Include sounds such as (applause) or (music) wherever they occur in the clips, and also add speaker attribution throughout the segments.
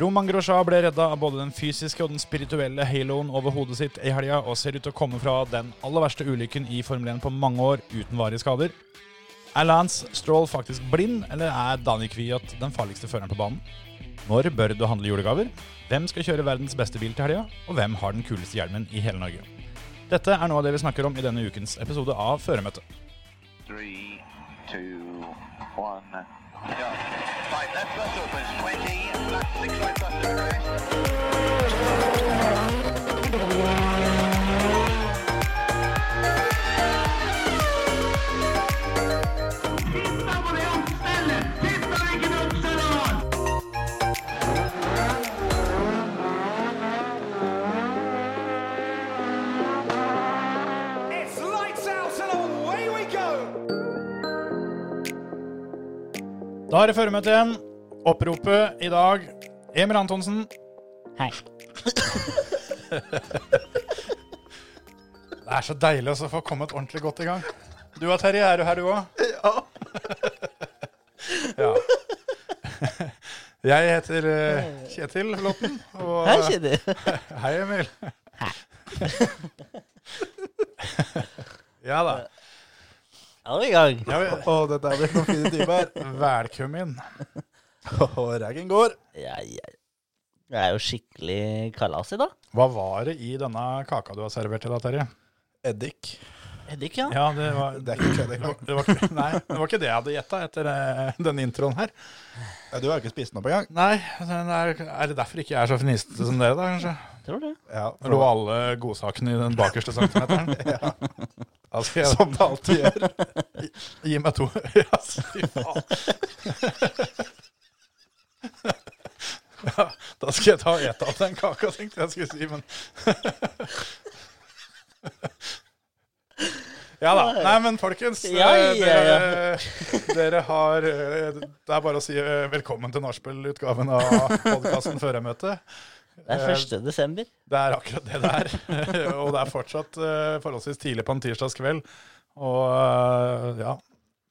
Speaker 1: Roman Grosjean ble redda av både den fysiske og den spirituelle haloen over hodet sitt i helga, og ser ut til å komme fra den aller verste ulykken i Formel 1 på mange år uten varige skader. Er Lance Stroll faktisk blind, eller er Dani Kviat den farligste føreren på banen? Når bør du handle julegaver? Hvem skal kjøre verdens beste bil til helga? Og hvem har den kuleste hjelmen i hele Norge? Dette er noe av det vi snakker om i denne ukens episode av Føremøtet.
Speaker 2: Three, two, one, go. Right, left bus opens, 20, left six right bus to progress.
Speaker 3: It's lights out and away we go!
Speaker 1: Da er det føremøte igjen. Oppropet i dag. Emil Antonsen.
Speaker 4: Hei.
Speaker 1: Det er så deilig også å få kommet ordentlig godt i gang. Du og Terje, er du her du òg? (laughs) Ja. Jeg heter eh, Kjetil Lotten. Og
Speaker 4: Hei, (laughs) Kjetil.
Speaker 1: Hei, Emil. (laughs) Ja da.
Speaker 4: Er vi i gang?
Speaker 1: Ja, vi-
Speaker 5: Og dette er blitt noen fine timer.
Speaker 1: Velkommen.
Speaker 5: Og reggen går.
Speaker 4: Ja, ja. Det er jo skikkelig kalas i dag.
Speaker 1: Hva var det i denne kaka du har servert til deg, Terje?
Speaker 5: Eddik.
Speaker 4: Eddik, ja.
Speaker 1: Ja, det var,
Speaker 5: Det er ikke kødd engang.
Speaker 1: det var, ikke- nei, det var ikke det jeg hadde gjetta etter eh, denne introen her.
Speaker 5: Ja, Du har jo ikke spist den opp engang.
Speaker 1: Nei, den er, er det derfor ikke jeg er så fniste som dere, da, kanskje?
Speaker 4: Tror du?
Speaker 5: Ja,
Speaker 1: Lå alle godsakene i den bakerste (laughs) centimeteren? Altså, jeg,
Speaker 5: Som det alltid gjør.
Speaker 1: gi meg to. (laughs) Ja, fy faen. (laughs) Ja, da skal jeg ta og ete opp den kaka, tenkte jeg skulle si, men (laughs) Ja da. Nei, men folkens, eh,
Speaker 4: Ja, ja, ja.
Speaker 1: Dere, (laughs) dere har eh, Det er bare å si eh, velkommen til nachspiel-utgaven av podkasten Førermøtet.
Speaker 4: Det er 1. desember.
Speaker 1: Det er akkurat det det er. (laughs) og det er fortsatt eh, forholdsvis tidlig på en tirsdagskveld. Og eh, ja,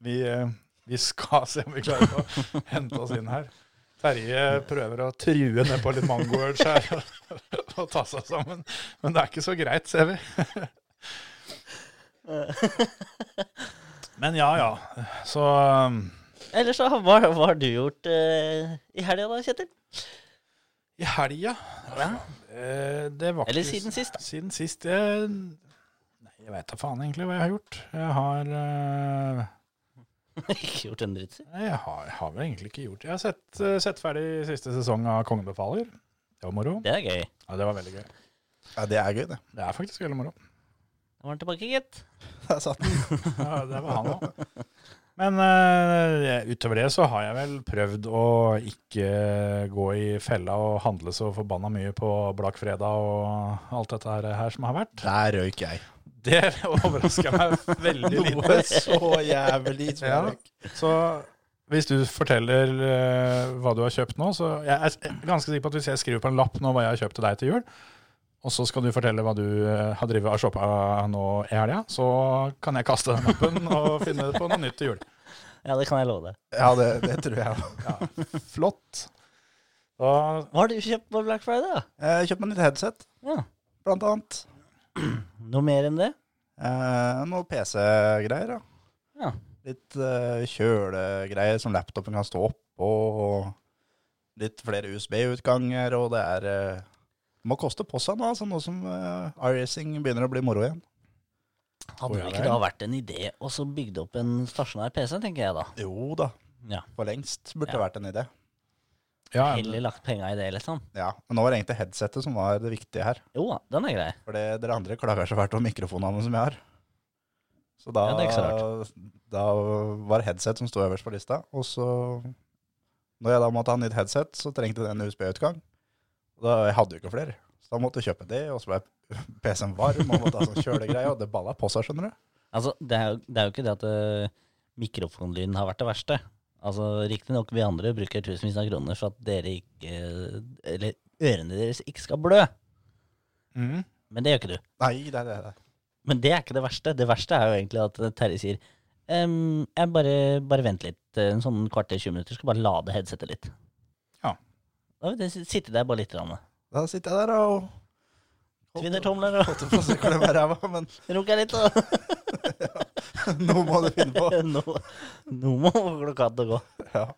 Speaker 1: vi, eh, vi skal se om vi klarer å (laughs) hente oss inn her. Terje prøver å true ned på litt mangoøl her (laughs) og ta seg sammen. Men det er ikke så greit, ser
Speaker 4: (laughs)
Speaker 1: vi. Men ja, ja. Så um,
Speaker 4: Ellers så, hva, hva har du gjort eh, i helga da, Kjetil?
Speaker 1: i helga eh, Det var
Speaker 4: Eller
Speaker 1: ikke-
Speaker 4: siden sist, (laughs) da.
Speaker 1: Siden sist jeg, Nei, jeg veit da faen egentlig hva jeg har gjort. Jeg har eh,
Speaker 4: ikke gjort en dritt. si.
Speaker 1: Nei, jeg har, jeg har vel egentlig ikke gjort Jeg har sett, eh, sett ferdig siste sesong av Kongen befaler. Det var moro.
Speaker 4: Det er gøy.
Speaker 1: Ja, det var veldig gøy.
Speaker 5: Ja, det er gøy, det.
Speaker 1: Det er faktisk veldig moro.
Speaker 4: Da var han tilbake, gitt.
Speaker 5: Der satt den.
Speaker 1: Ja, det var han òg. Men eh, utover det så har jeg vel prøvd å ikke gå i fella og handle så forbanna mye på Blakk fredag og alt dette her, her som har vært.
Speaker 5: Der røyk (laughs) jeg.
Speaker 1: Det (laughs) overrasker meg veldig lite.
Speaker 5: Noe så jævlig som jeg
Speaker 1: Ja.
Speaker 5: røyk.
Speaker 1: Så hvis du forteller eh, hva du har kjøpt nå, så jeg er eh, ganske sikker på at hvis jeg skriver på en lapp nå hva jeg har kjøpt til deg til jul, og så skal du fortelle hva du eh, har drevet og shoppa nå i helga, så kan jeg kaste den lappen og finne på noe nytt til jul.
Speaker 4: Ja, det kan jeg love deg.
Speaker 5: Ja, det, det tror jeg òg.
Speaker 1: Flott. Da,
Speaker 4: Hva har du kjøpt på Black Friday, da?
Speaker 5: Kjøpt Eh, meg nytt headset,
Speaker 4: Ja.
Speaker 5: blant annet.
Speaker 4: Noe mer enn det?
Speaker 5: Eh, Noe PC-greier, da.
Speaker 4: Ja.
Speaker 5: Litt eh, kjølegreier som laptopen kan stå oppå. og Litt flere USB-utganger, og det er eh, Må koste på seg nå, altså, nå som uh, iRacing begynner å bli moro igjen.
Speaker 4: Hadde
Speaker 1: Å, ja
Speaker 4: det
Speaker 1: vel.
Speaker 4: ikke da vært en idé å så bygde opp en stasjonær PC, tenker jeg da.
Speaker 5: Jo da,
Speaker 4: Ja.
Speaker 5: for lengst burde
Speaker 4: Ja.
Speaker 5: det vært en idé.
Speaker 1: ja,
Speaker 4: Heller lagt penga i det, liksom.
Speaker 5: Ja, Men nå var det egentlig headsetet som var det viktige her.
Speaker 4: Jo da, den er grei.
Speaker 5: For det- dere andre klager så fælt om mikrofonene som jeg har. Så da,
Speaker 4: Ja, det er ikke så
Speaker 5: da var headset som sto øverst på lista. Og så, når jeg da måtte ha nytt headset, så trengte det en USB-utgang. Og Da jeg hadde jo ikke flere. Så da måtte jeg kjøpe det, og så ble PC-en varm, og måtte ha sånn kjølegreie, og det balla på seg, skjønner du.
Speaker 4: Altså, det er, jo- det er jo ikke det at øh, mikrofonlyden har vært det verste. Altså, Riktignok vi andre bruker tusenvis av kroner for at dere ikke eh, Eller ørene deres ikke skal blø.
Speaker 1: Mm.
Speaker 4: Men det gjør ikke du.
Speaker 5: Nei, det er det. det.
Speaker 4: Men det er ikke det verste. Det verste er jo egentlig at eh, Terje sier «Em, Eh, jeg bare, bare vent litt, en sånn kvarter, 20 minutter, skal bare lade headsetet litt.
Speaker 1: Ja.
Speaker 4: Da vil jeg sitte der bare litt. grann.
Speaker 5: Da sitter jeg der og
Speaker 4: Tvinnertomler og (laughs)
Speaker 5: Holdt på å sykle med ræva, men (laughs)
Speaker 4: runker litt. Og
Speaker 5: noe må du finne på.
Speaker 4: (laughs) nå, nå må klokka gå.
Speaker 5: Ja.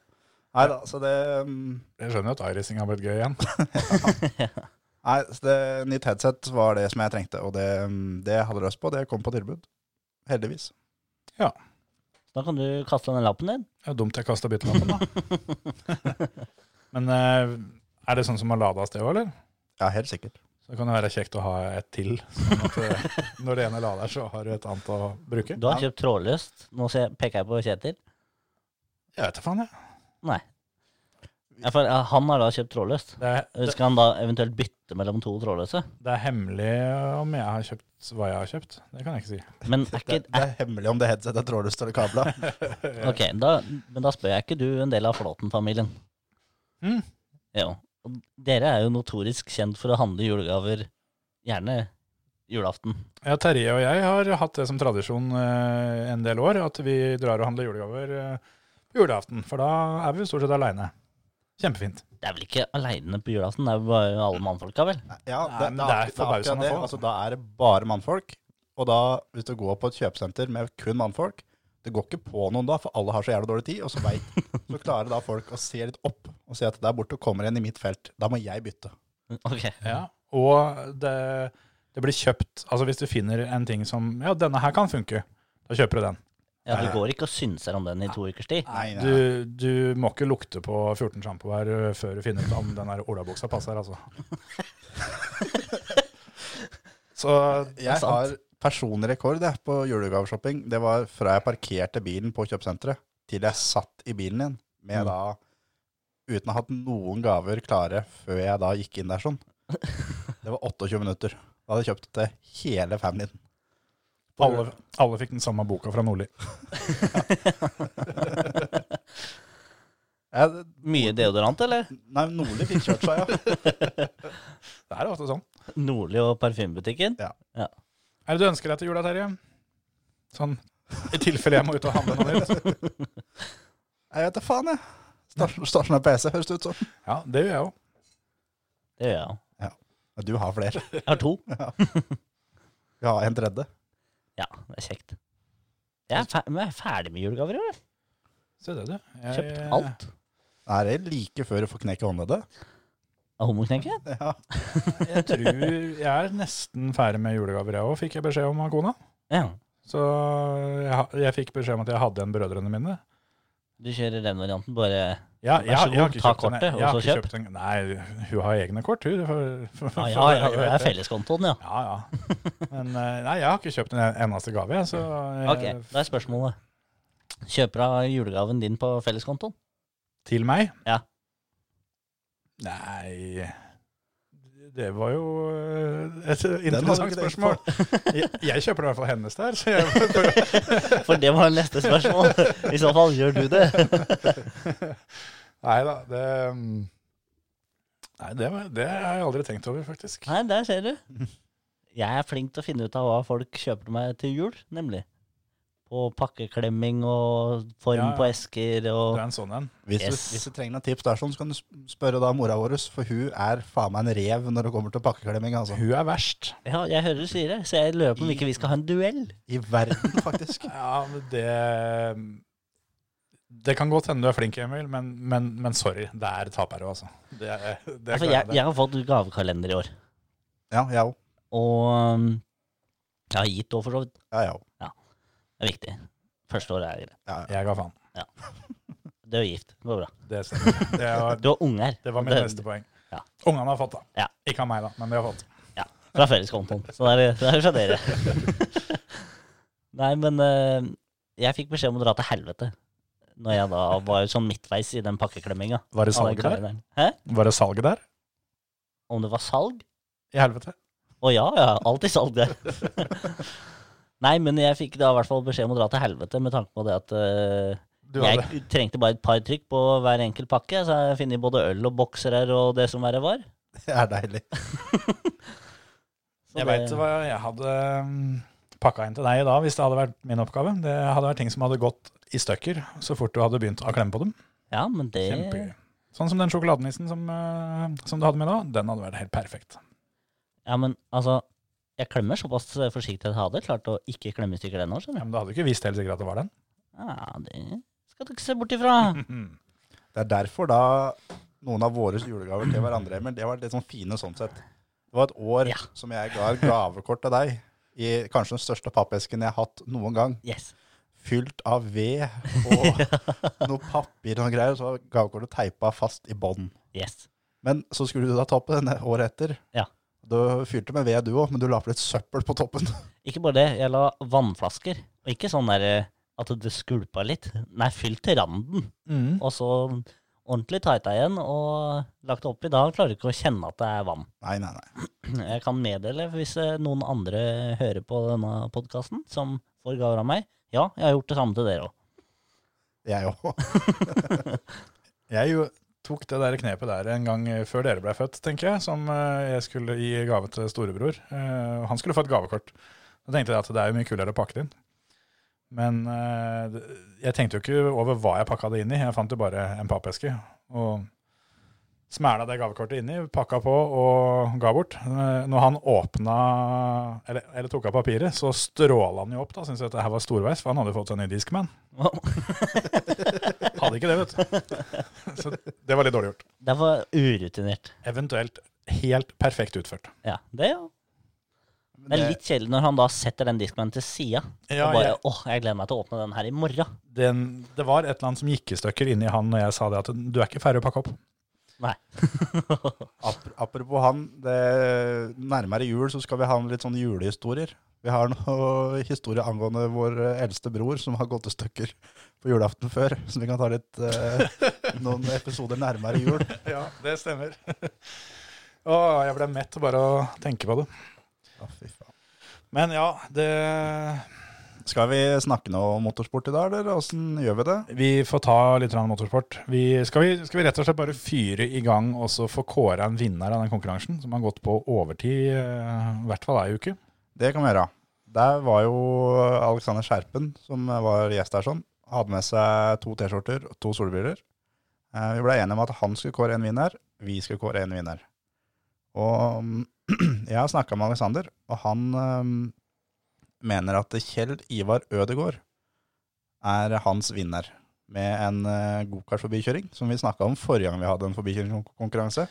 Speaker 5: Nei da, så det mm,
Speaker 1: Jeg skjønner jo at iRacing har blitt gøy igjen.
Speaker 5: Nei, så det, nytt headset var det som jeg trengte, og det, mm, det jeg hadde lyst på, det kom på tilbud. Heldigvis.
Speaker 4: Så Da kan du kaste den lappen din.
Speaker 1: Det er jo dumt jeg kasta byttelappen, da. Men eh, er det sånn som har lada av sted òg, eller?
Speaker 5: Ja, helt sikkert.
Speaker 1: Så kan det være kjekt å ha et til. Sånn at eh, når det ene lader, så har du et annet å bruke.
Speaker 4: Du har kjøpt trådløst. Nå ser jeg- peker jeg på Kjetil.
Speaker 1: Jeg vet da faen, jeg.
Speaker 4: Nei. Ja, for eh, han har da kjøpt trådløst.
Speaker 1: Det er, det,
Speaker 4: Skal han da eventuelt bytte mellom to trådløse?
Speaker 1: det er hemmelig om jeg har kjøpt hva jeg har kjøpt. Det kan jeg ikke si.
Speaker 4: Men er
Speaker 5: Det,
Speaker 4: ikke
Speaker 5: (laughs) det er hemmelig om det headsetet er trådløst eller
Speaker 1: (laughs)
Speaker 5: kabla.
Speaker 4: Ok, da, men da spør jeg ikke du en del av Flåten-familien.
Speaker 1: Mm.
Speaker 4: Jo. Og dere er jo notorisk kjent for å handle julegaver gjerne julaften.
Speaker 1: Ja, Terje og jeg har hatt det som tradisjon eh, en del år, at vi drar og handler julegaver eh, på julaften. For da er vi stort sett aleine. Kjempefint.
Speaker 4: Det er vel ikke aleine på julaften, det er jo bare alle mannfolka, vel?
Speaker 5: Ja,
Speaker 1: Nei, men det er
Speaker 5: akkurat-
Speaker 1: forbausende
Speaker 5: akkurat det.
Speaker 1: få.
Speaker 5: Altså, da er det bare mannfolk. Og da, hvis du går på et kjøpesenter med kun mannfolk, det går ikke på noen da, for alle har så jævlig dårlig tid, og så
Speaker 1: (laughs)
Speaker 5: veit Så klarer da folk å se litt opp og se at der borte kommer en i mitt felt. Da må jeg bytte.
Speaker 4: Ok.
Speaker 1: Ja, og det, det blir kjøpt Altså hvis du finner en ting som Ja, denne her kan funke. Da kjøper du den.
Speaker 4: Ja, det går ikke å synse om den i to ukers tid.
Speaker 5: Nei, nei.
Speaker 1: Du, du må ikke lukte på 14 sjampoer eh, før du finner ut om den der olabuksa passer, altså. Så
Speaker 5: Jeg har personlig rekord jeg, på julegaveshopping. Det var fra jeg parkerte bilen på kjøpesenteret, til jeg satt i bilen igjen. Med
Speaker 4: Mm.
Speaker 5: da Uten å ha hatt noen gaver klare før jeg da gikk inn der sånn. Det var 28 minutter. Da hadde jeg kjøpt til hele familien.
Speaker 1: alle, alle fikk den samme boka fra Nordli.
Speaker 5: Jeg,
Speaker 4: Mye deodorant, eller?
Speaker 5: nei, Nordli fikk kjørt seg, ja.
Speaker 1: Det er ofte sånn.
Speaker 4: Nordli og parfymebutikken?
Speaker 1: Er det du ønsker deg til jula, Terje? Sånn i tilfelle jeg må ut og handle noe liksom. nytt.
Speaker 5: Jeg vet da faen, jeg. Stasjon- Stasjonær PC, høres det ut som.
Speaker 1: Ja, det gjør jeg òg.
Speaker 4: Det gjør jeg òg.
Speaker 5: Ja, Du har flere.
Speaker 4: Jeg har to.
Speaker 5: Vi har en tredje.
Speaker 4: Ja, det er kjekt. Jeg er, fer men jeg er ferdig med julegaver, jo.
Speaker 1: Se det, du. Jeg-
Speaker 4: Kjøpt alt.
Speaker 5: Er det like før du får knekk i håndleddet?
Speaker 4: Av homoknekket?
Speaker 5: Ja.
Speaker 1: Jeg tror jeg er nesten ferdig med julegaver, jeg òg, fikk jeg beskjed om av kona.
Speaker 4: Ja.
Speaker 1: Så jeg, ha- jeg fikk beskjed om at jeg hadde igjen brødrene mine.
Speaker 4: Du kjører den varianten,
Speaker 1: (laughs)
Speaker 4: bare
Speaker 1: Ja,
Speaker 4: Vær
Speaker 1: jeg, jeg
Speaker 4: så
Speaker 1: har ikke
Speaker 4: god, ta
Speaker 1: kjøpt en-
Speaker 4: kortet,
Speaker 1: jeg
Speaker 4: og
Speaker 1: har
Speaker 4: så
Speaker 1: ikke
Speaker 4: kjøp.
Speaker 1: kjøpt en- Nei, hun har egne kort, hun. For, for, for, (laughs)
Speaker 4: Ja, ja,
Speaker 1: for-
Speaker 4: ja, ja, det er felleskontoen, ja.
Speaker 1: Ja, ja. Men eh, nei, jeg har ikke kjøpt en eneste gave, jeg. Så eh,
Speaker 4: Ok, da er spørsmålet. Kjøper hun julegaven din på felleskontoen?
Speaker 1: til meg
Speaker 4: Ja.
Speaker 1: Nei Det var jo eh, et
Speaker 5: har
Speaker 1: interessant
Speaker 5: du ikke tenkt
Speaker 1: spørsmål. Jeg, jeg kjøper i hvert fall hennes der, så jeg
Speaker 4: (laughs) For det var neste
Speaker 1: (laughs)
Speaker 4: spørsmål. I så fall gjør du det.
Speaker 1: Nei da, det mm, Nei, det, var- det har jeg aldri tenkt over, faktisk.
Speaker 4: Nei, der ser du. Jeg er flink til å finne ut av hva folk kjøper til meg til jul, nemlig. På pakkeklemming og form
Speaker 1: Ja, ja.
Speaker 4: på esker
Speaker 1: Du
Speaker 4: og
Speaker 1: er en sånn en.
Speaker 5: Hvis,
Speaker 4: Yes.
Speaker 5: du, hvis du trenger noen tips der, sånn, så kan du sp- spørre da mora vår, for hun er faen meg en rev når det kommer til pakkeklemming. Altså.
Speaker 1: Hun er verst.
Speaker 4: Ja, jeg hører du sier det, så jeg lurer på om ikke vi skal ha en duell.
Speaker 5: I verden,
Speaker 4: (laughs)
Speaker 5: faktisk.
Speaker 1: Ja, men det Det kan godt hende du er flink, Emil, men, men, men sorry. Det er tapere, altså. Det, det klarer
Speaker 4: Ja, For Altså, jeg,
Speaker 1: det.
Speaker 4: jeg har fått gavekalender i år,
Speaker 5: Ja, jeg òg.
Speaker 4: og um, jeg har gitt òg, for så vidt.
Speaker 5: Ja, jeg òg.
Speaker 4: Det er viktig. Første året er greit.
Speaker 5: Ja, ja.
Speaker 1: Jeg ga faen.
Speaker 4: Du er gift. Det går bra.
Speaker 1: Det stemmer. Det var,
Speaker 4: Du har unger.
Speaker 1: det var mitt neste poeng.
Speaker 4: Ja.
Speaker 1: Ungene har fått, da.
Speaker 4: Ja.
Speaker 1: Ikke av meg, da, men de har fått.
Speaker 4: Ja, fra felleskontoen. Så det er, det er fra
Speaker 1: (laughs)
Speaker 4: dere. Nei, men eh, jeg fikk beskjed om å dra til helvete. Når jeg da var sånn midtveis i den pakkeklemminga.
Speaker 1: Var det
Speaker 4: av den
Speaker 1: salget der?
Speaker 4: kalenderen. Hæ?
Speaker 1: Var det salget der?
Speaker 4: Om det var salg?
Speaker 1: I helvete.
Speaker 4: Å ja, ja. Alltid salg
Speaker 1: (laughs)
Speaker 4: der. Nei, men jeg fikk da i hvert fall beskjed om å dra til helvete, med tanke på det at eh,
Speaker 1: Du hadde
Speaker 4: jeg trengte bare et par trykk på hver enkelt pakke. Så jeg finner både øl og bokser her og det som verre var.
Speaker 5: Det er deilig.
Speaker 4: Så
Speaker 1: Jeg
Speaker 4: det-
Speaker 1: veit hva jeg hadde mm, pakka inn til deg i dag, hvis det hadde vært min oppgave. Det hadde vært ting som hadde gått i stykker så fort du hadde begynt å klemme på dem.
Speaker 4: Ja, men det,
Speaker 1: Kjempegøy. Sånn som den sjokoladenissen som, eh, som du hadde med da, den hadde vært helt perfekt.
Speaker 4: Ja, men altså, jeg klemmer såpass forsiktig at jeg hadde klart å ikke klemme i stykker den nå,
Speaker 1: Ja,
Speaker 4: skjønner du.
Speaker 1: men da hadde du ikke visst helt sikkert at det var den.
Speaker 4: Ja, det skal du ikke se bort ifra.
Speaker 5: Det er derfor da noen av våre julegaver til hverandre, Emil, det var litt sånn fine sånn sett. Det var et år
Speaker 4: Ja.
Speaker 5: som jeg ga et gavekort til deg i kanskje den største pappesken jeg har hatt noen gang.
Speaker 4: Yes.
Speaker 5: Fylt av ved
Speaker 4: (laughs)
Speaker 5: og noe papir og noe greier, og så var gavekortet teipa fast i bånd.
Speaker 4: Yes.
Speaker 5: Men så skulle du da ta på denne året etter.
Speaker 4: Ja.
Speaker 5: Du fylte med ved du òg, men du la på litt søppel på toppen. (laughs)
Speaker 4: Ikke bare det, jeg la vannflasker, og ikke sånn der eh, at du skulpa litt. Nei, fyll til randen,
Speaker 1: (laughs) Mm.
Speaker 4: og så ordentlig tighta igjen, og lagt det oppi. Da klarer du ikke å kjenne at det er vann.
Speaker 5: Nei, nei, nei.
Speaker 4: Jeg kan meddele, hvis eh, noen andre hører på denne podkasten, som får gaver av meg, ja, jeg har gjort det samme til dere òg.
Speaker 5: Jeg òg.
Speaker 1: Jeg jo tok det der knepet der en gang eh, før dere ble født, tenker jeg, som eh, jeg skulle gi gave til storebror. Eh, Han skulle få et gavekort. Da tenkte jeg at det er jo mye kulere å pakke det inn. Men eh, det- jeg tenkte jo ikke over hva jeg pakka det inn i, jeg fant jo bare en pappeske. Og smæla det gavekortet inni, pakka på og ga bort. Eh, Når han åpna, eller, eller tok av papiret, så stråla han jo opp, da. Syntes at det her var storveis, for han hadde jo fått seg ny Discman. Hadde ikke det, vet du. (laughs) Så det var litt dårlig gjort.
Speaker 4: (laughs) Det var urutinert.
Speaker 1: eventuelt helt perfekt utført.
Speaker 4: Ja, det ja.
Speaker 5: (laughs)
Speaker 4: Det er litt kjedelig når han da setter den diskmannen til sida.
Speaker 1: Ja,
Speaker 4: og bare
Speaker 1: jeg-
Speaker 4: åh, jeg gleder meg til å åpne den her i morgen. (laughs)
Speaker 1: Den, det var et eller annet som gikk i stykker inni han når jeg sa det at du er ikke ferdig å pakke opp.
Speaker 4: Nei.
Speaker 5: Ap apropos han, det, nærmere jul så skal vi ha litt sånne julehistorier. Vi har (laughs) noen historier angående vår eh, eldste bror som har gått i stykker på julaften før. Så vi kan ta litt,
Speaker 4: (laughs)
Speaker 5: eh, noen episoder nærmere jul.
Speaker 1: (laughs) Ja, det stemmer. (laughs) Å, jeg ble mett bare å tenke på det.
Speaker 5: Ja, fy faen.
Speaker 1: Men ja, det
Speaker 5: Skal vi snakke noe om motorsport i dag, eller åssen gjør vi det?
Speaker 1: Vi får ta litt grann motorsport. Vi, skal, vi, skal vi rett og slett bare fyre i gang og så få kåra en vinner av den konkurransen, som har gått på overtid eh, i hvert fall ei uke?
Speaker 5: Det kan vi gjøre. Der var jo Alexander Skjerpen, som var gjest her, sånn. Hadde med seg to T-skjorter og to solbriller. Eh, Vi ble enige om at han skulle kåre en vinner, vi skulle kåre en vinner. Og (clears throat) mm, jeg har snakka med Alexander, og han eh, mener at Kjell Ivar Ødegård er hans vinner. Med en eh, gokart-forbikjøring, som vi snakka om forrige gang vi hadde en forbikjøringskonkurranse.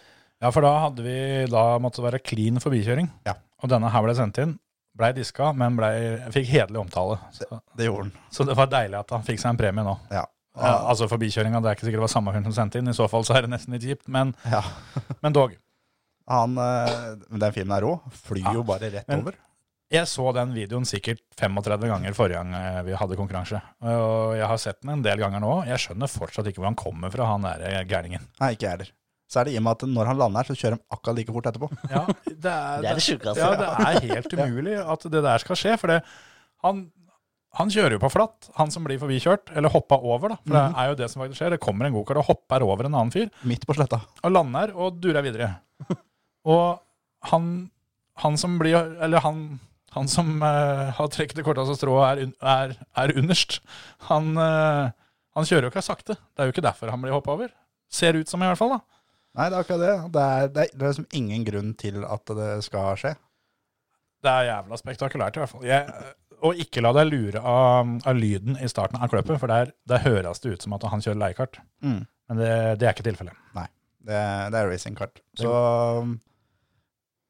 Speaker 1: Ja, for da hadde vi da måtte det være clean forbikjøring.
Speaker 5: Ja.
Speaker 1: Og denne her ble sendt inn. Blei diska, men blei, fikk hederlig omtale. Så,
Speaker 5: Det gjorde han.
Speaker 1: så det var deilig at han fikk seg en premie nå.
Speaker 5: Ja.
Speaker 1: Ja, altså forbikjøringa, det er ikke sikkert det var samme hund som sendte inn. I så fall så er det nesten litt kjipt, men,
Speaker 5: ja.
Speaker 1: (laughs) men dog.
Speaker 5: Han, eh, den filmen er rå. Flyr jo bare rett
Speaker 1: Men-
Speaker 5: over.
Speaker 1: Jeg så den videoen sikkert 35 ganger forrige gang eh, vi hadde konkurranse. Og jeg har sett den en del ganger nå. Jeg skjønner fortsatt ikke hvor han kommer fra, han der eh, gærningen.
Speaker 5: Nei, ikke jeg heller. Så er det i og med at når han lander, så kjører de akkurat like fort etterpå.
Speaker 1: (laughs)
Speaker 5: (laughs)
Speaker 1: Ja, det er
Speaker 4: Det er det altså. sjukeste.
Speaker 1: Ja, det er helt umulig at det der skal skje. For det, han, han kjører jo på flatt, han som blir forbikjørt. Eller hoppa over, da. For det er jo det som faktisk skjer. Det kommer en gokart og hopper over en annen fyr.
Speaker 5: Midt på sletta.
Speaker 1: og lander og durer videre. Og han, han som blir Eller han, han som eh, har trukket det korteste strået, er, un- er, er underst. Han, eh, han kjører jo ikke sakte. Det er jo ikke derfor han blir hoppa over. Ser ut som, i hvert fall. da.
Speaker 5: Nei, det er akkurat det. Det er, det er, det er liksom ingen grunn til at det skal skje.
Speaker 1: Det er jævla spektakulært, i hvert fall. Jeg, og ikke la deg lure av, av lyden i starten av kløppet, for der, der høres det ut som at han kjører leiekart.
Speaker 5: Mm.
Speaker 1: Men det, det er ikke tilfellet.
Speaker 5: Det, det er racingkart. Så um,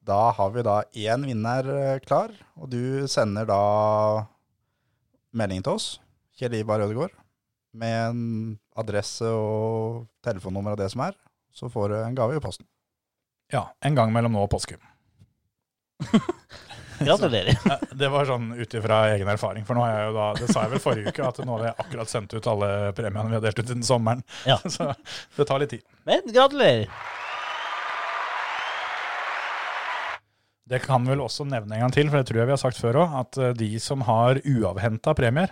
Speaker 5: da har vi da én vinner eh, klar, og du sender da melding til oss, Kjell Ivar Ødegaard, med en adresse og telefonnummer av det som er. Så får du en gave i posten.
Speaker 1: Ja, En gang mellom nå og påske.
Speaker 4: Gratulerer.
Speaker 1: Ja, Det var sånn ut ifra egen erfaring. For nå har jeg jo da, det sa jeg vel forrige uke, at nå har jeg akkurat sendt ut alle premiene vi har delt ut innen sommeren.
Speaker 4: Ja.
Speaker 1: (laughs) Så det tar litt tid.
Speaker 4: Men gratulerer.
Speaker 1: Det kan vel også nevne en gang til, for det tror jeg vi har sagt før òg, at eh, de som har uavhenta premier,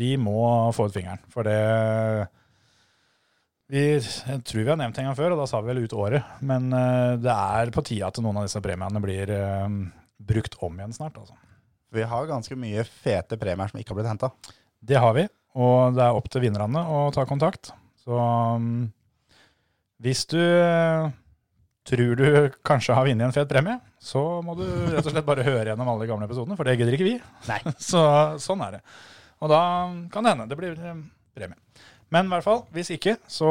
Speaker 1: de må få ut fingeren. For det vi, Jeg tror vi har nevnt det en gang før, og da sa vi vel ut året. Men eh, det er på tide at noen av disse premiene blir eh, brukt om igjen snart, altså.
Speaker 5: Vi har ganske mye fete premier som ikke har blitt henta.
Speaker 1: Det har vi, og det er opp til vinnerne å ta kontakt. Så um, Hvis du eh, tror du kanskje har vunnet en fet premie, så må du rett og slett bare høre gjennom alle de gamle episodene, for det gidder ikke vi.
Speaker 4: Nei.
Speaker 1: (laughs) Så sånn er det. Og da kan det hende. Det blir eh, premie. Men i hvert fall, hvis ikke, så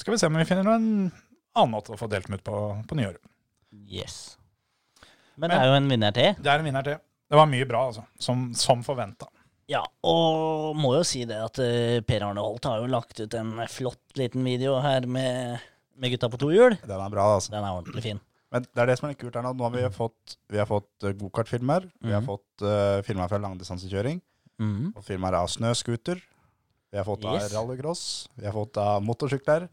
Speaker 1: skal vi se om vi finner en annen måte å få delt dem ut på på nyåret.
Speaker 4: Yes. Men det er jo en vinner til.
Speaker 1: Det er en vinner til. Det var mye bra, altså. Som, som forventa.
Speaker 4: Ja, og må jo si det at eh, Per Arne Holt har jo lagt ut en flott liten video her med, med gutta på to hjul.
Speaker 5: Den er bra, altså.
Speaker 4: Den er ordentlig fin.
Speaker 5: Men det er det som er litt kult her nå. Nå har vi
Speaker 4: Mm.
Speaker 5: fått, vi har fått eh, gokartfilmer. Vi har
Speaker 4: Mhm.
Speaker 5: fått uh, filmer fra langdistansekjøring.
Speaker 4: Mhm.
Speaker 5: Og filmer av snøscooter. Vi har fått av
Speaker 4: Yes.
Speaker 5: rallycross. Vi har fått av motorsykler.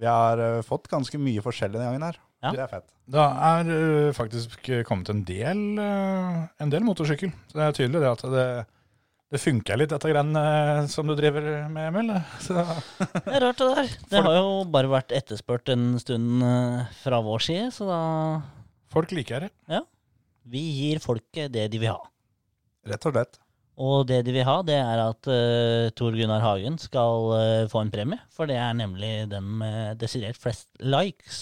Speaker 5: Vi har eh, fått ganske mye forskjellig denne gangen her.
Speaker 4: Ja.
Speaker 5: Det er fett.
Speaker 1: Det er ø, faktisk eh, kommet en del, ø, en del motorsykkel. Så det er tydelig det at det, det funker litt, dette greiene ø, som du driver med, Emil. (laughs) Så,
Speaker 4: Det er rart, det der. Det har jo bare vært etterspurt en stund eh, fra vår side, så da
Speaker 1: folk liker det.
Speaker 4: Vi gir folket det de vil ha.
Speaker 5: Rett og slett.
Speaker 4: Og det de vil ha, det er at uh, Tor Gunnar Hagen skal eh, få en premie. For det er nemlig den med desidert flest likes.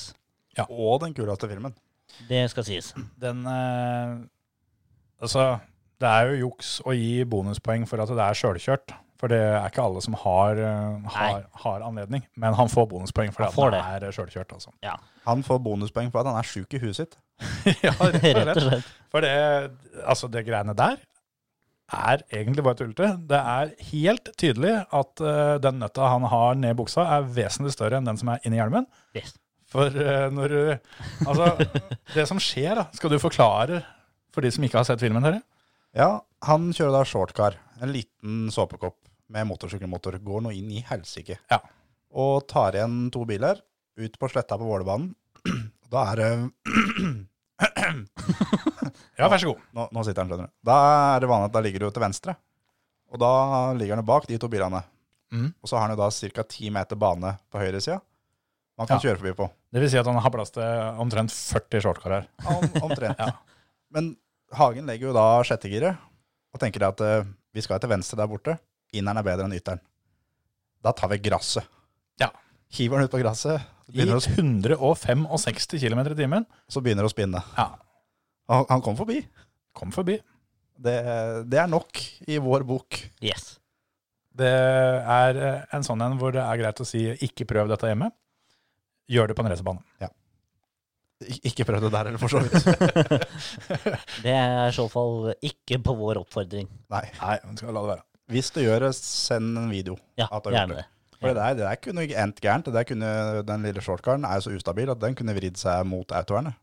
Speaker 5: Og den kuleste filmen.
Speaker 4: Det skal (laughs) sies.
Speaker 1: Den ø, Altså, det er jo juks å gi bonuspoeng for at det er sjølkjørt. For det er ikke alle som har, ø, har, har anledning. Men han får bonuspoeng fordi
Speaker 4: Han får
Speaker 1: at han er sjølkjørt,
Speaker 4: (laughs)
Speaker 1: altså.
Speaker 5: Han får bonuspoeng for at han er sjuk i huet sitt.
Speaker 1: ja,
Speaker 4: Rett og slett.
Speaker 1: For det, altså det greiene der er egentlig bare tullete. Det er helt tydelig at eh, den nøtta han har ned i buksa, er vesentlig større enn den som er inni hjelmen.
Speaker 4: Yes.
Speaker 1: For eh, når du Altså, det som skjer, da, skal du forklare for de som ikke har sett filmen, dere?
Speaker 5: Ja, han kjører da shortcar, en liten såpekopp med motorsykkelmotor, går nå inn i helsike.
Speaker 1: Ja.
Speaker 5: Og tar igjen to biler, ut på sletta på Vålerbanen. (clears throat) Da er det
Speaker 1: Ja, vær så god.
Speaker 5: nå, nå sitter han, skjønner du. Da er det vanlig at da ligger du til venstre. Og da ligger han jo bak de to bilene.
Speaker 1: Mhm.
Speaker 5: Og så har han jo da ca. ti meter bane på høyresida man kan
Speaker 1: Ja.
Speaker 5: kjøre forbi på.
Speaker 1: Det vil si at han har plass til omtrent 40 shortcar her.
Speaker 5: Om,
Speaker 1: (laughs)
Speaker 5: omtrent. Men Hagen legger jo da sjettegiret og tenker at eh, vi skal til venstre der borte. Inneren er bedre enn ytteren. Da tar vi gresset.
Speaker 1: Ja.
Speaker 5: Hiver den ut på gresset,
Speaker 1: I
Speaker 5: begynner å sp-
Speaker 1: 165 km i timen.
Speaker 5: så begynner det å spinne.
Speaker 1: Ja.
Speaker 5: Og Han, han kom forbi.
Speaker 1: Kom forbi.
Speaker 5: Det, det er nok i vår bok.
Speaker 4: yes.
Speaker 1: Det er eh, en sånn en hvor det er greit å si 'ikke prøv dette hjemme'. Gjør det på en racerbane.
Speaker 5: Ik ikke prøv det der, eller for så
Speaker 1: (laughs)
Speaker 5: vidt.
Speaker 4: Det er i så fall ikke på vår oppfordring.
Speaker 5: Nei.
Speaker 1: Nei, men skal la det være.
Speaker 5: Hvis du gjør det, send en video.
Speaker 4: Ja,
Speaker 5: At du har gjort
Speaker 4: gjerne det.
Speaker 5: For det der, det der kunne ikke endt gærent. Det der kunne, den lille shortcaren er jo så ustabil at den kunne vridd seg mot autovernet.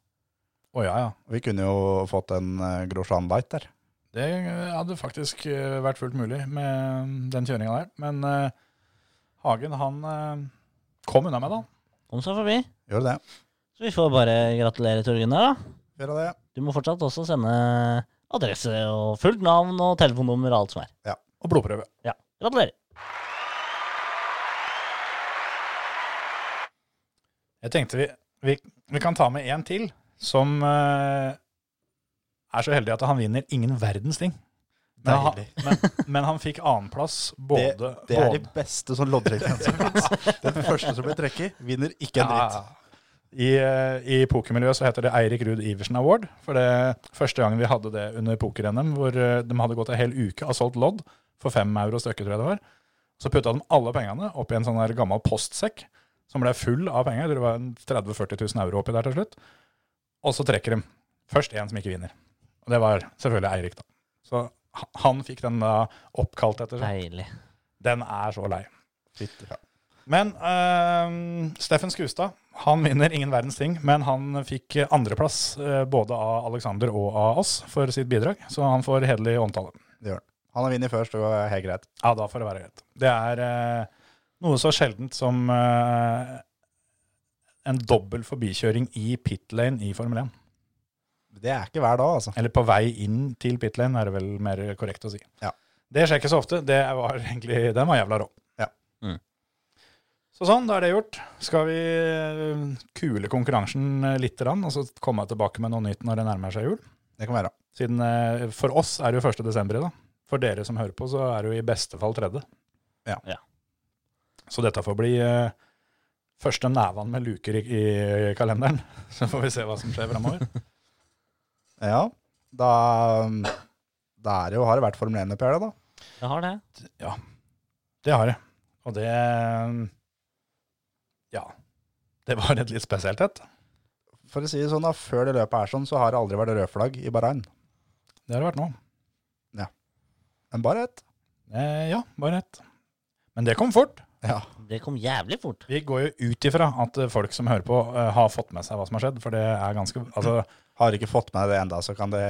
Speaker 1: Å ja, ja.
Speaker 5: Vi kunne jo fått en uh, Grosjean Light der.
Speaker 1: Det hadde faktisk eh, vært fullt mulig med mm, den kjøringa der. Men eh, Hagen, han eh, kom unna med det. han.
Speaker 4: Kom så forbi.
Speaker 5: Gjør det.
Speaker 4: Så vi får bare gratulere Tor Gunnar, da.
Speaker 5: Gjør det.
Speaker 4: Du må fortsatt også sende adresse og fullt navn og telefonnummer og alt som er.
Speaker 1: Og blodprøve.
Speaker 4: Ja. Gratulerer.
Speaker 1: Jeg tenkte vi, vi, vi kan ta med en til som eh, er så heldig at han vinner ingen verdens ting. Men han,
Speaker 5: Deilig.
Speaker 1: men, men han fikk annenplass både
Speaker 5: (laughs) Det, det er de
Speaker 1: både-
Speaker 5: beste sånn (laughs) loddtrekningene som fins. Den første som blir trekket, vinner ikke en dritt.
Speaker 1: Ja. I, eh, I pokermiljøet så heter det Eirik Ruud Iversen Award. For det første gangen vi hadde det under poker-NM, hvor eh, de hadde gått en hel uke og solgt lodd for fem euro stykket, tror jeg det var. Så putta de alle pengene opp i en sånn der gammel postsekk som ble full av penger. Jeg tror det var en 30 000-40 000 euro oppi der til slutt. Og så trekker de. Først én som ikke vinner. Og det var selvfølgelig Eirik, da. Så ha- han fikk den da oppkalt etter seg.
Speaker 4: Deilig.
Speaker 1: Den er så lei.
Speaker 5: Fytti faen.
Speaker 1: Men eh, Steffen Skustad han vinner ingen verdens ting, men han fikk andreplass eh, både av Alexander og av oss for sitt bidrag, så han får hederlig omtale.
Speaker 5: Det gjør han. Han har vunnet først, og det er helt greit.
Speaker 1: Ja, da får det være greit. Det er eh, noe så sjeldent som eh, en dobbel forbikjøring i pit lane i Formel 1.
Speaker 5: Det er ikke hver dag, altså.
Speaker 1: Eller på vei inn til pit lane, er det vel mer korrekt å si.
Speaker 5: Ja.
Speaker 1: Det skjer ikke så ofte. Det var egentlig, den var jævla rå.
Speaker 5: Ja.
Speaker 4: Mm.
Speaker 1: Så sånn, da er det gjort. Skal vi eh, kule konkurransen eh, litt, grann, og så komme tilbake med noe nytt når det nærmer seg jul?
Speaker 5: Det kan være.
Speaker 1: Siden eh, For oss er det jo 1. desember i dag. For dere som hører på, så er det jo i beste fall tredje.
Speaker 5: Ja.
Speaker 4: Ja.
Speaker 1: Så dette får bli eh, Første neven med luker i, i kalenderen. (laughs) Så får vi se hva som skjer framover.
Speaker 5: Ja, da, da er det jo, har det vært Formel 1 oppi her, da.
Speaker 4: Jeg har det.
Speaker 1: Det har jeg. Og det Ja. Det var et litt spesielt et.
Speaker 5: For å si det sånn, da, før det løpet er sånn, så har det aldri vært rødflagg i Bahrain.
Speaker 1: Det har det vært nå.
Speaker 5: Men bare ett.
Speaker 1: Eh, ja, bare ett. Men det kom fort.
Speaker 5: Ja.
Speaker 4: Det kom jævlig fort.
Speaker 1: Vi går jo ut ifra at eh, folk som hører på, eh, har fått med seg hva som har skjedd. For det er ganske Altså,
Speaker 5: Har ikke fått med det enda, så kan det,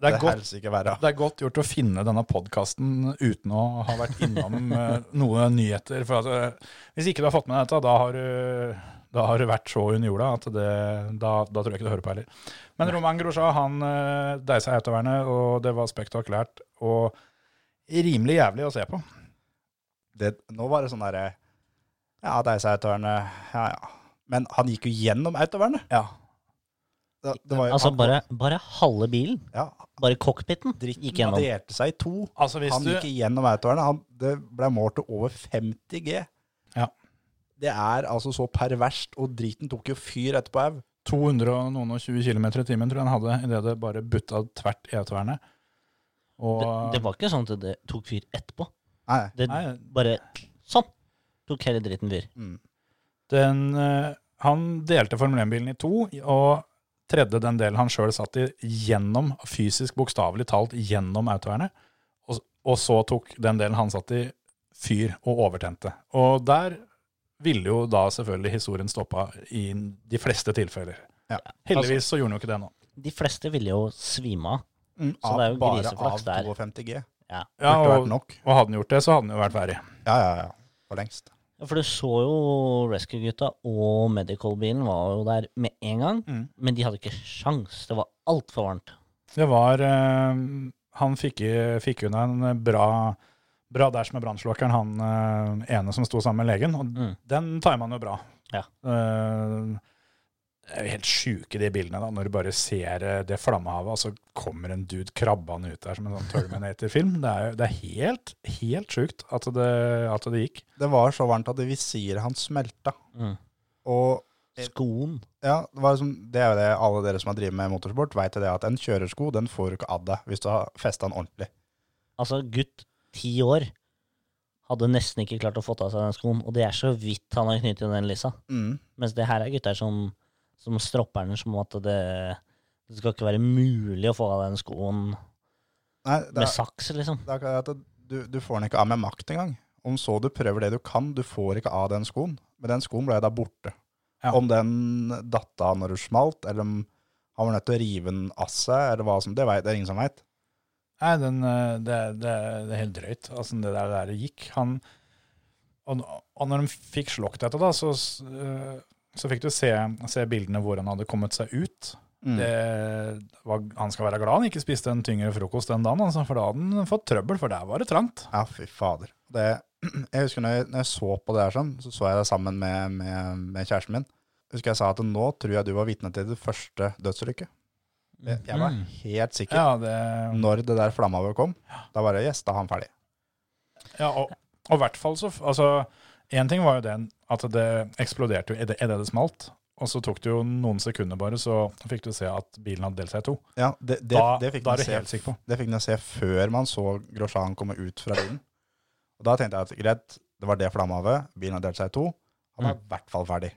Speaker 1: Det er
Speaker 5: det,
Speaker 1: godt.
Speaker 5: helst ikke være.
Speaker 1: det er godt gjort å finne denne podkasten uten å ha vært innom eh, noen nyheter. For altså, hvis ikke du har fått med deg dette, da har du da har du vært så under jorda at det, da, da tror jeg ikke du hører på heller. Men Romain Grosjean han eh, deisa autovernet, og det var spektakulært og rimelig jævlig å se på.
Speaker 5: Det, nå var det sånn derre Ja, det er seg autovernet. Ja, ja. Men han gikk jo gjennom autovernet.
Speaker 1: Ja.
Speaker 5: Det, det var jo,
Speaker 4: Altså,
Speaker 5: han-
Speaker 4: bare, bare halve bilen,
Speaker 5: Ja,
Speaker 4: bare cockpiten, gikk
Speaker 5: dritten
Speaker 4: gjennom.
Speaker 5: delte seg i to.
Speaker 1: Altså, hvis
Speaker 5: Han
Speaker 1: du,
Speaker 5: gikk gjennom autovernet. Han, det ble målt til over 50 G.
Speaker 1: Ja.
Speaker 5: Det er altså så perverst, og driten tok jo fyr etterpå au.
Speaker 1: 200 og noen og 20 km i timen tror jeg han hadde, idet det bare butta tvert i autovernet. Og
Speaker 4: Det, det var ikke sånn at det tok fyr etterpå.
Speaker 5: Nei,
Speaker 4: Det
Speaker 1: Nei,
Speaker 4: bare sånn tok hele dritten fyr.
Speaker 1: den, eh, han delte Formel 1-bilen i to, og tredde den delen han sjøl satt i, gjennom, fysisk bokstavelig talt gjennom autovernet. Og, og så tok den delen han satt i, fyr og overtente. Og der ville jo da selvfølgelig historien stoppa i de fleste tilfeller.
Speaker 5: Ja. Altså-
Speaker 1: Heldigvis så gjorde han jo ikke det nå.
Speaker 4: De fleste ville jo svime av.
Speaker 5: mm,
Speaker 4: Så det er jo
Speaker 5: bare av
Speaker 4: griseflaks der.
Speaker 5: 52 G.
Speaker 1: Ja,
Speaker 5: Burde vært
Speaker 1: og,
Speaker 5: nok.
Speaker 1: og hadde han gjort det, så hadde han jo vært verre.
Speaker 5: Ja, ja, ja. For lengst.
Speaker 4: Ja, For du så jo Rescue-gutta og Medical-bilen var jo der med en gang.
Speaker 1: Mm.
Speaker 4: Men de hadde ikke sjans. Det var altfor varmt.
Speaker 1: Det var eh, Han fikk, i- fikk unna en bra, bra dash med brannslokkeren, han eh, ene som sto sammen med legen. Og
Speaker 4: Mm.
Speaker 1: den timer han jo bra.
Speaker 4: Ja.
Speaker 1: Eh, det er jo helt sjuke de bildene, da, når du bare ser eh, det flammehavet, og så kommer en dude krabbende ut der som en sånn Terminator-film. Det er, jo- det er helt, helt sjukt at det, at det gikk.
Speaker 5: Det var så varmt at visiret hans smelta.
Speaker 4: Mm.
Speaker 5: Og
Speaker 4: Skoen
Speaker 5: ja, det, var jo som- det er jo det alle dere som har drevet med motorsport, veit det at en kjørersko den får du ikke av deg hvis du har festa den ordentlig.
Speaker 4: Altså, gutt ti år hadde nesten ikke klart å få av seg den skoen. Og det er så vidt han har knyttet den lissa.
Speaker 5: Mm.
Speaker 4: Mens det her er gutter som, som stropper den som at det, det skal ikke være mulig å få av den skoen
Speaker 5: Nei, det
Speaker 4: med
Speaker 5: er,
Speaker 4: saks, liksom.
Speaker 5: det er akkurat det at du, du får den ikke av med makt engang. Om så du prøver det du kan, du får ikke av den skoen. Men den skoen ble da borte.
Speaker 1: Ja.
Speaker 5: Om den datt av når du smalt, eller om han var nødt til å rive den av seg, eller hva som, det, vet, det er ingen som veit.
Speaker 1: Nei, den, eh, det, det, det er helt drøyt. Altså, det der, der det gikk. Han, og, og når de fikk slått dette, da, så, s- eh, så fikk du se, se bildene hvor han hadde kommet seg ut.
Speaker 5: Mm.
Speaker 1: Det var, han skal være glad han ikke spiste en tyngre frokost den dagen, altså, for da hadde han fått trøbbel, for der var det trangt.
Speaker 5: Ja, fy fader. Det, (clears throat) jeg husker når jeg, når jeg så på det her sånn, så så jeg det sammen med, med, med kjæresten min. Husker jeg sa at nå tror jeg du var vitne til det første dødsulykke. Jeg, jeg var
Speaker 4: Mm.
Speaker 5: helt sikker.
Speaker 1: Ja, det,
Speaker 5: Når det der flammehavet kom, da var det yes, da er han ferdig.
Speaker 1: ja og, og i hvert fall så f- Altså, én ting var jo den at det eksploderte jo idet idet det smalt. Og så tok det jo noen sekunder bare, så fikk du se at bilen hadde delt seg i to.
Speaker 5: Ja, det, det,
Speaker 1: Da-
Speaker 5: det fikk
Speaker 1: da er
Speaker 5: man
Speaker 1: du
Speaker 5: se,
Speaker 1: helt sikker på.
Speaker 5: Det fikk man se før man så Grosjean komme ut fra bilen. Og da tenkte jeg at greit, det var det flammehavet, bilen har delt seg i to, han
Speaker 1: Mm.
Speaker 5: er i hvert fall ferdig.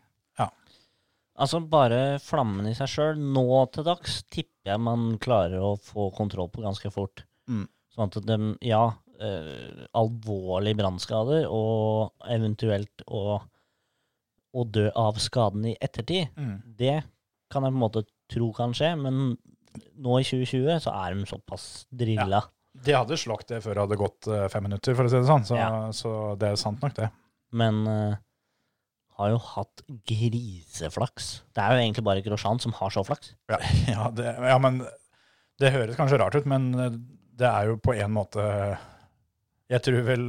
Speaker 4: Altså, bare flammen i seg sjøl nå til dags tipper jeg man klarer å få kontroll på ganske fort.
Speaker 5: Mm.
Speaker 4: Sånn at de, ja, eh, alvorlige brannskader og eventuelt å, å dø av skaden i ettertid, det kan jeg på en måte tro kan skje, men nå i 2020 så er de såpass drilla.
Speaker 1: De hadde slått det før det hadde gått eh, fem minutter, for å si det sånn. Så,
Speaker 4: Ja.
Speaker 1: så det er jo sant nok, det. (laughs)
Speaker 4: Men eh, har jo hatt griseflaks. Det er jo egentlig bare Grosjean som har så flaks.
Speaker 1: Ja, det, ja, men det høres kanskje rart ut, men eh, det er jo på en måte Jeg tror vel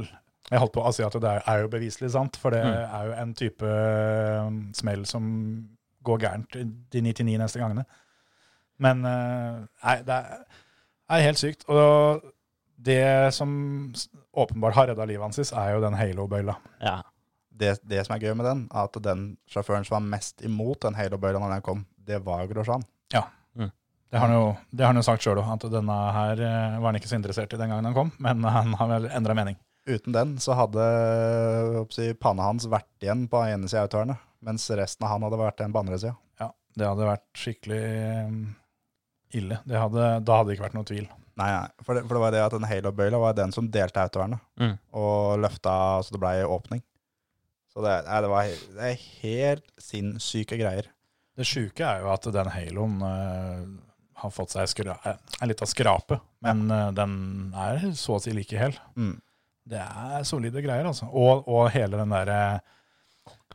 Speaker 1: Jeg holdt på å si at det er, er jo beviselig sant, for det
Speaker 4: Mm.
Speaker 1: er jo en type eh, smell som går gærent de 99 neste gangene. Men eh, nei, det er, er helt sykt. Og det som s- åpenbart har redda livet hans, er jo den halo-bøyla.
Speaker 4: Ja.
Speaker 5: det, det som er gøy med den, er at den sjåføren som var mest imot den Halo-bølgen når den kom, det var Grosjean.
Speaker 1: Det har han jo, det har han jo sagt sjøl òg, at denne her eh, var han ikke så interessert i den gangen han kom, men han har vel endra mening.
Speaker 5: Uten den så hadde si, panna hans vært igjen på ene sida av autovernet, mens resten av han hadde vært igjen på andre sida.
Speaker 1: Ja, det hadde vært skikkelig eh, ille. Det hadde, da hadde det ikke vært noe tvil.
Speaker 5: Nei, nei, for det, for det var det at den Halo-bøyla var den som delte autovernet,
Speaker 4: Mm.
Speaker 5: og løfta så det blei åpning. Så det, nei, det, var, he- det er helt sinnssyke greier.
Speaker 1: Det sjuke er jo at den haloen eh, har fått seg skra eh, en liten skrape, men eh, den er så å si like hel.
Speaker 5: Mm.
Speaker 1: Det er solide greier, altså. Og, og hele den derre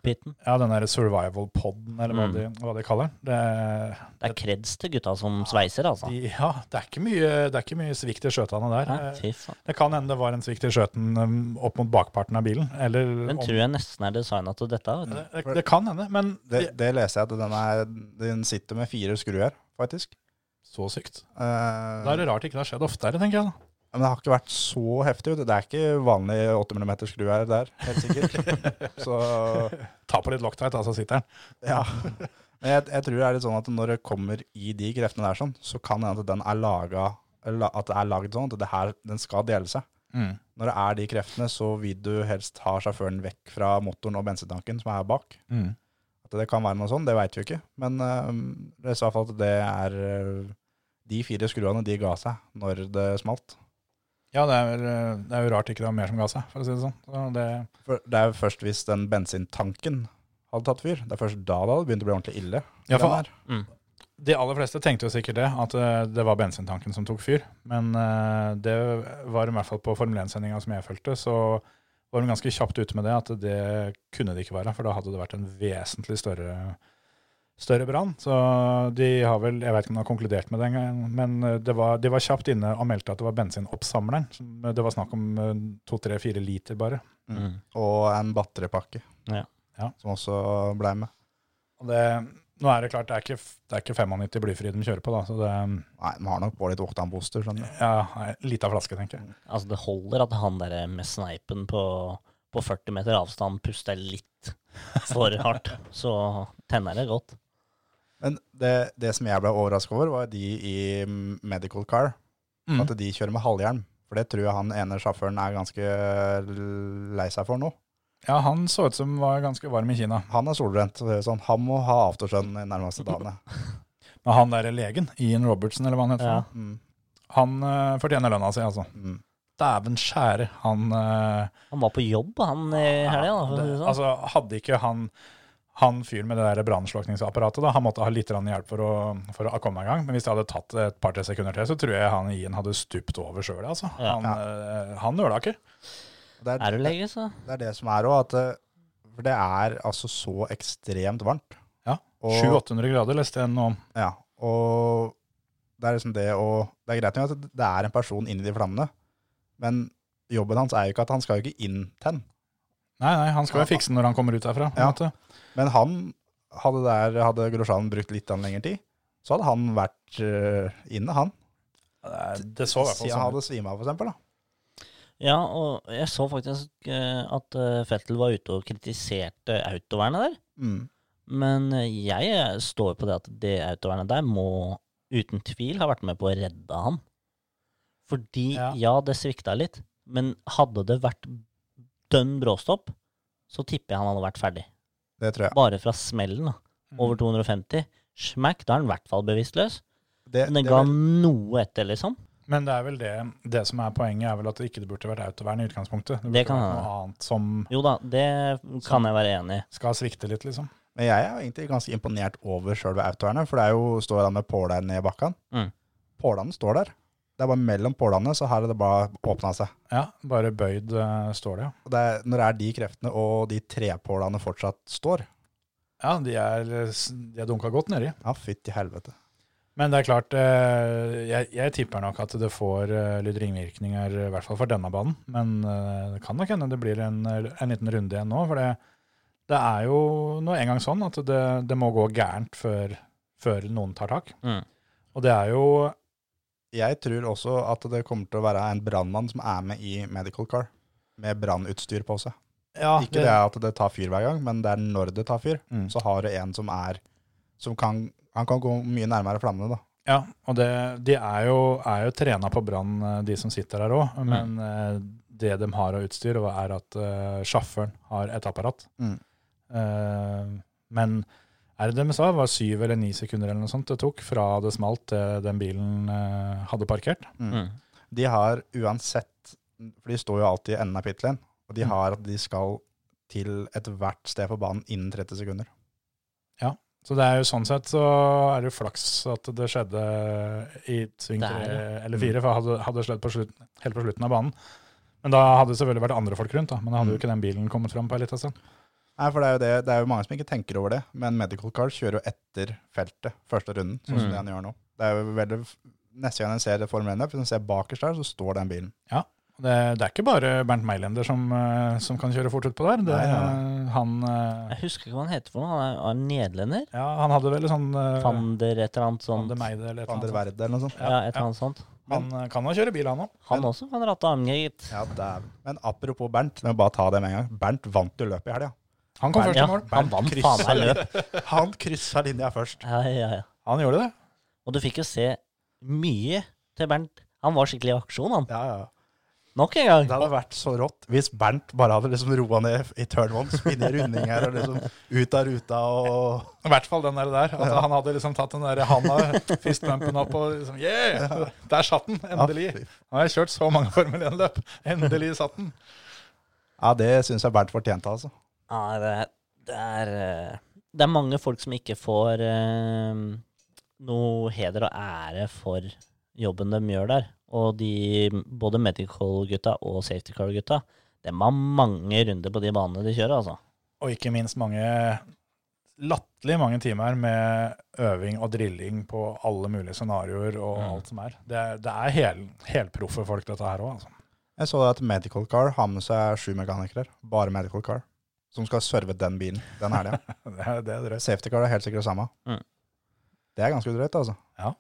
Speaker 4: Pitten.
Speaker 1: ja, den der survival poden, eller hva,
Speaker 4: Mm.
Speaker 1: de, hva de kaller den. Det,
Speaker 4: Det er kreds til gutta som sveiser, altså.
Speaker 1: de, ja, det er ikke mye, det er ikke mye svikt i skjøtene der.
Speaker 4: Nei,
Speaker 1: Eh,
Speaker 4: fy faen.
Speaker 1: Det kan hende det var en svikt i skjøten um, opp mot bakparten av bilen. Eller
Speaker 4: Den
Speaker 1: om,
Speaker 4: tror jeg nesten er designa til dette. Vet du.
Speaker 1: det, det kan hende, men det,
Speaker 5: Det, det leser jeg at den, er, den sitter med fire skruer, faktisk.
Speaker 1: så sykt.
Speaker 5: Eh,
Speaker 1: Da er det rart ikke det har skjedd oftere, tenker jeg. da.
Speaker 5: Men det har ikke vært så heftig. vet du. Det er ikke vanlig 8 mm skru her der, helt sikkert. så
Speaker 1: Ta på litt Loctite, altså sitter den.
Speaker 5: ja. Men jeg, jeg tror det er litt sånn at når det kommer i de kreftene der, sånn, så kan det hende at den er laga la- at det er laget sånn at det her, den skal dele seg.
Speaker 1: Mm.
Speaker 5: Når det er de kreftene, så vil du helst ha sjåføren vekk fra motoren og bensintanken som er bak.
Speaker 1: Mm.
Speaker 5: At det kan være noe sånn, det veit vi ikke. Men eh, det er i hvert fall at det er eh, De fire skruene, de ga seg når det smalt.
Speaker 1: Ja, det er, vel, eh, det er jo rart ikke det var mer som ga seg, for å si det sånn. Så det,
Speaker 5: For det er jo først hvis den bensintanken hadde tatt fyr. Det er først da det hadde begynt å bli ordentlig ille.
Speaker 1: ja,
Speaker 5: Den
Speaker 1: for
Speaker 5: her.
Speaker 4: Mm.
Speaker 1: de aller fleste tenkte jo sikkert det, at eh, det var bensintanken som tok fyr. Men eh, det var i hvert fall på Formel 1-sendinga som jeg fulgte, så var de ganske kjapt ute med det, at det kunne det ikke være. For da hadde det vært en vesentlig større, større brann. Så de har vel, jeg vet ikke om de har konkludert med det engang, men eh, det var, de var kjapt inne og meldte at det var bensinoppsamleren. som- eh, Det var snakk om to, tre, fire liter bare.
Speaker 4: Mm.
Speaker 5: Og en batteripakke
Speaker 4: Ja.
Speaker 1: Ja.
Speaker 5: som også ble med.
Speaker 1: Og det, nå er det klart, det er ikke, det er ikke 95 blyfri de kjører på, da, så det
Speaker 5: Nei, den har nok på litt oktanbooster. skjønner du.
Speaker 1: ja, er en lita flaske, tenker jeg.
Speaker 4: Altså, det holder at han der med sneipen på, på 40 meter avstand puster litt for hardt, så tenner det godt.
Speaker 5: Men det, det som jeg ble overraska over, var de i medical car.
Speaker 1: Mm.
Speaker 5: At de kjører med halvhjelm. For det tror jeg han ene sjåføren er ganske lei seg for nå.
Speaker 1: Ja, han så ut som var ganske varm i Kina.
Speaker 5: Han er solbrent. så det er Sånn, han må ha aftersun de nærmeste dagene.
Speaker 1: Men han der legen, Ian Robertson, eller hva han heter,
Speaker 4: Ja.
Speaker 1: for noe,
Speaker 5: Mm,
Speaker 1: han eh, fortjener lønna si, altså.
Speaker 5: mm.
Speaker 1: Dæven skjære. Han eh,
Speaker 4: Han var på jobb, han, i helga, da. for å si
Speaker 1: det-
Speaker 4: det sånn.
Speaker 1: Altså, hadde ikke han han fyren med det der brannslukningsapparatet, da, han måtte ha litt grann hjelp for å, for å komme i gang. Men hvis det hadde tatt et par-tre sekunder til, så tror jeg han Ian hadde stupt over sjøl, altså.
Speaker 4: Ja.
Speaker 1: Han, eh, han nøla ikke.
Speaker 5: Det
Speaker 4: Er du lege, så?
Speaker 5: Det er det som er òg, at eh, For det er altså så ekstremt varmt.
Speaker 1: Ja,
Speaker 5: Og-
Speaker 1: 700-800 grader leste jeg noe om.
Speaker 5: Ja, og det er liksom det å Det er greit nok at det er en person inni de flammene, men jobben hans er jo ikke at han skal jo ikke inn til den.
Speaker 1: Nei, nei, han skal jo fikse den når han kommer ut derfra. på en
Speaker 5: Ja.
Speaker 1: måte.
Speaker 5: Men han hadde der Hadde Grosjan brukt litt av lengre tid, så hadde han vært eh, inne, han.
Speaker 1: Det så i hvert fall
Speaker 5: Siden
Speaker 1: sånn
Speaker 5: han
Speaker 1: ut.
Speaker 5: hadde svima av, for eksempel. Da.
Speaker 4: Ja, og jeg så faktisk eh, at eh, Fettel var ute og kritiserte autovernet der.
Speaker 5: Mm.
Speaker 4: Men eh, jeg står på det at det autovernet der må uten tvil ha vært med på å redde han. Fordi, ja,
Speaker 1: Ja.
Speaker 4: det svikta litt, men hadde det vært dønn bråstopp, så tipper jeg han hadde vært ferdig.
Speaker 5: Det tror jeg.
Speaker 4: Bare fra smellen, da.
Speaker 1: Mm.
Speaker 4: Over 250. Smack, da er han i hvert fall bevisstløs.
Speaker 5: Det,
Speaker 4: Men den
Speaker 5: det
Speaker 4: ga
Speaker 5: vil-
Speaker 4: noe etter, liksom.
Speaker 1: Men det er vel det, det som er poenget, er vel at det ikke burde vært autovern i utgangspunktet. Det burde
Speaker 4: Det kan
Speaker 1: vært
Speaker 4: hende.
Speaker 1: noe annet som
Speaker 4: Jo da, det kan jeg være enig i.
Speaker 1: skal svikte litt, liksom.
Speaker 5: Men jeg er egentlig ganske imponert over sjølve autovernet, for det er jo, står han med pålene ned i bakken.
Speaker 4: Mm.
Speaker 5: Pålene står der. Det er bare mellom pålene, så her er det bare åpna seg.
Speaker 1: Ja, bare bøyd eh, står det, ja.
Speaker 5: Og det er, når det er de kreftene og de trepålene fortsatt står,
Speaker 1: Ja, de er, de er dunka godt nedi.
Speaker 5: ja, fytti helvete.
Speaker 1: Men det er klart, eh, jeg, jeg tipper nok at det får eh, litt ringvirkninger, i hvert fall for denne banen. Men eh, det kan nok hende det blir en, en liten runde igjen nå. For det, det er jo nå engang sånn at det, det må gå gærent før, før noen tar tak.
Speaker 4: Mm.
Speaker 1: Og det er jo
Speaker 5: Jeg tror også at det kommer til å være en brannmann som er med i medical car, med brannutstyr på seg.
Speaker 1: Ja,
Speaker 5: Ikke det at det tar fyr hver gang, men det er når det tar fyr.
Speaker 1: Mm.
Speaker 5: Så har du en som er Som kan Han kan gå mye nærmere flammene, da.
Speaker 1: Ja, og det, de er jo, er jo trena på brann, eh, de som sitter her
Speaker 5: Mm.
Speaker 1: òg. Men eh, det de har av utstyr, er at eh, sjåføren har et apparat.
Speaker 5: Mm.
Speaker 1: Eh, men er det det de sa, var syv eller ni sekunder eller noe sånt det tok fra det smalt til den bilen eh, hadde parkert.
Speaker 4: Mm.
Speaker 5: De har uansett For de står jo alltid i enden av pit lane, og de
Speaker 1: Mm.
Speaker 5: har at de skal til ethvert sted på banen innen 30 sekunder.
Speaker 1: Så det er jo sånn sett så er det jo flaks at det skjedde i sving
Speaker 4: Der,
Speaker 1: tre
Speaker 4: ja.
Speaker 5: Mm.
Speaker 1: eller fire, for hadde, hadde det skjedd på slutten, helt på slutten av banen. Men da hadde det selvfølgelig vært andre folk rundt, da. Men da hadde jo
Speaker 5: Mm.
Speaker 1: ikke den bilen kommet fram på en liten stund.
Speaker 5: Nei, for det er jo det Det er jo mange som ikke tenker over det, men medical car kjører jo etter feltet første runden, sånn
Speaker 1: Mm.
Speaker 5: som det han gjør nå. Det er jo veldig Neste gang jeg ser Formel 1 løp, hvis jeg ser bakerst der, så står den bilen.
Speaker 1: Det, det er ikke bare Bernt Meilender som, eh, som kan kjøre fort utpå der. Det,
Speaker 5: Nei, nei,
Speaker 1: Han, eh,
Speaker 4: Jeg husker ikke hva han heter for noe. Han er, han er nederlender.
Speaker 1: ja, han hadde vel sånn eh, Van
Speaker 4: Fander et eller annet sånt.
Speaker 1: de Meide eller et
Speaker 5: Van der
Speaker 1: eller annet.
Speaker 5: Verde eller noe sånt.
Speaker 4: Ja, et eller annet sånt.
Speaker 1: Han eh, kan jo kjøre bil, han òg.
Speaker 4: Han også kan ratte armene, gitt.
Speaker 5: Ja, dæven. Men apropos Bernt, la meg bare ta det med en gang. Bernt vant jo løpet i helga.
Speaker 1: Han kom
Speaker 4: Bernt-
Speaker 1: først
Speaker 4: ja,
Speaker 1: i mål.
Speaker 4: han vant
Speaker 5: kryssa
Speaker 4: faen meg løp.
Speaker 5: Han kryssa linja først.
Speaker 4: Ja, ja, ja.
Speaker 1: Han gjorde det.
Speaker 4: Og du fikk jo se mye til Bernt. Han var skikkelig i aksjon, han.
Speaker 5: Ja, ja.
Speaker 4: Nok en
Speaker 5: Det
Speaker 4: gang.
Speaker 5: hadde vært så rått hvis Bernt bare hadde liksom roa ned i turn one, spinne rundinger og liksom ut av ruta og
Speaker 1: I hvert fall den der. der at Han hadde liksom tatt den der handa, fistbumpen opp og liksom Yeah! Der satt den, endelig.
Speaker 5: Ja, fy.
Speaker 1: Nå har jeg kjørt så mange Formel 1-løp. Endelig satt den.
Speaker 5: Ja, det syns jeg Bernt fortjente, altså.
Speaker 4: Ja, det, er- det, er, eh, det er mange folk som ikke får eh, noe heder og ære for jobben de gjør der. Og de, både medical-gutta og safety car-gutta, de har mange runder på de banene de kjører, altså.
Speaker 1: Og ikke minst mange latterlig mange timer med øving og drilling på alle mulige scenarioer og
Speaker 4: Mm.
Speaker 1: alt som er. Det, er- det er hel, helproffe folk, dette her òg. Altså.
Speaker 5: Jeg så at Medical Car har med seg sju mekanikere, bare Medical Car, som skal serve den bilen den helga.
Speaker 1: Det, er- det er drøyt.
Speaker 5: Safety Car er helt sikkert det samme.
Speaker 4: Mm.
Speaker 5: Det er ganske drøyt, altså.
Speaker 1: Ja.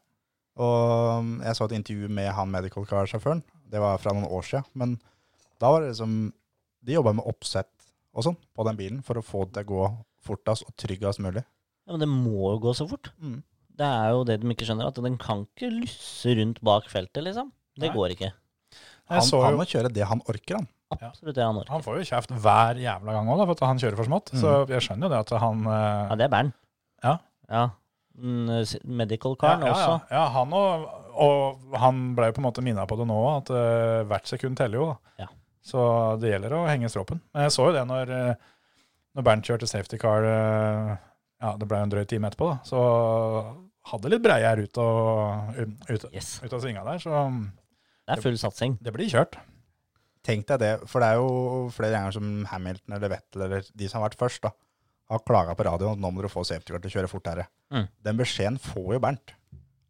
Speaker 5: Og um, jeg så et intervju med han Medical Car-sjåføren. Det var fra noen år siden. Men da var det liksom De jobba med oppsett og sånn på den bilen for å få det til å gå fortest og tryggest mulig.
Speaker 4: Ja, men det må jo gå så fort.
Speaker 5: Mm.
Speaker 4: Det er jo det de ikke skjønner, at den kan ikke lysse rundt bak feltet, liksom. Det
Speaker 1: Nei.
Speaker 4: går ikke.
Speaker 1: Jeg
Speaker 5: Han,
Speaker 1: så
Speaker 5: han
Speaker 1: jo-
Speaker 5: må kjøre det han orker, han.
Speaker 4: Absolutt det han orker.
Speaker 1: Han får jo kjeft hver jævla gang òg, for at han kjører for smått. Så jeg skjønner jo det at han eh,
Speaker 4: Ja, det er Bernt.
Speaker 1: Ja.
Speaker 4: ja. Mm, s- Medical-karen
Speaker 1: ja, ja,
Speaker 4: også.
Speaker 1: Ja, ja han og, og han ble jo på en måte minna på det nå, at eh, hvert sekund teller jo. da.
Speaker 4: Ja.
Speaker 1: Så det gjelder å henge stråpen. Men jeg så jo det når, eh, når Bernt kjørte safety car, eh, ja, det ble jo en drøy time etterpå, da, så hadde litt breier ut, og, ut,
Speaker 4: Yes.
Speaker 1: ut av svinga der, så
Speaker 4: Det er full satsing.
Speaker 1: det blir kjørt.
Speaker 5: Tenk deg det, for det er jo flere ganger som Hamilton eller Vettel eller de som har vært først, da, har klaga på radioen at nå må dere få safety car til å kjøre fortere.
Speaker 4: Mm.
Speaker 5: Den beskjeden får jo Bernt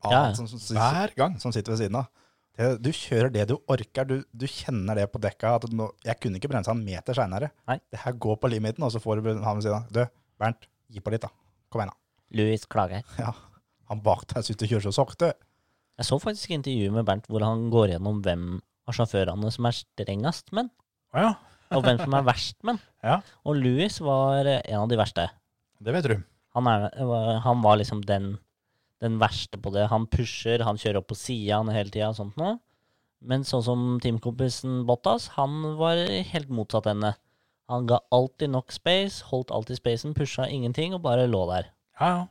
Speaker 5: av
Speaker 4: Ja, ja.
Speaker 5: han som, som, som,
Speaker 1: Hver gang.
Speaker 5: som sitter ved siden av. Det, du kjører det du orker. Du, du kjenner det på dekka at nå, jeg kunne ikke bremsa en meter seinere.
Speaker 4: Nei.
Speaker 5: Det her går på limiten, og så får du han ved siden av. Du, Bernt, gi på litt, da. Kom igjen, da.
Speaker 4: Louis klager.
Speaker 5: Ja. Han bak deg sitter og kjører så sakte.
Speaker 4: Jeg så faktisk intervjuet med Bernt hvor han går gjennom hvem av sjåførene som er strengest menn,
Speaker 1: Å ja,
Speaker 4: og hvem som er verst menn.
Speaker 1: (laughs) Ja.
Speaker 4: Og Louis var eh, en av de verste.
Speaker 1: det vet du.
Speaker 4: Han, er, var- han var liksom den, den verste på det. Han pusher, han kjører opp på siden hele tida og sånt noe. Men sånn som teamkompisen Bottas, han var helt motsatt ende. Han ga alltid nok space, holdt alltid spacen, pusha ingenting og bare lå der.
Speaker 1: Ja, ja.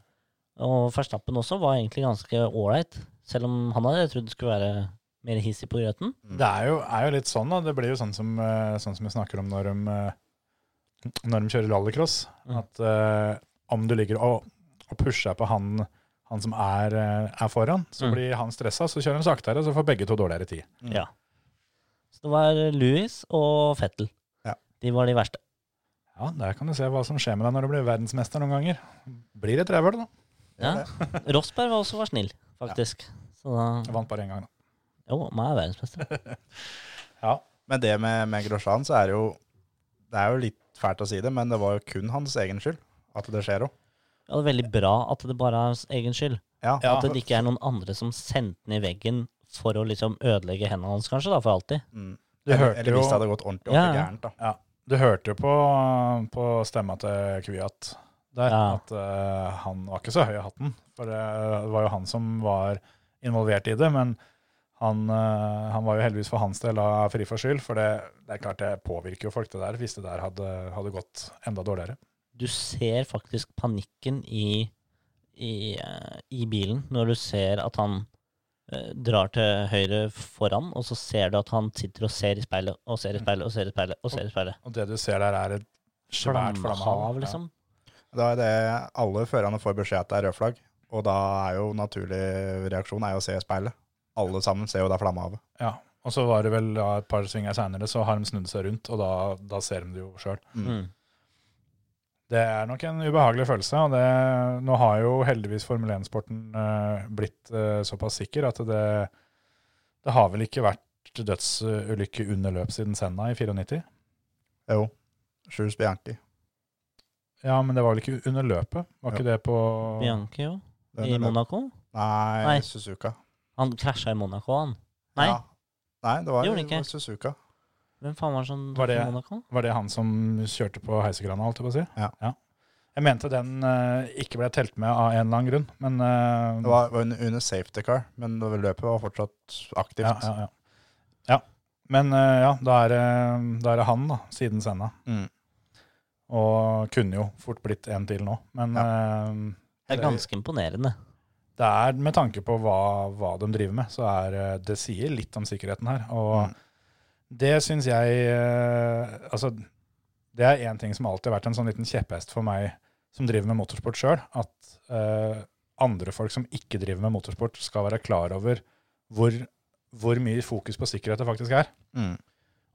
Speaker 4: Og Verstappen også var egentlig ganske ålreit, selv om han hadde trodd det skulle være mer hissig på grøten.
Speaker 1: Det er jo, er jo litt sånn, da. Det blir jo sånn som, eh, sånn som vi snakker om når de, eh, når de kjører rallycross.
Speaker 4: Mm.
Speaker 1: At eh, om du ligger og, og pusher på han, han som er, eh, er foran, så
Speaker 4: Mm.
Speaker 1: blir han stressa, så kjører han saktere, så får begge to dårligere tid.
Speaker 4: Ja. Så det var Louis og Fettel.
Speaker 5: Ja.
Speaker 4: De var de verste.
Speaker 1: Ja, Der kan du se hva som skjer med deg når du blir verdensmester noen ganger. Blir et rævhøl, da.
Speaker 4: Ja. Rosberg var også var snill, faktisk. Så
Speaker 1: Jeg
Speaker 4: da
Speaker 1: vant bare én gang, da.
Speaker 4: Jo, man er verdensmester.
Speaker 5: Men det med, med Grosjean, så er det jo Det er jo litt fælt å si det, men det var jo kun hans egen skyld at det skjer òg.
Speaker 4: Ja, det er veldig bra at det bare er hans egen skyld.
Speaker 5: Ja.
Speaker 1: Ja.
Speaker 4: At det ikke er noen andre som sendte den i veggen for å liksom ødelegge hendene hans, kanskje, da, for alltid.
Speaker 5: Mm.
Speaker 1: Du
Speaker 5: Eller,
Speaker 1: hørte
Speaker 5: eller
Speaker 1: jo-
Speaker 5: hvis det hadde gått ordentlig
Speaker 4: Ja,
Speaker 5: ordentlig
Speaker 4: ja.
Speaker 5: gærent, da.
Speaker 1: Ja. Du hørte jo på, på stemma til Kvyat der
Speaker 4: Ja.
Speaker 1: at eh, han var ikke så høy i hatten. For det var jo han som var involvert i det, men han, eh, han var jo heldigvis for hans del da fri for skyld. For det, det er klart det påvirker jo folk det der, hvis det der hadde, hadde gått enda dårligere.
Speaker 4: Du ser faktisk panikken i, i, eh, i bilen når du ser at han eh, drar til høyre foran, og så ser du at han sitter og ser i speilet, og ser i speilet, og ser i speilet, og ser i speilet.
Speaker 1: Og det du ser der, er et svært
Speaker 4: Flammehav,
Speaker 1: flammehav.
Speaker 4: liksom.
Speaker 5: Da er det alle førerne får beskjed at det er rød flagg, og da er jo naturlig reaksjon er jo å se i speilet. Alle sammen ser jo da flammehavet.
Speaker 1: Ja. ja. Og så var det vel da, et par svinger seinere, så har de snudd seg rundt, og da, da ser de det jo sjøl.
Speaker 4: Mm.
Speaker 1: Det er nok en ubehagelig følelse. og det, Nå har jo heldigvis Formel 1-sporten eh, blitt eh, såpass sikker at det, det har vel ikke vært dødsulykke under løp siden Senna i 94?
Speaker 5: Jo. Jules Bianchi.
Speaker 1: Ja, men det var vel ikke under løpet? Var ikke det på
Speaker 4: Bianchi, jo.
Speaker 5: Den
Speaker 4: I
Speaker 5: er-
Speaker 4: Monaco.
Speaker 5: Nei,
Speaker 4: Nei.
Speaker 5: Suzuka.
Speaker 4: Han krasja i Monaco, han. Nei,
Speaker 5: Ja. Nei, det var,
Speaker 4: Gjorde den
Speaker 5: det var
Speaker 4: ikke?
Speaker 5: Suzuka.
Speaker 4: hvem faen var det som
Speaker 1: Var det-
Speaker 4: i Monaco?
Speaker 1: Var det han som kjørte på heisekrana, holdt jeg på å si?
Speaker 5: Ja.
Speaker 1: Jeg mente den eh, ikke ble telt med av en eller annen grunn, men eh,
Speaker 5: Det var, var under, under safety car, men det- løpet var fortsatt aktivt.
Speaker 1: ja, ja, ja. ja. Men eh, ja, da er, det- da er det han, da, siden Senna.
Speaker 5: Mm.
Speaker 1: Og kunne jo fort blitt en til nå. Men eh,
Speaker 4: Det er ganske imponerende.
Speaker 1: det er med tanke på hva, hva de driver med, så er eh, det sier litt om sikkerheten her. Og
Speaker 5: Mm.
Speaker 1: det syns jeg eh, Altså, det er én ting som alltid har vært en sånn liten kjepphest for meg som driver med motorsport sjøl, at eh, andre folk som ikke driver med motorsport, skal være klar over hvor, hvor mye fokus på sikkerhet det faktisk er.
Speaker 5: Mm.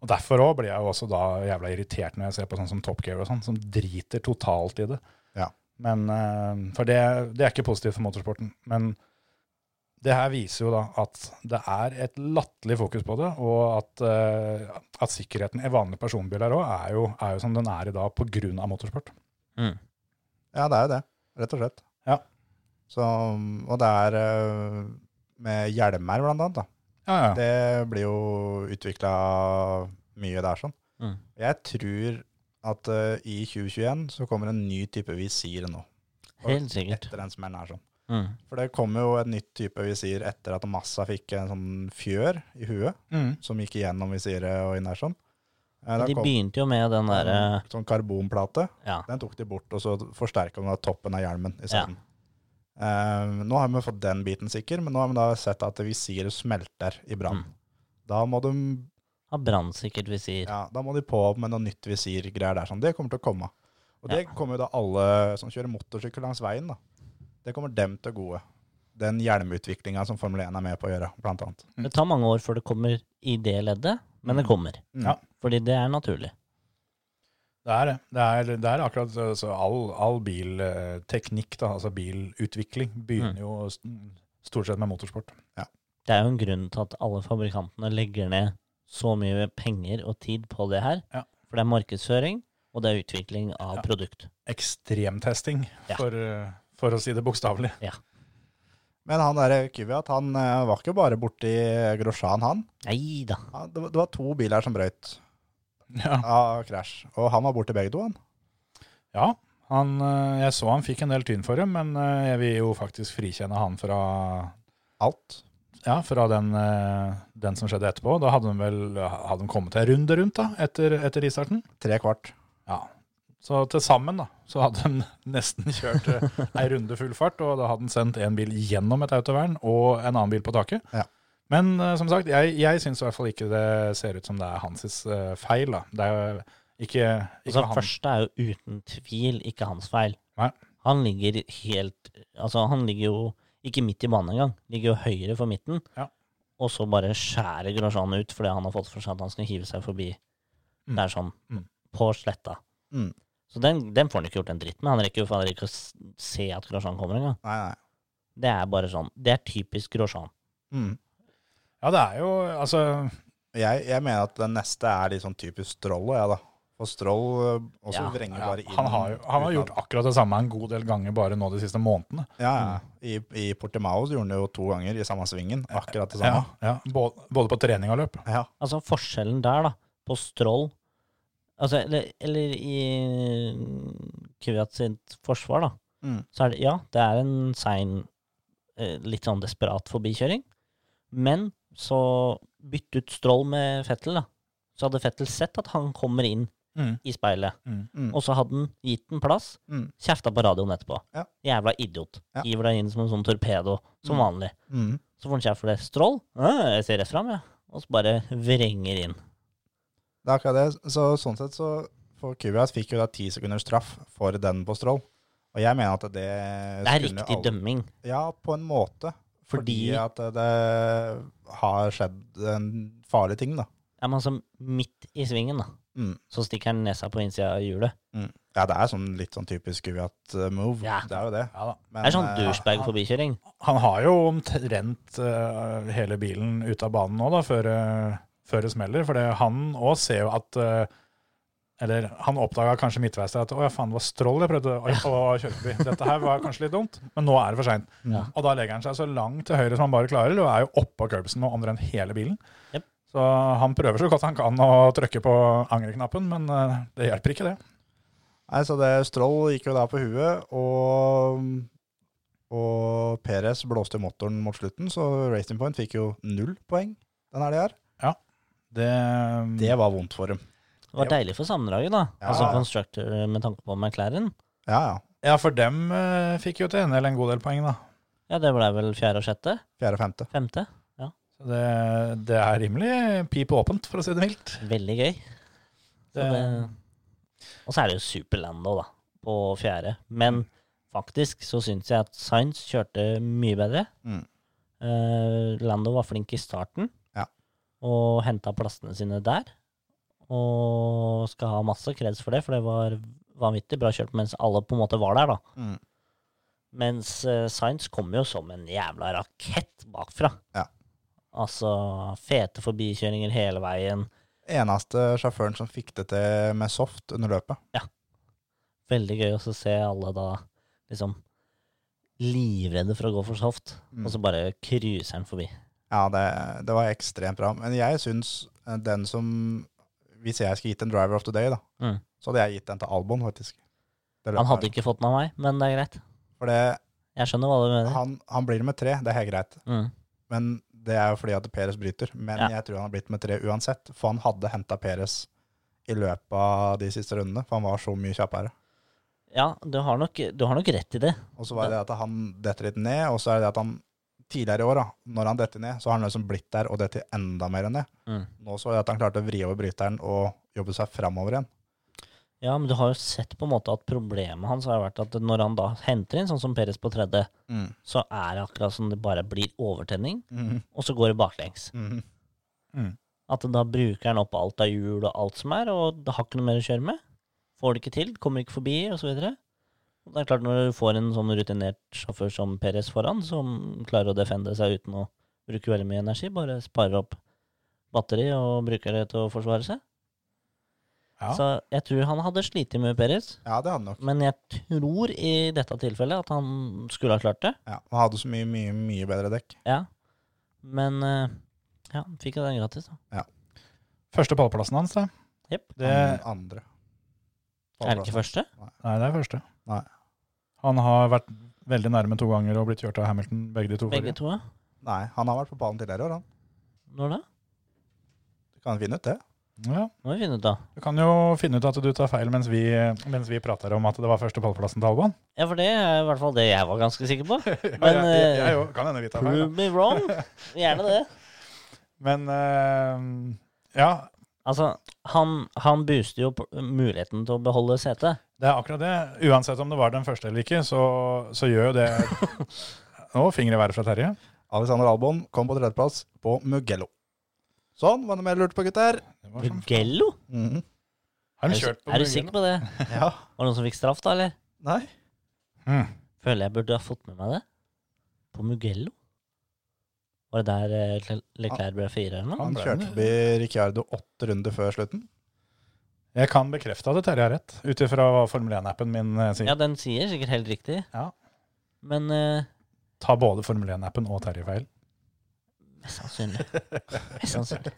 Speaker 1: Og Derfor også blir jeg jo også da jævla irritert når jeg ser på sånn som Top Gear og sånn, som driter totalt i det.
Speaker 5: Ja.
Speaker 1: Men, eh, For det, det er ikke positivt for motorsporten. Men det her viser jo da at det er et latterlig fokus på det, og at, eh, at sikkerheten i vanlige personbiler òg er, jo- er jo som den er i dag pga. motorsport.
Speaker 4: Mm.
Speaker 5: Ja, det er jo det, rett og slett.
Speaker 1: Ja.
Speaker 5: Så, og det er eh, med hjelmer, blant annet. Da.
Speaker 1: Ja, ja.
Speaker 5: Det blir jo utvikla mye der, sånn.
Speaker 4: Mm.
Speaker 5: Jeg tror at eh, i 2021 så kommer en ny type visir nå.
Speaker 4: Helt sikkert.
Speaker 5: Etter den smellen her, sånn.
Speaker 4: Mm.
Speaker 5: For det kommer jo et nytt type visir etter at Massa fikk en sånn fjør i huet,
Speaker 1: Mm.
Speaker 5: som gikk igjennom visiret og inn der, sånn. Eh, da
Speaker 4: De
Speaker 5: kom
Speaker 4: begynte jo med den eh,
Speaker 5: en
Speaker 4: derre
Speaker 5: Sånn karbonplate.
Speaker 4: Ja.
Speaker 5: Den tok de bort, og så forsterka de da toppen av hjelmen isteden. Eh, nå har vi fått den biten sikker, men nå har vi da sett at visiret smelter i brann.
Speaker 4: Mm.
Speaker 5: Da, må de,
Speaker 4: Har brannsikkert visir.
Speaker 5: ja, da må de på med noe nytt visirgreier der. Sånn. Det kommer til å komme. Og det
Speaker 4: Ja.
Speaker 5: kommer jo da alle som kjører motorsykkel langs veien, da. Det kommer dem til gode. Den hjelmeutviklinga som Formel 1 er med på å gjøre, blant annet.
Speaker 4: Det tar mange år før det kommer i det leddet, men det kommer.
Speaker 5: Mm.
Speaker 1: Ja.
Speaker 4: Fordi det er naturlig.
Speaker 1: Det er det. Det er, det er akkurat så så all, all bilteknikk, da, altså bilutvikling, begynner
Speaker 4: Mm.
Speaker 1: jo st- stort sett med motorsport.
Speaker 4: Det er jo en grunn til at alle fabrikantene legger ned så mye penger og tid på det her.
Speaker 1: Ja.
Speaker 4: For det er markedsføring, og det er utvikling av
Speaker 1: Ja.
Speaker 4: produkt.
Speaker 1: Ekstremtesting,
Speaker 4: Ja.
Speaker 1: for, eh, for å si det bokstavelig.
Speaker 5: Men han der Kyviat, han eh, var ikke bare borti Grosjan, han.
Speaker 4: Nei da.
Speaker 5: han det, var- det var to biler som brøyt
Speaker 1: Ja.
Speaker 5: av krasj. Og han var borti begge to, han.
Speaker 1: Ja, han, eh, jeg så han fikk en del tyn for det, men eh, jeg vil jo faktisk frikjenne han fra,
Speaker 5: Alt.
Speaker 1: ja, fra den, eh, den som skjedde etterpå. Da hadde de vel hadde de kommet en runde rundt da, etter, etter ristarten.
Speaker 5: Tre kvart.
Speaker 1: Ja. Så til sammen da, så hadde de (laughs) nesten kjørt eh, ei runde full fart, og da hadde de sendt en bil gjennom et autovern og en annen bil på taket.
Speaker 5: Ja.
Speaker 1: Men eh, som sagt, jeg, jeg syns i hvert fall ikke det ser ut som det er hans eh, feil. da. Det er jo ikke,
Speaker 4: Altså,
Speaker 1: ikke han.
Speaker 4: første er jo uten tvil ikke hans feil.
Speaker 1: Nei.
Speaker 4: Han ligger helt Altså, han ligger jo ikke midt i banen engang. Ligger jo høyre for midten.
Speaker 1: Ja.
Speaker 4: Og så bare skjærer Grosjean ut fordi han har fått for seg at han skal hive seg forbi.
Speaker 1: Mm.
Speaker 4: Det er sånn.
Speaker 1: Mm.
Speaker 4: På sletta.
Speaker 5: Mm.
Speaker 4: Så den, den får han ikke gjort en dritt med. Han rekker jo fader ikke å s- se at Grosjean kommer engang.
Speaker 5: Nei, nei.
Speaker 4: Det er bare sånn. Det er typisk Grosjean.
Speaker 5: Mm.
Speaker 1: Ja, det er jo Altså,
Speaker 5: Jeg, jeg mener at den neste er litt sånn typisk Stroll, jeg, da. For Stroll øh, også
Speaker 4: Ja.
Speaker 5: vrenger
Speaker 1: ja,
Speaker 5: bare inn.
Speaker 1: han har jo han har
Speaker 5: uten
Speaker 1: gjort
Speaker 5: at-
Speaker 1: akkurat det samme en god del ganger bare nå de siste månedene.
Speaker 5: Ja, ja.
Speaker 1: Mm.
Speaker 5: I, I Portimao så gjorde han det jo to ganger i samme svingen. Akkurat det
Speaker 1: Ja,
Speaker 5: samme.
Speaker 1: ja. Både, både på trening og løp.
Speaker 5: Ja.
Speaker 4: Altså, forskjellen der, da, på Stroll Altså, eller, eller i Kvyat sitt forsvar, da,
Speaker 5: Mm.
Speaker 4: så er det Ja, det er en sein, eh, litt sånn desperat forbikjøring, men så bytte ut Stroll med Fettel, da. Så hadde Fettel sett at han kommer inn
Speaker 1: Mm.
Speaker 4: i speilet,
Speaker 1: Mm.
Speaker 5: Mm.
Speaker 4: og så hadde han gitt den plass,
Speaker 5: Mm.
Speaker 4: kjefta på radioen etterpå.
Speaker 5: Ja.
Speaker 4: Jævla idiot.
Speaker 5: Ja.
Speaker 4: Hiver deg inn som en sånn torpedo, som vanlig.
Speaker 5: Mm.
Speaker 4: Så får han kjeft for det. Stroll? «Ja, Jeg ser rett fram, jeg. Ja. Og så bare vrenger inn.
Speaker 5: Det er akkurat det. Så sånn sett så For Kubias fikk jo da ti sekunder straff for den på Stroll. Og jeg mener at det
Speaker 4: Det er riktig dømming.
Speaker 5: Ja, på en måte. Fordi,
Speaker 4: Fordi-
Speaker 5: at det har skjedd en farlig ting, da.
Speaker 4: Ja, men altså, midt i svingen, da.
Speaker 5: Mm.
Speaker 4: Så stikker han nesa på innsida av hjulet.
Speaker 5: Mm. Ja, det er sånn litt sånn typisk Kubiat-move.
Speaker 4: Ja.
Speaker 5: Det er jo det.
Speaker 1: Ja da.
Speaker 5: Men,
Speaker 4: Det er sånn
Speaker 5: eh,
Speaker 4: douchebag-forbikjøring.
Speaker 1: Han har jo omtrent eh, hele bilen ute av banen nå, da, før, eh, før det smeller. For det, han òg ser jo at eh, Eller han oppdaga kanskje midtveis der at å ja, faen, det var strål jeg prøvde å, å kjøre forbi. Dette her var kanskje litt dumt, men nå er det for seint.
Speaker 4: Ja.
Speaker 1: Og da legger han seg så langt til høyre som han bare klarer, og er jo oppå curbsen og omtrent hele bilen.
Speaker 4: Jep.
Speaker 1: Så han prøver så godt han kan å trykke på angrerknappen, men eh, det hjelper ikke, det.
Speaker 5: Nei, så det Stroll gikk jo da på huet, og, og Perez blåste motoren mot slutten, så Racing Point fikk jo null poeng den helga her.
Speaker 1: Det,
Speaker 5: Det var vondt for dem.
Speaker 4: Det var deilig for sammendraget, da.
Speaker 5: Ja.
Speaker 4: Altså Constructor med tanke på McLaren.
Speaker 5: Ja, ja.
Speaker 1: Ja, for dem eh, fikk jo til en del en god del poeng, da.
Speaker 4: Ja, det ble vel fjerde og sjette?
Speaker 5: Fjerde og femte.
Speaker 4: Femte?
Speaker 1: Så Det, det er rimelig pip åpent, for å si det mildt.
Speaker 4: Veldig gøy. Så
Speaker 1: Det-
Speaker 4: det... Og så er det jo Superlando, da, på fjerde. Men
Speaker 5: Mm.
Speaker 4: faktisk så syns jeg at Sainz kjørte mye bedre.
Speaker 5: Mm.
Speaker 4: Eh, Lando var flink i starten,
Speaker 5: Ja.
Speaker 4: og henta plassene sine der. Og skal ha masse kreds for det, for det var vanvittig bra kjørt mens alle på en måte var der, da.
Speaker 5: Mm.
Speaker 4: Mens eh, Sainz kom jo som en jævla rakett bakfra.
Speaker 5: Ja.
Speaker 4: Altså fete forbikjøringer hele veien.
Speaker 5: Eneste sjåføren som fikk det til med soft under løpet.
Speaker 4: veldig gøy også å se alle da liksom livredde for å gå for soft,
Speaker 5: Mm.
Speaker 4: og så bare cruiser han forbi.
Speaker 5: Ja, det, det var ekstremt bra. Men jeg syns eh, den som Hvis jeg skulle gitt en driver of the day, da,
Speaker 4: Mm.
Speaker 5: så hadde jeg gitt den til Albon, faktisk. Det løpet
Speaker 4: Han hadde
Speaker 5: her.
Speaker 4: ikke fått den av meg, men det er greit.
Speaker 5: For det,
Speaker 4: Jeg skjønner hva du mener.
Speaker 5: han, han blir med tre, det er helt greit.
Speaker 4: Mm.
Speaker 5: Men det er jo fordi at Peres bryter. Men
Speaker 4: Ja.
Speaker 5: jeg tror han har blitt med tre uansett, for han hadde henta Peres i løpet av de siste rundene, for han var så mye kjappere.
Speaker 4: Ja, du har, nok, du har nok rett i det.
Speaker 5: Og så var det det at han detter litt ned, og så er det det at han tidligere i år, da, når han detter ned, så har han liksom blitt der og detter enda mer enn det.
Speaker 4: Mm.
Speaker 5: Nå så jeg at han klarte å vri over bryteren og jobbe seg framover igjen.
Speaker 4: Ja, men du har jo sett på en måte at problemet hans har vært at når han da henter inn sånn som Peres på tredje, så er det akkurat som det bare blir overtenning,
Speaker 5: Mhm.
Speaker 4: og så går det baklengs.
Speaker 5: Mhm.
Speaker 4: At da bruker han opp alt av hjul og alt som er, og det har ikke noe mer å kjøre med. Får det ikke til, kommer ikke forbi, og så videre. Og det er klart, når du får en sånn rutinert sjåfør som Perez foran, som klarer å defende seg uten å bruke veldig mye energi, bare sparer opp batteri og bruker det til å forsvare seg.
Speaker 1: Ja.
Speaker 4: Så jeg tror han hadde slitt med Perez,
Speaker 5: Ja, det hadde han nok.
Speaker 4: men jeg tror i dette tilfellet at han skulle ha klart det.
Speaker 5: Ja, han hadde så mye, mye, mye bedre dekk.
Speaker 4: Ja. Men eh, ja, fikk jo den gratis, da.
Speaker 1: Første pallplassen hans, da.
Speaker 4: Jepp.
Speaker 1: Det,
Speaker 5: Han andre.
Speaker 4: Er det ikke første?
Speaker 1: nei, det er første.
Speaker 5: Nei.
Speaker 1: Han har vært veldig nærme to ganger og blitt kjørt av Hamilton begge de to.
Speaker 4: Begge
Speaker 1: forrige.
Speaker 4: to, ja.
Speaker 5: Nei, han har vært på pallen tidligere i år, han.
Speaker 4: Når da?
Speaker 5: Du kan finne ut det.
Speaker 1: Ja.
Speaker 4: Må vi finne ut, da.
Speaker 1: Du kan jo finne ut at du tar feil mens vi, mens vi prater om at det var første pallplassen til Alban.
Speaker 4: Ja, for det er i hvert fall det jeg var ganske sikker på.
Speaker 1: (laughs) Ja, jeg, jeg,
Speaker 4: eh,
Speaker 1: jo, kan hende vi tar feil.
Speaker 4: Prove
Speaker 1: Da.
Speaker 4: me wrong. Gjerne det.
Speaker 1: Men eh, ja,
Speaker 4: Altså, han, han booster jo p- muligheten til å beholde setet.
Speaker 1: det er akkurat det. Uansett om det var den første eller ikke, så, så gjør jo
Speaker 4: (laughs)
Speaker 1: det Nå, fingre i været fra Terje.
Speaker 5: Alexander Albon kom på tredjeplass på Mugello. Sånn, var det mer lurt på, gutter?
Speaker 1: Det var som-
Speaker 4: Mugello?
Speaker 5: Mhm.
Speaker 1: Har de
Speaker 4: Er, du-
Speaker 1: kjørt på
Speaker 4: er du
Speaker 1: Mugello?
Speaker 4: sikker på det?
Speaker 5: Ja.
Speaker 4: Var det noen som fikk straff, da, eller?
Speaker 5: Nei.
Speaker 1: Mm.
Speaker 4: Føler jeg burde ha fått med meg det. På Mugello? Var det der eh, Le- Leclerc ble fire, eller noe?
Speaker 5: Han
Speaker 1: ble
Speaker 5: kjørte
Speaker 1: med.
Speaker 5: forbi Ricciardo åtte runder før slutten.
Speaker 1: Jeg kan bekrefte at Terje har rett, ut ifra hva Formel 1-appen min eh, sier.
Speaker 4: Ja, den sier sikkert helt riktig.
Speaker 1: Ja.
Speaker 4: Men eh,
Speaker 1: Ta både Formel 1-appen og Terje feil.
Speaker 4: Mest sannsynlig. Mest sannsynlig.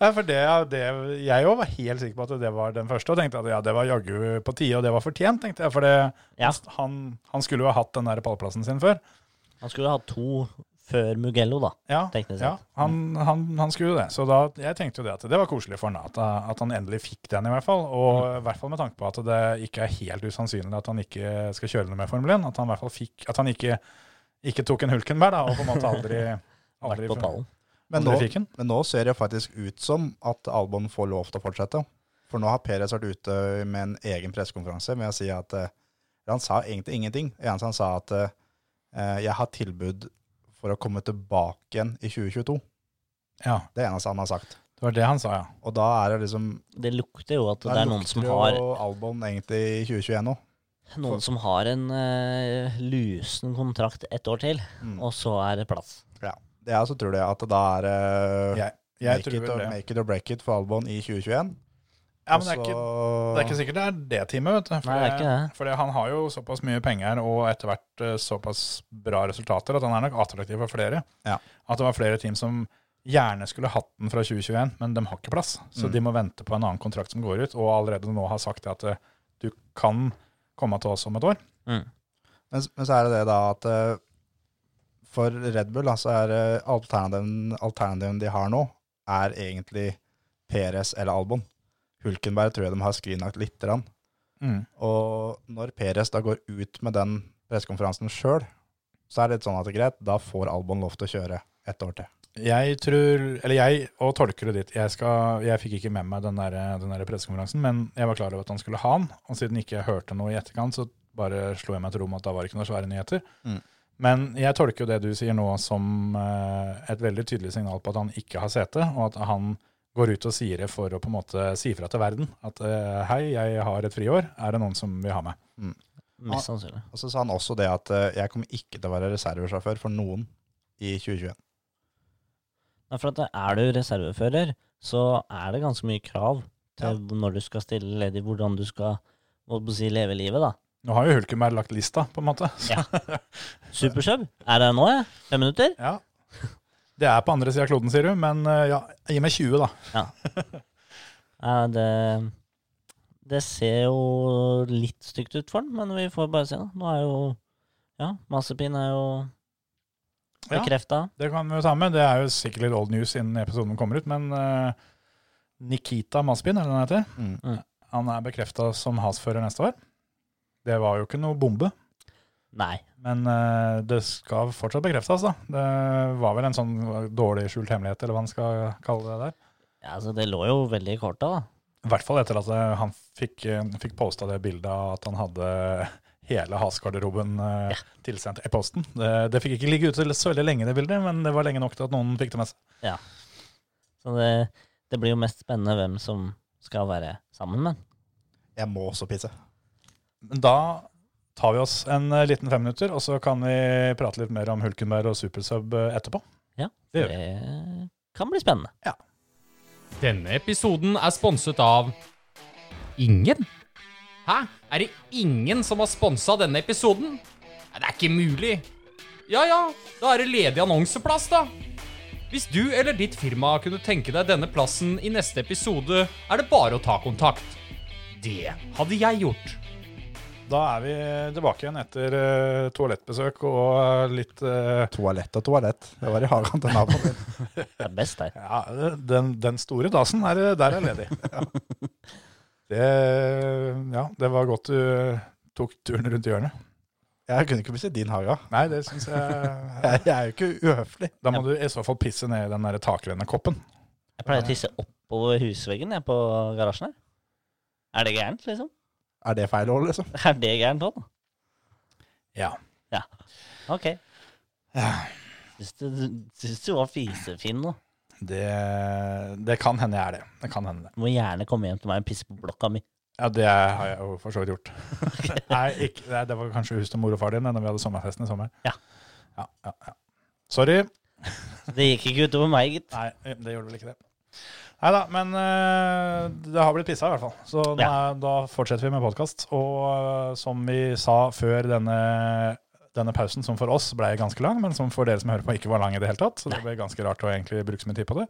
Speaker 1: Ja, for det, det, jeg òg var helt sikker på at det var den første, og tenkte at ja, det var jaggu på tide, og det var fortjent, tenkte jeg. For det,
Speaker 4: Ja.
Speaker 1: han, han skulle jo ha hatt den der pallplassen sin før.
Speaker 4: Han skulle ha to før Mugello, da.
Speaker 1: Ja,
Speaker 4: Teknisk
Speaker 1: ja
Speaker 4: sett.
Speaker 1: han, han, han skulle jo det. Så da, jeg tenkte jo det at det var koselig for han at, at han endelig fikk den, i hvert fall. Og
Speaker 4: Mm.
Speaker 1: i hvert fall med tanke på at det ikke er helt usannsynlig at han ikke skal kjøre noe mer Formel 1. At han i hvert fall fikk At han ikke, ikke tok en Hulkenberg, da, og på en måte
Speaker 4: (laughs)
Speaker 1: aldri, aldri
Speaker 4: Vært på pallen.
Speaker 5: Men
Speaker 1: Aldri
Speaker 5: nå,
Speaker 1: fikk den.
Speaker 5: men nå ser det faktisk ut som at Albon får lov til å fortsette. For nå har Perez vært ute med en egen pressekonferanse med å si at eh, Han sa egentlig ingenting. Det eneste han sa, at eh, jeg har tilbud for å komme tilbake igjen i 2022.
Speaker 1: Ja,
Speaker 5: Det er det eneste han har sagt.
Speaker 1: det var det han sa, ja.
Speaker 5: Og da er det liksom
Speaker 4: Det lukter jo at det
Speaker 5: da
Speaker 4: er noen som
Speaker 5: lukter jo
Speaker 4: har
Speaker 5: Albon egentlig i 2021 nå.
Speaker 4: Noen som har en eh, lusen kontrakt ett år til,
Speaker 5: Mm.
Speaker 4: og så er det plass.
Speaker 5: Ja. Det er så tror jeg at da er eh,
Speaker 1: Jeg, jeg
Speaker 5: make,
Speaker 1: tror
Speaker 5: it or,
Speaker 1: vel det.
Speaker 5: make it or break it for Albon i 2021.
Speaker 1: Ja, men det er
Speaker 5: Og
Speaker 1: ikke
Speaker 5: så-
Speaker 1: Det er ikke sikkert det er det teamet, vet du. For,
Speaker 4: Nei, det er ikke det.
Speaker 1: Fordi han har jo såpass mye penger og etter hvert eh, såpass bra resultater at han er nok attraktiv for flere.
Speaker 5: Ja.
Speaker 1: At det var flere team som gjerne skulle hatt den fra 2021, men de har ikke plass. Så
Speaker 5: Mm.
Speaker 1: de må vente på en annen kontrakt som går ut, og allerede nå har sagt at eh, du kan komme til oss om et år.
Speaker 4: Mm.
Speaker 5: Men, s- men så er det det da at eh, for Red Bull da, så er eh, alternativen, alternativen de har nå, er egentlig Perez eller Albon. Hulkenberg tror jeg de har skrinlagt litt. grann. Mm. Og når Perez da går ut med den pressekonferansen sjøl, så er det litt sånn at det er greit, da får Albon lov til å kjøre ett år til.
Speaker 1: Jeg tror, eller jeg, og tolker det ditt, jeg, skal, jeg fikk ikke med meg den der, den der pressekonferansen, men jeg var klar over at han skulle ha den, og siden ikke jeg hørte noe i etterkant, så bare slo jeg meg til ro med at da var det ikke noen svære nyheter.
Speaker 5: Mm.
Speaker 1: Men jeg tolker jo det du sier nå som eh, et veldig tydelig signal på at han ikke har sete, og at han går ut og sier det for å på en måte si fra til verden, at eh, hei, jeg har et friår, er det noen som vil ha meg?
Speaker 4: Mest sannsynlig.
Speaker 5: Og så sa han også det at eh, jeg kommer ikke til å være reservesjåfør for noen i 2021.
Speaker 4: Nei, for at er du reservefører, så er det ganske mye krav til når du skal stille ledig, hvordan du skal må på si, leve livet, da.
Speaker 1: Nå har jo Hulkenberg lagt lista, på en måte.
Speaker 4: Supersub, er det nå, jeg? Fem minutter?
Speaker 1: Ja. (laughs) Det er på andre siden av kloden, sier du, men eh, ja, gi meg 20 da.
Speaker 4: Ja, det, det ser jo litt stygt ut for den, men vi får bare se, da. Nå er jo Ja, Mazepin er jo
Speaker 1: Ja.
Speaker 4: bekrefta.
Speaker 1: Det kan vi jo ta med. Det er jo sikkert litt old news innen episoden kommer ut, men eh, Nikita Maspin, er det han heter?
Speaker 5: Mm.
Speaker 4: Mm.
Speaker 1: Han er bekrefta som Has-fører neste år. Det var jo ikke noe bombe,
Speaker 4: Nei.
Speaker 1: men eh, det skal fortsatt bekreftes, da. Det var vel en sånn dårlig skjult hemmelighet, eller hva man skal kalle det der.
Speaker 4: Ja, altså, det lå jo veldig i korta, da.
Speaker 1: I hvert fall etter at eh, han fikk, eh, fikk posta det bildet av at han hadde hele Has-garderoben eh, tilsendt i posten. Det, det fikk ikke ligge ute så veldig lenge, det bildet, men det var lenge nok til at noen fikk det med seg.
Speaker 4: Så det, det blir jo mest spennende hvem som skal være sammen med den.
Speaker 5: Jeg må også pisse.
Speaker 1: Men Da tar vi oss en eh, liten fem minutter, og så kan vi prate litt mer om Hulkenberg og Supersub eh, etterpå.
Speaker 4: Ja,
Speaker 1: Det gjør
Speaker 4: det kan bli spennende.
Speaker 6: Denne episoden er sponset av Ingen? Hæ? Er det ingen som har sponsa denne episoden? Nei, det er ikke mulig. Ja ja, da er det ledig annonseplass, da. Hvis du eller ditt firma kunne tenke deg denne plassen i neste episode, er det bare å ta kontakt. Det hadde jeg gjort.
Speaker 1: Da er vi tilbake igjen etter eh, toalettbesøk og eh, litt eh,
Speaker 5: Toalett og toalett. Det var i hagen til naboen min.
Speaker 4: Det er best der.
Speaker 1: (laughs) Ja, den, den store dasen, er, det- der er
Speaker 5: (laughs)
Speaker 1: ledig. Ja. Det, ja, det var godt du tok turen rundt hjørnet.
Speaker 5: Jeg kunne ikke pisse i din hage.
Speaker 1: Nei, det syns jeg
Speaker 5: Jeg, jeg er jo ikke uhøflig.
Speaker 1: Da må du i så fall pisse ned i den der takrennekoppen.
Speaker 4: Jeg pleier å tisse oppover husveggen jeg, på garasjen her. Er det gærent, liksom? (laughs)
Speaker 5: Er det feil år, liksom?
Speaker 4: Er det gærent òg?
Speaker 1: Ja.
Speaker 4: OK. Syns du, syns du var fisefin nå?
Speaker 1: Det, det kan hende jeg er det. Det kan hende det.
Speaker 4: Du må gjerne komme hjem til meg og pisse på blokka mi.
Speaker 1: Ja, det har jeg jo for så vidt gjort. (laughs) nei, ikke, nei, det var kanskje hus til mor og far din da vi hadde sommerfesten i sommer.
Speaker 4: Ja.
Speaker 1: Ja, ja, ja. Sorry.
Speaker 4: Det gikk ikke utover meg, gitt.
Speaker 1: Nei, eh, det gjorde vel ikke det. Nei da, men eh, det har blitt pissa i hvert fall. Så nå er, da fortsetter vi med podkast. Og eh, som vi sa før denne denne pausen, som for oss ble ganske lang, men som for dere som hører på ikke var lang i det hele tatt, så det ble ganske rart å egentlig bruke så mye tid på det,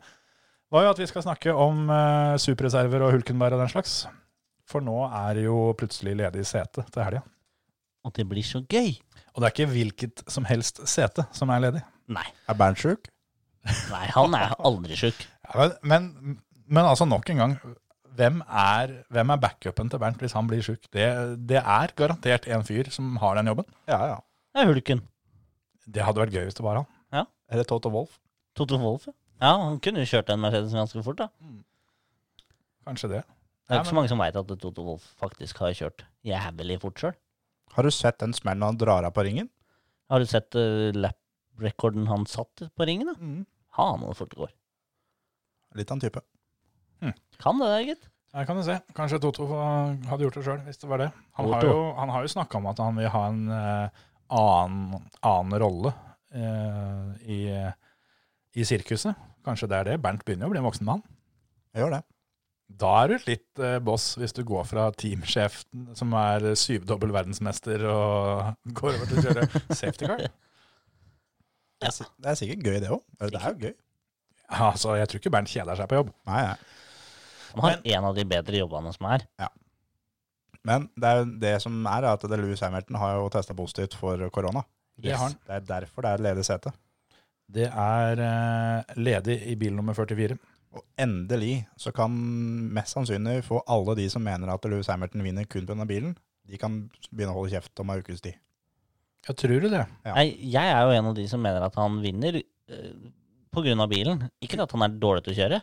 Speaker 1: var jo at vi skal snakke om eh, superreserver og Hulkenberg og den slags. For nå er det jo plutselig ledig sete til helga.
Speaker 4: Og det blir så gøy.
Speaker 1: Og det er ikke hvilket som helst sete som er ledig.
Speaker 4: Nei,
Speaker 5: Er Bernt sjuk?
Speaker 4: nei han er aldri sjuk.
Speaker 1: Ja, men, men, men altså, nok en gang. Hvem er, hvem er backupen til Bernt hvis han blir sjuk? Det, det er garantert en fyr som har den jobben.
Speaker 5: Ja, ja.
Speaker 4: Det er hulken.
Speaker 1: Det hadde vært gøy hvis det var han.
Speaker 5: Eller Toto Wolff?
Speaker 4: Toto Wolff, ja. ja. Han kunne jo kjørt den Mercedesen ganske fort, da.
Speaker 1: Kanskje det.
Speaker 4: Det
Speaker 1: Ja,
Speaker 4: er ikke så mange som veit at Toto Wolff faktisk har kjørt jævlig fort sjøl.
Speaker 5: Har du sett den smellen han drar av på ringen?
Speaker 4: Har du sett uh, lap-rekorden han satt på ringen, da? Faen, hvor fort det går.
Speaker 5: Litt av en type.
Speaker 4: Kan det der, gitt.
Speaker 1: Her kan du se. Kanskje Toto hadde gjort det sjøl, hvis det var det. Han har
Speaker 4: Toto.
Speaker 1: jo, han har jo snakka om at han vil ha en eh, annen, annen rolle eh, i, i sirkuset. Kanskje det er det. Bernt begynner jo å bli en voksen mann.
Speaker 5: Jeg gjør det.
Speaker 1: Da er du litt eh, boss hvis du går fra teamsjef som er syvdobbel verdensmester og går over til å kjøre safety car.
Speaker 5: Det er, si- det er sikkert gøy, det òg. Det er jo gøy.
Speaker 1: Altså, Jeg tror ikke Bernt kjeder seg på jobb.
Speaker 5: Nei, nei.
Speaker 4: Han har en av de bedre jobbene som er.
Speaker 5: Men det, er jo det som er, er at det Louis Hamilton har jo testa positivt for korona.
Speaker 1: Det har han.
Speaker 5: Det er derfor det er ledig sete.
Speaker 1: Det er eh, ledig i bil nummer 44.
Speaker 5: Og endelig så kan mest sannsynlig få alle de som mener at Louis Hamilton vinner kun på denne bilen, de kan begynne å holde kjeft om ei ukes tid.
Speaker 1: Jeg tror du det.
Speaker 5: Ja.
Speaker 4: Nei, jeg er jo en av de som mener at han vinner eh, på grunn av bilen. Ikke at han er dårlig til å kjøre.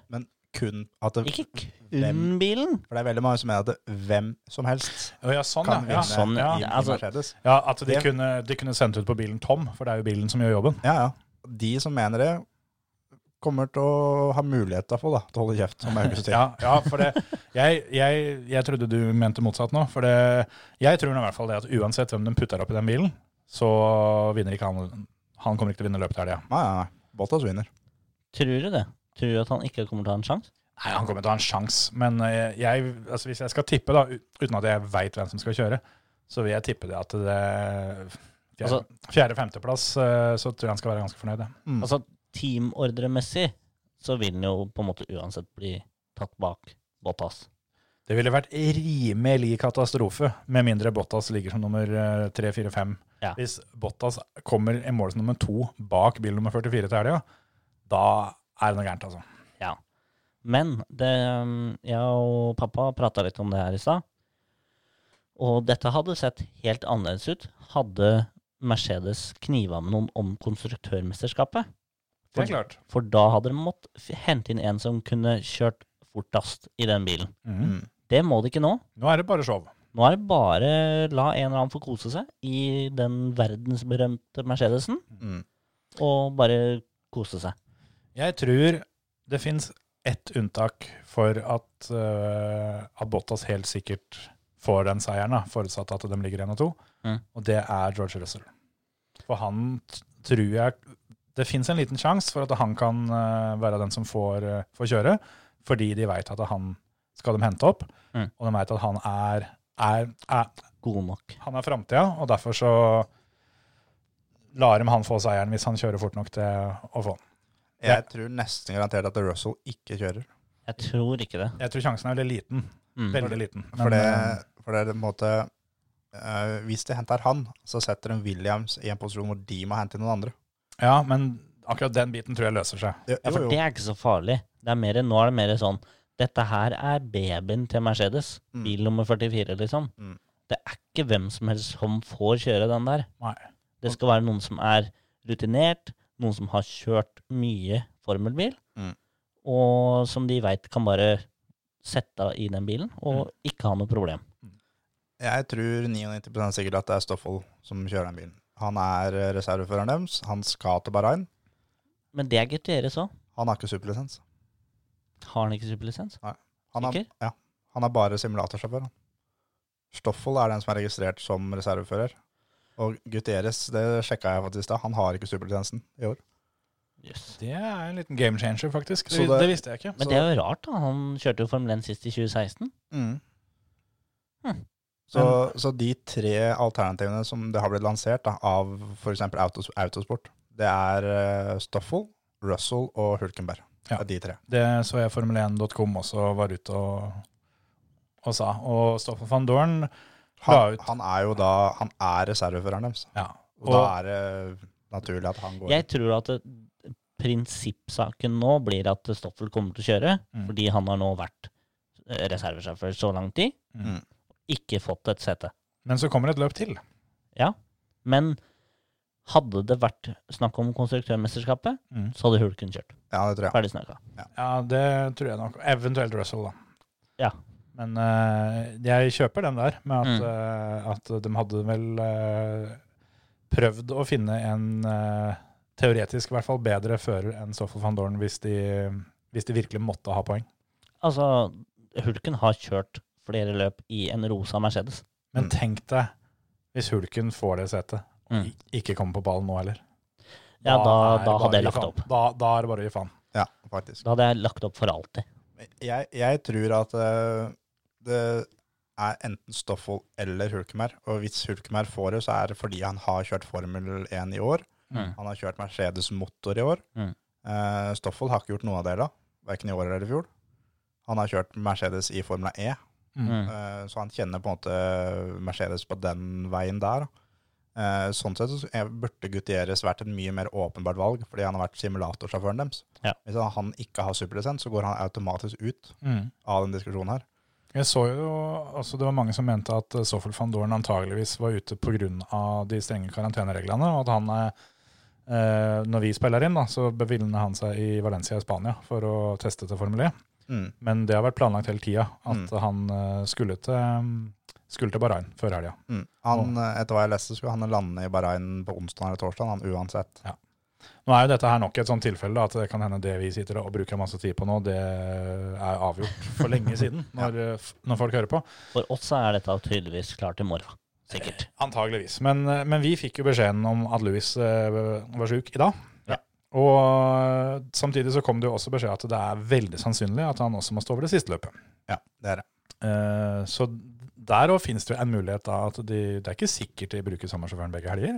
Speaker 5: Kun at det,
Speaker 4: Ikke
Speaker 5: Hvem?
Speaker 4: kun bilen.
Speaker 5: For det er veldig mange som mener at det, hvem som helst
Speaker 1: Å, ja, sånn,
Speaker 5: kan
Speaker 1: ja. Ja.
Speaker 5: vinne
Speaker 4: Sånn,
Speaker 1: ja.
Speaker 5: i- i
Speaker 4: altså-
Speaker 5: Mercedes.
Speaker 1: ja At de
Speaker 5: Det-
Speaker 1: kunne, de kunne sendt ut på bilen tom, for det er jo bilen som gjør jobben.
Speaker 5: Ja, ja. De som mener det, kommer til å ha muligheter for da, til å holde kjeft om ei ukes tid.
Speaker 1: Ja, ja for det jeg, jeg, jeg trodde du mente motsatt nå. For det, jeg tror nå i hvert fall det at uansett hvem de putter opp i den bilen, så vinner ikke han. Han kommer ikke til å vinne løpet i helga.
Speaker 5: Nei, nei, nei. Bottas vinner.
Speaker 4: Tror du det? Tror du at han ikke kommer til å ha en sjanse?
Speaker 1: Nei, Han kommer til å ha en sjanse, men eh, jeg, altså hvis jeg skal tippe, da, u- uten at jeg veit hvem som skal kjøre, så vil jeg tippe det at det
Speaker 4: Altså-
Speaker 1: Fjerde-femteplass, eh, så tror jeg han skal være ganske fornøyd. ja.
Speaker 5: Mm.
Speaker 4: Altså teamordremessig så vil han jo på en måte uansett bli tatt bak Bottas.
Speaker 1: Det ville vært rimelig katastrofe, med mindre Bottas ligger som nummer eh, tre, fire, fem.
Speaker 4: Ja.
Speaker 1: Hvis Bottas kommer i mål som nummer to bak bil nummer 44 til helga, da er det noe gærent, altså.
Speaker 4: Men det, um, jeg og pappa prata litt om det her i stad. Og dette hadde sett helt annerledes ut hadde Mercedes kniva med noen om konstruktørmesterskapet.
Speaker 1: Det er klart.
Speaker 4: For da hadde de måttet f- hente inn en som kunne kjørt fortest i den bilen.
Speaker 1: Mhm.
Speaker 4: Det må de ikke nå.
Speaker 1: Nå er det bare show.
Speaker 4: Nå er det bare la en eller annen få kose seg i den verdensberømte Mercedesen,
Speaker 5: Mm.
Speaker 4: og bare kose seg.
Speaker 1: Jeg tror det fins ett unntak for at, eh, at Bottas helt sikkert får den seieren, da, forutsatt at de ligger 1 og 2,
Speaker 4: Mm.
Speaker 1: og det er George Russell. For han t- tror jeg Det fins en liten sjanse for at han kan eh, være den som får, eh, får kjøre, fordi de veit at han skal de hente opp,
Speaker 4: Mm.
Speaker 1: og de veit at han er, er, er,
Speaker 4: God nok.
Speaker 1: han er framtida, og derfor så lar de han få seieren hvis han kjører fort nok til å få den.
Speaker 5: Jeg tror nesten garantert at Russell ikke kjører.
Speaker 4: Jeg tror ikke det.
Speaker 1: Jeg tror sjansen er veldig liten.
Speaker 4: Mm.
Speaker 1: Veldig liten. Men,
Speaker 5: For det,
Speaker 1: eh,
Speaker 5: for det er en måte eh, Hvis de henter han, så setter de Williams i en posisjon hvor de må hente noen andre.
Speaker 1: ja, men akkurat den biten tror jeg løser seg.
Speaker 5: Jo,
Speaker 4: Ja, for
Speaker 5: jo,
Speaker 4: det
Speaker 5: jo.
Speaker 4: er ikke så farlig. Det er mer, nå er det mer sånn Dette her er babyen til Mercedes.
Speaker 5: Mm.
Speaker 4: Bil nummer 44, liksom.
Speaker 5: Mm.
Speaker 4: Det er ikke hvem som helst som får kjøre den der.
Speaker 1: Nei.
Speaker 4: Det skal være noen som er rutinert, noen som har kjørt mye formelbil,
Speaker 5: Mm.
Speaker 4: og som de veit kan bare sette av i den bilen
Speaker 5: Mm.
Speaker 4: og ikke ha noe problem.
Speaker 5: Jeg tror 99 sikkert at det er Stoffel som kjører den bilen. Han er eh, reserveføreren deres. Han skal til Bahrain.
Speaker 4: Men det er GTRS òg.
Speaker 5: Han har ikke superlisens.
Speaker 4: Har han ikke superlisens?
Speaker 5: Han er,
Speaker 4: Sikker?
Speaker 5: ja, han er bare simulatorsjåfør. han. Stoffel er den som er registrert som reservefører. Og Gutierrez, det sjekka jeg faktisk da, han har ikke superlisensen i år.
Speaker 4: Yes.
Speaker 1: Det er en liten game changer, faktisk. Det,
Speaker 5: Så det-
Speaker 1: det visste jeg ikke.
Speaker 5: Så-
Speaker 4: Men Mm. det er jo rart, da. Han kjørte jo Formel 1 sist i 2016.
Speaker 5: Så, så de tre alternativene som det har blitt lansert da, av f.eks. Autos, Autosport, det er eh, Stoffel, Russell og Hulkenberg.
Speaker 1: Ja.
Speaker 5: Det er de tre.
Speaker 1: Det så jeg Formel1.com også var ute og, og sa. Og Stoffel van Dorn la
Speaker 5: Han,
Speaker 1: ut
Speaker 5: han er jo da Han er reserveføreren deres.
Speaker 1: ja.
Speaker 5: Og, da er det naturlig at han går
Speaker 4: Jeg tror at det, prinsippsaken nå blir at Stoffel kommer til å kjøre,
Speaker 1: Mm.
Speaker 4: fordi han har nå vært eh, reservesjåfør så lang tid,
Speaker 5: Mm.
Speaker 4: ikke fått et sete.
Speaker 1: Men så kommer et løp til.
Speaker 4: Ja, men hadde det vært snakk om konstruktørmesterskapet,
Speaker 1: Mm.
Speaker 4: så hadde Hulken kjørt.
Speaker 5: Ja, det tror jeg.
Speaker 4: Ferdig snakka.
Speaker 1: Ja, det tror jeg nok. Eventuelt Russell, da.
Speaker 4: Ja. Mm.
Speaker 1: Men eh, jeg kjøper den der, med at, eh, at de hadde vel eh, prøvd å finne en eh, teoretisk i hvert fall bedre fører enn Stoffel van Dorn hvis de, hvis de virkelig måtte ha poeng.
Speaker 4: Altså, Hulken har kjørt flere løp i en rosa Mercedes.
Speaker 1: Men
Speaker 5: Mm.
Speaker 1: tenk deg hvis Hulken får det setet, og
Speaker 4: Mm.
Speaker 1: i- ikke kommer på ballen nå heller.
Speaker 4: Ja, da,
Speaker 1: er det
Speaker 4: da
Speaker 1: bare
Speaker 4: hadde
Speaker 1: å
Speaker 4: jeg
Speaker 1: gi
Speaker 4: lagt
Speaker 1: faen.
Speaker 4: opp.
Speaker 1: Da, da er det bare å gi faen.
Speaker 5: Ja, faktisk.
Speaker 4: Da hadde jeg lagt opp for alltid.
Speaker 5: Jeg, jeg tror at eh, det er enten Stoffel eller Hulkemer. Og hvis Hulkemer får det, så er det fordi han har kjørt Formel 1 i år.
Speaker 4: Mm.
Speaker 5: Han har kjørt Mercedes motor i år.
Speaker 4: Mm.
Speaker 5: Eh, Stoffel har ikke gjort noen av delene, verken i år eller i fjor. Han har kjørt Mercedes i Formel E,
Speaker 4: Mm.
Speaker 5: eh, så han kjenner på en måte Mercedes på den veien der. Eh, Sånn sett så er- burde Gutierrez vært et mye mer åpenbart valg, fordi han har vært simulatorsjåføren deres.
Speaker 4: Ja.
Speaker 5: Hvis han- han ikke har superlisens, så går han automatisk ut
Speaker 1: Mm.
Speaker 5: av den diskusjonen her.
Speaker 1: Jeg så jo også det var mange som mente at eh, Stoffel van Dorn antageligvis var ute pga. de strenge karantenereglene, og at han eh, eh, når vi spiller inn, da, så bevilgner han seg i Valencia i Spania for å teste til Formel E.
Speaker 5: Mm.
Speaker 1: Men det har vært planlagt hele tida at
Speaker 5: Mm.
Speaker 1: han eh, skulle til, mm, skulle til Bahrain før helga.
Speaker 5: Mm. Han, eh, Etter hva jeg leste, skulle han lande i Bahrain på onsdag eller torsdag, han uansett.
Speaker 1: Nå er jo dette her nok et sånt tilfelle da, at det kan hende det vi sitter og bruker masse tid på nå, det er avgjort for lenge siden når, eh, f- når folk hører på.
Speaker 4: For oss så er dette tydeligvis klart i morgen. Sikkert.
Speaker 1: Antageligvis. Men, eh, men vi fikk jo beskjeden om at Louis eh, var sjuk i dag. Og eh, samtidig så kom det jo også beskjed at det er veldig sannsynlig at han også må stå over det siste løpet.
Speaker 5: Ja, det er det.
Speaker 1: Eh, så der òg finnes det jo en mulighet da at de, det er ikke sikkert de bruker samme sjåføren begge helger.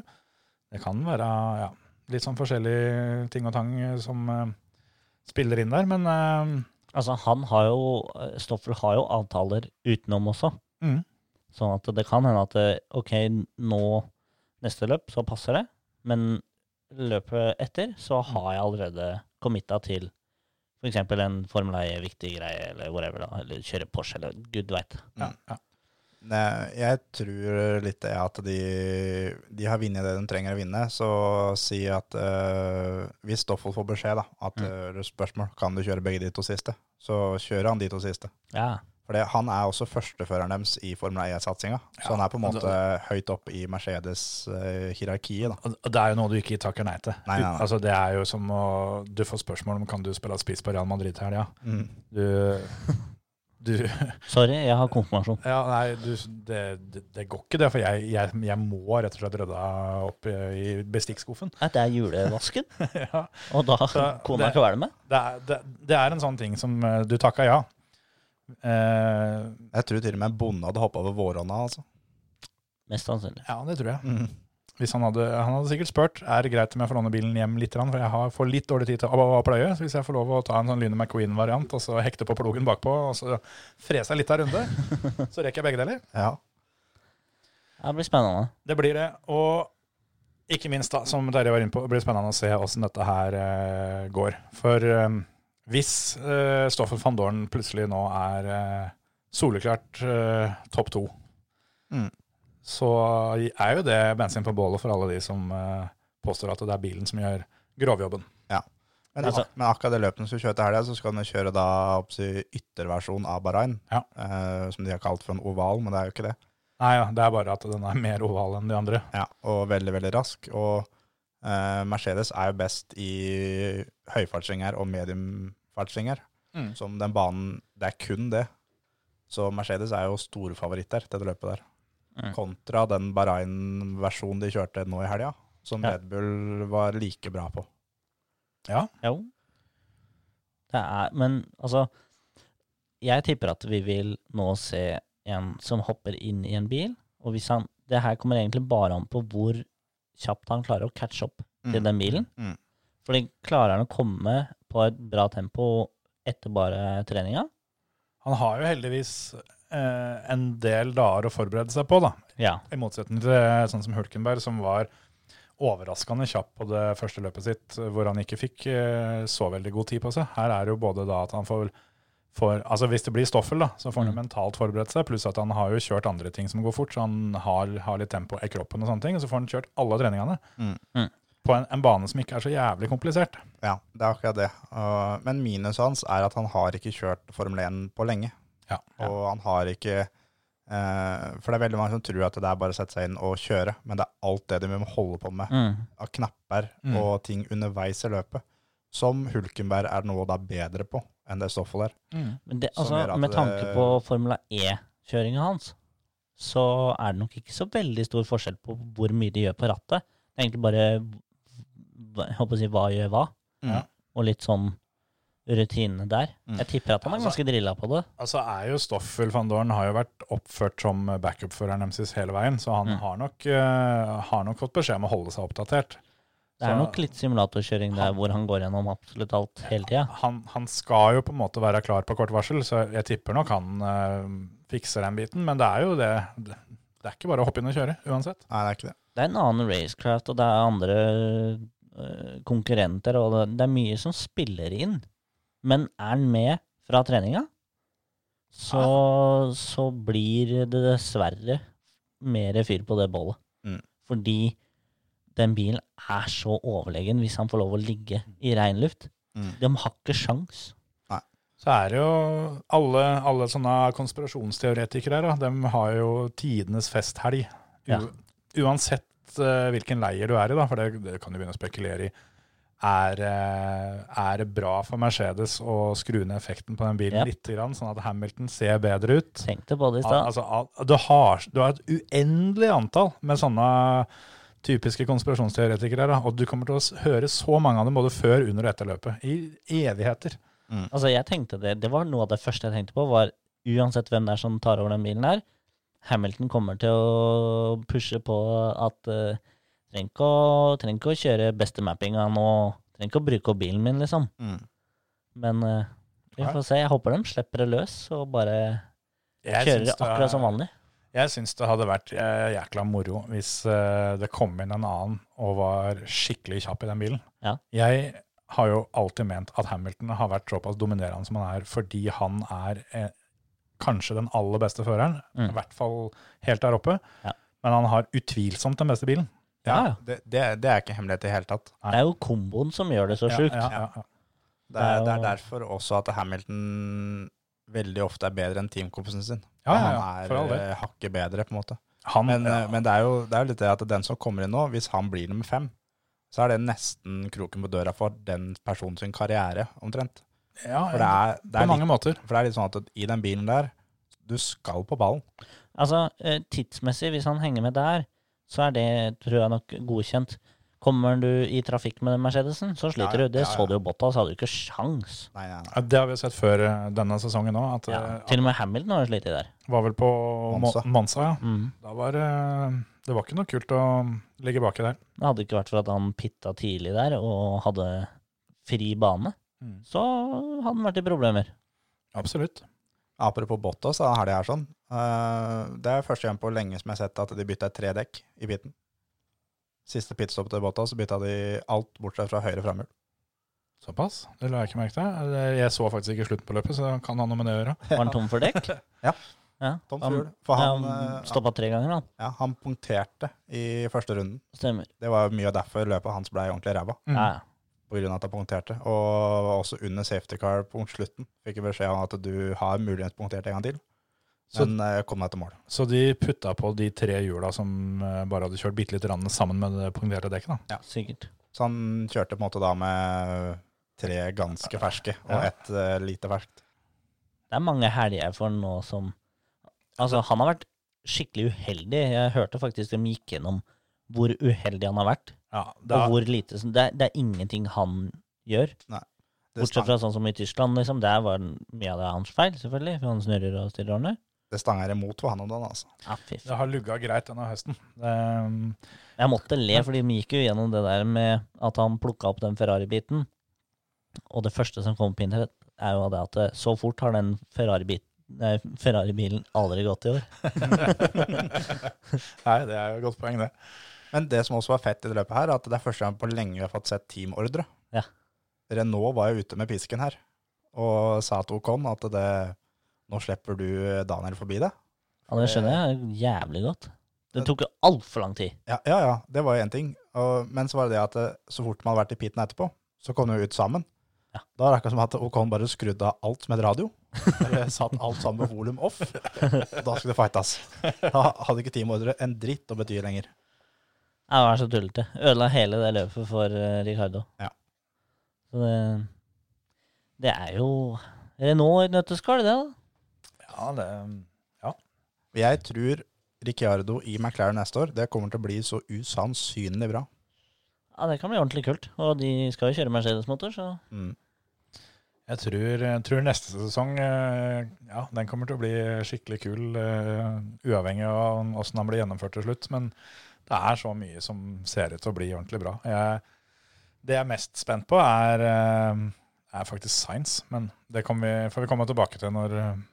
Speaker 1: Det kan være ja, litt sånn forskjellige ting og tang eh, som eh, spiller inn der, men eh,
Speaker 4: Altså, han har jo eh, Stoffel har jo avtaler utenom også.
Speaker 1: Mm.
Speaker 4: Sånn at det kan hende at eh, OK, nå neste løp, så passer det. Men løpet etter så har jeg allerede committa til f.eks. en Formel 1-viktig greie, eller whatever, da. Eller kjøre Porsche, eller gud veit.
Speaker 1: ja, ja.
Speaker 5: Nei, jeg tror litt det at de, de har vunnet det de trenger å vinne. Så si at eh, hvis Stoffel får beskjed da, at mm. spørsmål kan du kjøre begge de to siste, så kjører han de to siste.
Speaker 4: Ja.
Speaker 5: For det- han er også førsteføreren deres i Formel 1-satsinga. Så han er på en måte høyt oppe i Mercedes-hierarkiet. da.
Speaker 1: Og og det er jo noe du ikke takker nei til.
Speaker 5: Nei, nei, nei.
Speaker 1: Altså, det er jo som å Du får spørsmål om kan du spille spiss på Real Madrid til helga.
Speaker 5: Mm.
Speaker 1: Du, du
Speaker 4: Sorry, jeg har konfirmasjon.
Speaker 1: Ja, nei, du, det, det, det går ikke det. For jeg, jeg, jeg må rett og slett rydde opp i, i bestikkskuffen. (laughs)
Speaker 4: Nei, det er julevasken,
Speaker 1: ja.
Speaker 4: og da
Speaker 1: Så
Speaker 4: kona
Speaker 1: det-
Speaker 4: kvelmer meg.
Speaker 1: det, er, det, det er en sånn ting som eh, Du takka ja. Eh,
Speaker 5: Jeg tror til og med en bonde hadde hoppa over våronna. Altså.
Speaker 4: Mest sannsynlig.
Speaker 1: ja, det tror jeg.
Speaker 5: Mm.
Speaker 1: Hvis han, hadde, han hadde sikkert spurt er det greit om jeg får låne bilen hjem litt, grann, for jeg har, får litt dårlig tid til å, å, å pløye. Så hvis jeg får lov å ta en sånn Lyne McQueen-variant og så hekte på plogen bakpå og så frese litt av runde, så rekker jeg begge deler.
Speaker 5: Ja.
Speaker 4: Det blir spennende.
Speaker 1: Det blir det. Og ikke minst, da, som Terje var inne på, det blir spennende å se åssen dette her eh, går. For eh, hvis eh, Stoffel van Dorn plutselig nå er eh, soleklart eh, topp to,
Speaker 5: Mm.
Speaker 1: så er jo det bensin på bålet for alle de som eh, påstår at det er bilen som gjør grovjobben.
Speaker 5: Men,
Speaker 4: Altså-
Speaker 5: ak men akkurat det løpet som kjører til helga, så skal de kjøre da oppsi, ytterversjon av Bahrain.
Speaker 1: Ja.
Speaker 5: eh, som de har kalt for en oval, men det er jo ikke det.
Speaker 1: Nei ja, det er bare at den er mer oval enn de andre.
Speaker 5: Ja, og veldig, veldig rask. Og eh, Mercedes er jo best i høyfartsringer og mediumfartsringer.
Speaker 1: Mm.
Speaker 5: Som den banen Det er kun det. Så Mercedes er jo store favoritter til det løpet der.
Speaker 4: Mm.
Speaker 5: Kontra den Bahrain-versjonen de kjørte nå i helga, som
Speaker 4: Ja.
Speaker 5: Red Bull var like bra på.
Speaker 4: Jo. Det er Men altså Jeg tipper at vi vil nå se en som hopper inn i en bil. Og hvis han, det her kommer egentlig bare an på hvor kjapt han klarer å catche opp til den bilen.
Speaker 5: Mm.
Speaker 4: Fordi klarer han å komme på et bra tempo etter bare treninga?
Speaker 1: Han har jo heldigvis eh, en del dager å forberede seg på, da.
Speaker 4: Ja.
Speaker 1: I motsetning til sånn som Hulkenberg, som var overraskende kjapp på det første løpet sitt, hvor han ikke fikk eh, så veldig god tid på seg. Her er det jo både da at han får, får Altså hvis det blir stoffel, da, så
Speaker 5: Mm.
Speaker 1: får han jo mentalt forberedt seg, pluss at han har jo kjørt andre ting som går fort, så han har, har litt tempo i kroppen og sånne ting, og så får han kjørt alle treningene.
Speaker 5: Mm.
Speaker 4: Mm.
Speaker 1: På en, en bane som ikke er så jævlig komplisert.
Speaker 5: Ja, det er akkurat det. Uh, men minuset hans er at han har ikke kjørt Formel 1 på lenge.
Speaker 1: Ja.
Speaker 5: Og han har ikke eh, For det er veldig mange som tror at det er bare å sette seg inn og kjøre, men det er alt det de må holde på med
Speaker 4: Mm.
Speaker 5: av knapper
Speaker 1: Mm.
Speaker 5: og ting underveis i løpet, som Hulkenberg er noe da bedre på enn det Stoffel er.
Speaker 4: Men det,
Speaker 5: Som gjør
Speaker 4: altså,
Speaker 5: at eh,
Speaker 4: med
Speaker 5: det-
Speaker 4: tanke på Formula E-kjøringa hans, så er det nok ikke så veldig stor forskjell på hvor mye de gjør på rattet. Det er egentlig bare hva- jeg håper å si, hva gjør hva,
Speaker 5: Ja.
Speaker 4: og litt sånn rutinene der.
Speaker 5: Mm.
Speaker 4: Jeg tipper at han er
Speaker 1: Altså-
Speaker 4: ganske drilla på det.
Speaker 1: Altså er jo Stoffel van Dorn har jo vært oppført som backup-føreren deres hele veien, så han
Speaker 4: Mm.
Speaker 1: har, nok, eh, har nok fått beskjed om å holde seg oppdatert.
Speaker 4: Det er
Speaker 1: Så-
Speaker 4: nok litt simulatorkjøring der hvor han går gjennom absolutt alt hele tida.
Speaker 1: han, han skal jo på en måte være klar på kort varsel, så jeg tipper nok han eh, fikser den biten. Men det er jo det, det Det er ikke bare å hoppe inn og kjøre, uansett.
Speaker 5: Nei, det er ikke det.
Speaker 4: Det er en annen racecraft, og det er andre øh, konkurrenter, og det, det er mye som spiller inn. Men er han med fra treninga, så,
Speaker 5: Ah.
Speaker 4: så blir det dessverre mer fyr på det bollet.
Speaker 5: Mm.
Speaker 4: Fordi den bilen er så overlegen hvis han får lov å ligge i rein luft.
Speaker 5: Mm.
Speaker 4: De har ikke sjans.
Speaker 1: Så er det jo alle, alle sånne konspirasjonsteoretikere her, da, de har jo tidenes festhelg. U
Speaker 4: Ja.
Speaker 1: Uansett eh, hvilken leir du er i, da, for det, det kan du begynne å spekulere i. Er, eh, er det bra for Mercedes å skru ned effekten på den bilen
Speaker 4: Ja.
Speaker 1: litt, grann, sånn at Hamilton ser bedre ut?
Speaker 4: Tenkte på det i
Speaker 1: Al-
Speaker 5: Ah,
Speaker 4: stad.
Speaker 1: Altså, al- du, har, du har et uendelig antall med sånne typiske konspirasjonsteoretikere, da, og du kommer til å s- høre så mange av dem både før, under og etter løpet. I evigheter.
Speaker 4: Altså, jeg tenkte det, det var noe av det første jeg tenkte på, var uansett hvem det er som tar over den bilen her, Hamilton kommer til å pushe på at uh, trenger ikke å, trenger ikke å kjøre beste mappinga nå, trenger ikke å bruke opp bilen min, liksom.
Speaker 5: Mm.
Speaker 4: Men eh, vi
Speaker 1: Nei.
Speaker 4: får se. Jeg håper de slipper det løs og bare
Speaker 1: Jeg
Speaker 4: kjører
Speaker 1: syns det
Speaker 4: det
Speaker 1: er-
Speaker 4: akkurat som vanlig.
Speaker 1: Jeg syns det hadde vært eh, jækla moro hvis eh, det kom inn en annen og var skikkelig kjapp i den bilen.
Speaker 4: Ja.
Speaker 1: Jeg har jo alltid ment at Hamilton har vært såpass dominerende som han er, fordi han er eh, kanskje den aller beste føreren,
Speaker 4: Mm.
Speaker 1: i hvert fall helt der oppe.
Speaker 4: Ja.
Speaker 1: Men han har utvilsomt den beste bilen.
Speaker 4: Ja, ja.
Speaker 5: Det, det, er- det er ikke hemmelighet i det hele tatt.
Speaker 4: Det er jo komboen som gjør det så
Speaker 1: Ja,
Speaker 4: sjukt.
Speaker 1: ja, ja, ja.
Speaker 5: Det er,
Speaker 4: Det
Speaker 5: det
Speaker 4: er jo-
Speaker 5: er derfor også at Hamilton veldig ofte er bedre enn teamkompisen sin.
Speaker 1: Ja, ja, ja,
Speaker 5: Han
Speaker 1: for all
Speaker 5: er
Speaker 1: del.
Speaker 5: eh, hakket bedre, på en måte.
Speaker 1: Han,
Speaker 5: Men,
Speaker 1: ja.
Speaker 5: eh, men det, er jo, det er jo litt det at den som kommer inn nå, hvis han blir nummer fem, så er det nesten kroken på døra for den personen sin karriere, omtrent.
Speaker 1: ja,
Speaker 5: For det er, det
Speaker 1: på
Speaker 5: er,
Speaker 1: mange
Speaker 5: litt,
Speaker 1: måter.
Speaker 5: for det er litt sånn at i den bilen der, du skal på ballen.
Speaker 4: Altså, eh, tidsmessig, hvis han henger med der, så er det, tror jeg nok, godkjent. Kommer du i trafikk med den Mercedesen, så sliter
Speaker 5: Ja, ja,
Speaker 4: du. Det
Speaker 5: ja,
Speaker 4: så
Speaker 5: ja.
Speaker 4: du jo Bottas, hadde du ikke sjans.
Speaker 5: Nei, nei, nei.
Speaker 1: Ja, Det har vi sett før eh, denne sesongen òg. At
Speaker 4: Ja.
Speaker 1: det
Speaker 4: Til og med Hamilton har jo slitt der.
Speaker 1: var vel på
Speaker 5: Monza.
Speaker 1: Mo- Monza. Ja.
Speaker 4: Mm.
Speaker 1: Da var eh, det var ikke noe kult å ligge baki der.
Speaker 4: Det hadde ikke vært for at han pitta tidlig der og hadde fri bane,
Speaker 1: Mm.
Speaker 4: så hadde han vært i problemer.
Speaker 1: Absolutt.
Speaker 5: Apropos Bottas, da, helga her sånn. eh, det er første gang på lenge som jeg har sett at de bytta tre dekk i biten. Siste pitstop til Bottas, så bytta de alt bortsett fra høyre framhjul.
Speaker 1: Såpass. Det la jeg ikke merke til. Eller, Jeg så faktisk ikke slutten på løpet, så kan ha noe med det å gjøre.
Speaker 4: Var han tom for dekk?
Speaker 5: (laughs) Ja.
Speaker 4: ja.
Speaker 5: Tom
Speaker 4: Han-
Speaker 5: Fuel. For han,
Speaker 4: ja,
Speaker 5: eh,
Speaker 4: han stoppa tre ganger, han.
Speaker 5: ja, han punkterte i første runden.
Speaker 4: Stemmer.
Speaker 5: Det var jo mye av derfor løpet hans blei ordentlig ræva.
Speaker 1: Mm.
Speaker 4: Ja, ja.
Speaker 5: på grunn av at han punkterte. Og også under safety car på slutten fikk jeg beskjed om at du har muligens punktert en gang til.
Speaker 1: Så-
Speaker 5: Men eh, kom deg til mål.
Speaker 1: Så de putta på de tre hjula som eh, bare hadde kjørt bitte lite grann sammen med det punkterte dekket. da.
Speaker 4: Sikkert.
Speaker 5: Så han kjørte på en måte da med tre ganske ferske og
Speaker 1: Ja.
Speaker 5: ett eh, lite ferskt.
Speaker 4: Det er mange helger for han nå som Altså, han har vært skikkelig uheldig. Jeg hørte faktisk de gikk gjennom hvor uheldig han har vært,
Speaker 1: Ja, det
Speaker 4: og
Speaker 1: er,
Speaker 4: hvor lite som Det er, det er ingenting han gjør.
Speaker 5: Det
Speaker 4: Bortsett fra sånn som i Tyskland, liksom. Der var mye av det hans feil, selvfølgelig, for han snurrer og styrer ordentlig.
Speaker 5: det stanger imot på han om dagen, (laughs) altså.
Speaker 4: Ja, fy faen.
Speaker 1: Det har lugga greit denne høsten. Ehm,
Speaker 4: Jeg måtte le, fordi vi gikk jo gjennom det der med at han plukka opp den Ferrari-biten. Og det første som kom på internett, er jo det at eh, så fort har den Ferrari-bit- nei, Ferrari-bilen aldri gått i år.
Speaker 5: Nei, det er jo et godt poeng, det. Men det som også var fett i det løpet her, er at det er første gang på lenge vi har fått sett teamordre.
Speaker 4: Ja.
Speaker 5: Renault var jo ute med pisken her, og sa til Ocon at det, nå slipper du Daniel forbi det.
Speaker 4: Ja, det skjønner jeg jævlig godt. Det tok jo altfor lang tid.
Speaker 5: Ja, ja, ja det var jo én ting. Og, men så var det det at eh, så fort man hadde vært i piten etterpå, så kom de jo ut sammen.
Speaker 4: Ja.
Speaker 5: Da var det akkurat som at Ocon bare skrudde av alt som het radio. Eller satt alt sammen med volum off. Da skulle det fightes. Da hadde ikke teamordre en dritt å bety lenger.
Speaker 4: Ja, Det var så tullete. Ødela hele det løpet for eh, Ricardo.
Speaker 5: Ja.
Speaker 4: Så det, det er jo Renault i et nøtteskall, det, da.
Speaker 1: ja, det, eh,
Speaker 5: Jeg tror Ricciardo i McLaren neste år, det kommer til å bli så usannsynlig bra.
Speaker 4: Ja, Det kan bli ordentlig kult. Og de skal jo kjøre Mercedes-motor, så
Speaker 5: Mm.
Speaker 1: jeg tror, jeg tror neste sesong eh, ja, den kommer til å bli skikkelig kul, eh, uavhengig av åssen den blir gjennomført til slutt. Men det er så mye som ser ut til å bli ordentlig bra. Jeg, det jeg er mest spent på, er, eh, er faktisk science. Men det kan vi, får vi komme tilbake til når, eh,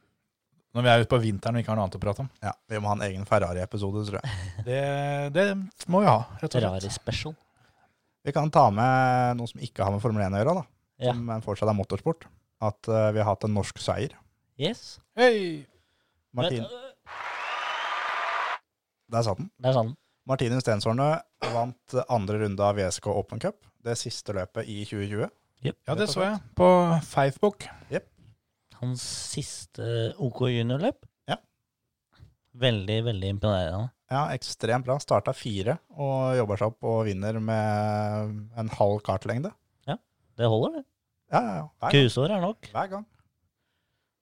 Speaker 1: når vi er ute på vinteren og ikke har noe annet å prate om.
Speaker 5: Ja, Vi må ha en egen Ferrari-episode, tror jeg.
Speaker 1: Det, det må vi ha, rett og slett.
Speaker 4: Ferrari special.
Speaker 5: Vi kan ta med noe som ikke har med Formel 1 å gjøre, da,
Speaker 4: Ja.
Speaker 5: som fortsatt er motorsport. At eh, vi har hatt en norsk seier.
Speaker 4: Yes.
Speaker 1: Hei!
Speaker 5: Martin,
Speaker 4: Men, øh,
Speaker 5: der satt den.
Speaker 4: Det er sant.
Speaker 5: Martine Stensårne vant andre runde av VSK Open Cup, det siste løpet i 2020.
Speaker 1: Ja, det så jeg. På Facebook.
Speaker 4: Hans siste OK juniorløp.
Speaker 5: Ja.
Speaker 4: Veldig, veldig imponerende.
Speaker 5: Ja, ekstremt bra. Starta fire og jobber seg opp og vinner med en halv kartlengde.
Speaker 4: Det holder, det.
Speaker 5: Ja, ja, ja. Hver gang.
Speaker 4: Kusår er nok.
Speaker 5: Hver gang.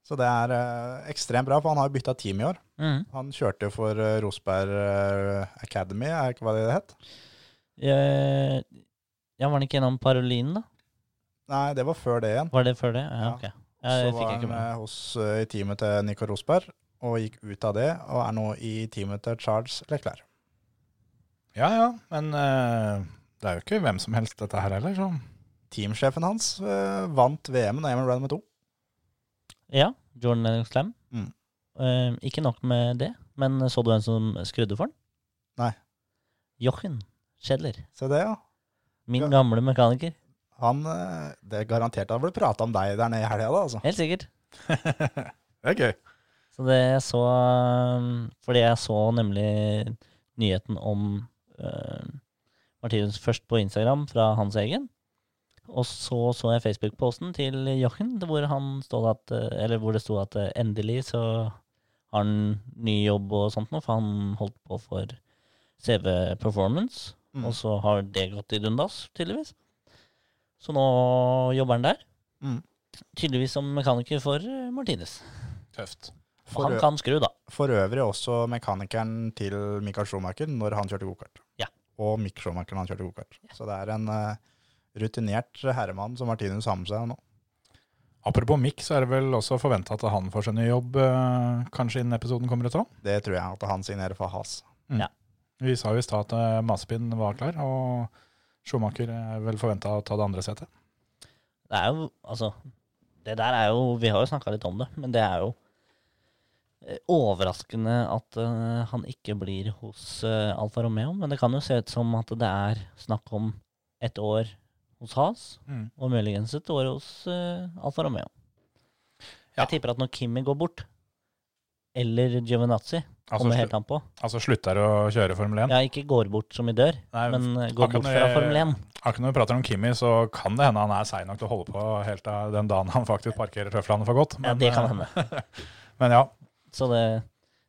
Speaker 5: Så det er eh, ekstremt bra, for han har bytta team i år.
Speaker 4: Mhm.
Speaker 5: Han kjørte jo for eh, Rosberg eh, Academy, er ikke hva det het?
Speaker 4: Eh, Ja, var han ikke gjennom Parolin, da?
Speaker 5: Nei, det var før det igjen.
Speaker 4: Var det før det? Ja,
Speaker 5: Ja.
Speaker 4: ok. Ja, jeg
Speaker 5: så
Speaker 4: fikk
Speaker 5: var
Speaker 4: ikke
Speaker 5: han
Speaker 4: med.
Speaker 5: eh, hos, eh, i teamet til Nico Rosberg, og gikk ut av det, og er nå i teamet til Charles Leclerc.
Speaker 1: Ja, ja. Men eh, det er jo ikke hvem som helst dette her heller, så
Speaker 5: Teamsjefen hans eh, vant VM da Eamon ran med to.
Speaker 4: Ja, Jordan Lennox Slam. Eh,
Speaker 5: Mm.
Speaker 4: ikke nok med det, men så du en som skrudde for den?
Speaker 5: Nei.
Speaker 4: Jochen Schedler.
Speaker 5: Se det, ja.
Speaker 4: Min
Speaker 5: Ja.
Speaker 4: gamle mekaniker.
Speaker 5: Han, eh, det er garantert han ble prata om deg der nede i helga, da, altså.
Speaker 4: Helt sikkert.
Speaker 1: det er gøy.
Speaker 4: Så det jeg så um, Fordi jeg så nemlig nyheten om uh, Martinus først på Instagram fra hans egen. Og så så jeg Facebook-posten til Jochen, hvor, han stod at, uh, eller hvor det sto at uh, endelig så har han ny jobb og sånt nå, for han holdt på for CV Performance.
Speaker 5: Mm.
Speaker 4: Og så har det gått i dundas, tydeligvis. Så nå jobber han der.
Speaker 5: Mm.
Speaker 4: Tydeligvis som mekaniker for uh, Martinus.
Speaker 1: Tøft.
Speaker 4: Og
Speaker 5: For, eh,
Speaker 4: han
Speaker 5: ø-
Speaker 4: kan skru, da.
Speaker 5: for øvrig også mekanikeren til Michael Schumacher når han kjørte gokart.
Speaker 4: Ja.
Speaker 5: Og Mick Schumacher når han kjørte gokart. Så det er en eh, rutinert herremann som Martinus har med seg nå.
Speaker 1: Apropos Mick, så er det vel også forventa at han får seg ny jobb eh, kanskje innen episoden kommer ut òg.
Speaker 5: Det tror jeg at han signerer for Has.
Speaker 1: Vi sa jo i stad at eh, Masepin var klar, og Schumacher er vel forventa å ta det andre setet.
Speaker 4: Det er jo, altså Det der er jo Vi har jo snakka litt om det, men det er jo eh, overraskende at eh, han ikke blir hos eh, Alfa Romeo. Men det kan jo se ut som at det er snakk om et år hos Has,
Speaker 1: Mm.
Speaker 4: og muligens et år hos eh, Alfa Romeo.
Speaker 1: Ja.
Speaker 4: Jeg tipper at når Kimi går bort, eller Giovinazzi,
Speaker 1: Altså,
Speaker 4: kommer helt
Speaker 1: slu,
Speaker 4: an på
Speaker 1: altså slutter å kjøre Formel 1.
Speaker 4: Ja, ikke går bort som i dør,
Speaker 1: Nei,
Speaker 4: men eh,
Speaker 1: han
Speaker 4: går
Speaker 1: kan
Speaker 4: bort fra
Speaker 1: jo-
Speaker 4: Formel 1.
Speaker 1: Akkurat når vi prater om Kimi, så kan det hende han er seig nok til å holde på helt til den dagen han faktisk parkerer tøflene for godt.
Speaker 4: Ja, det kan hende.
Speaker 1: hende. men ja,
Speaker 4: Så det,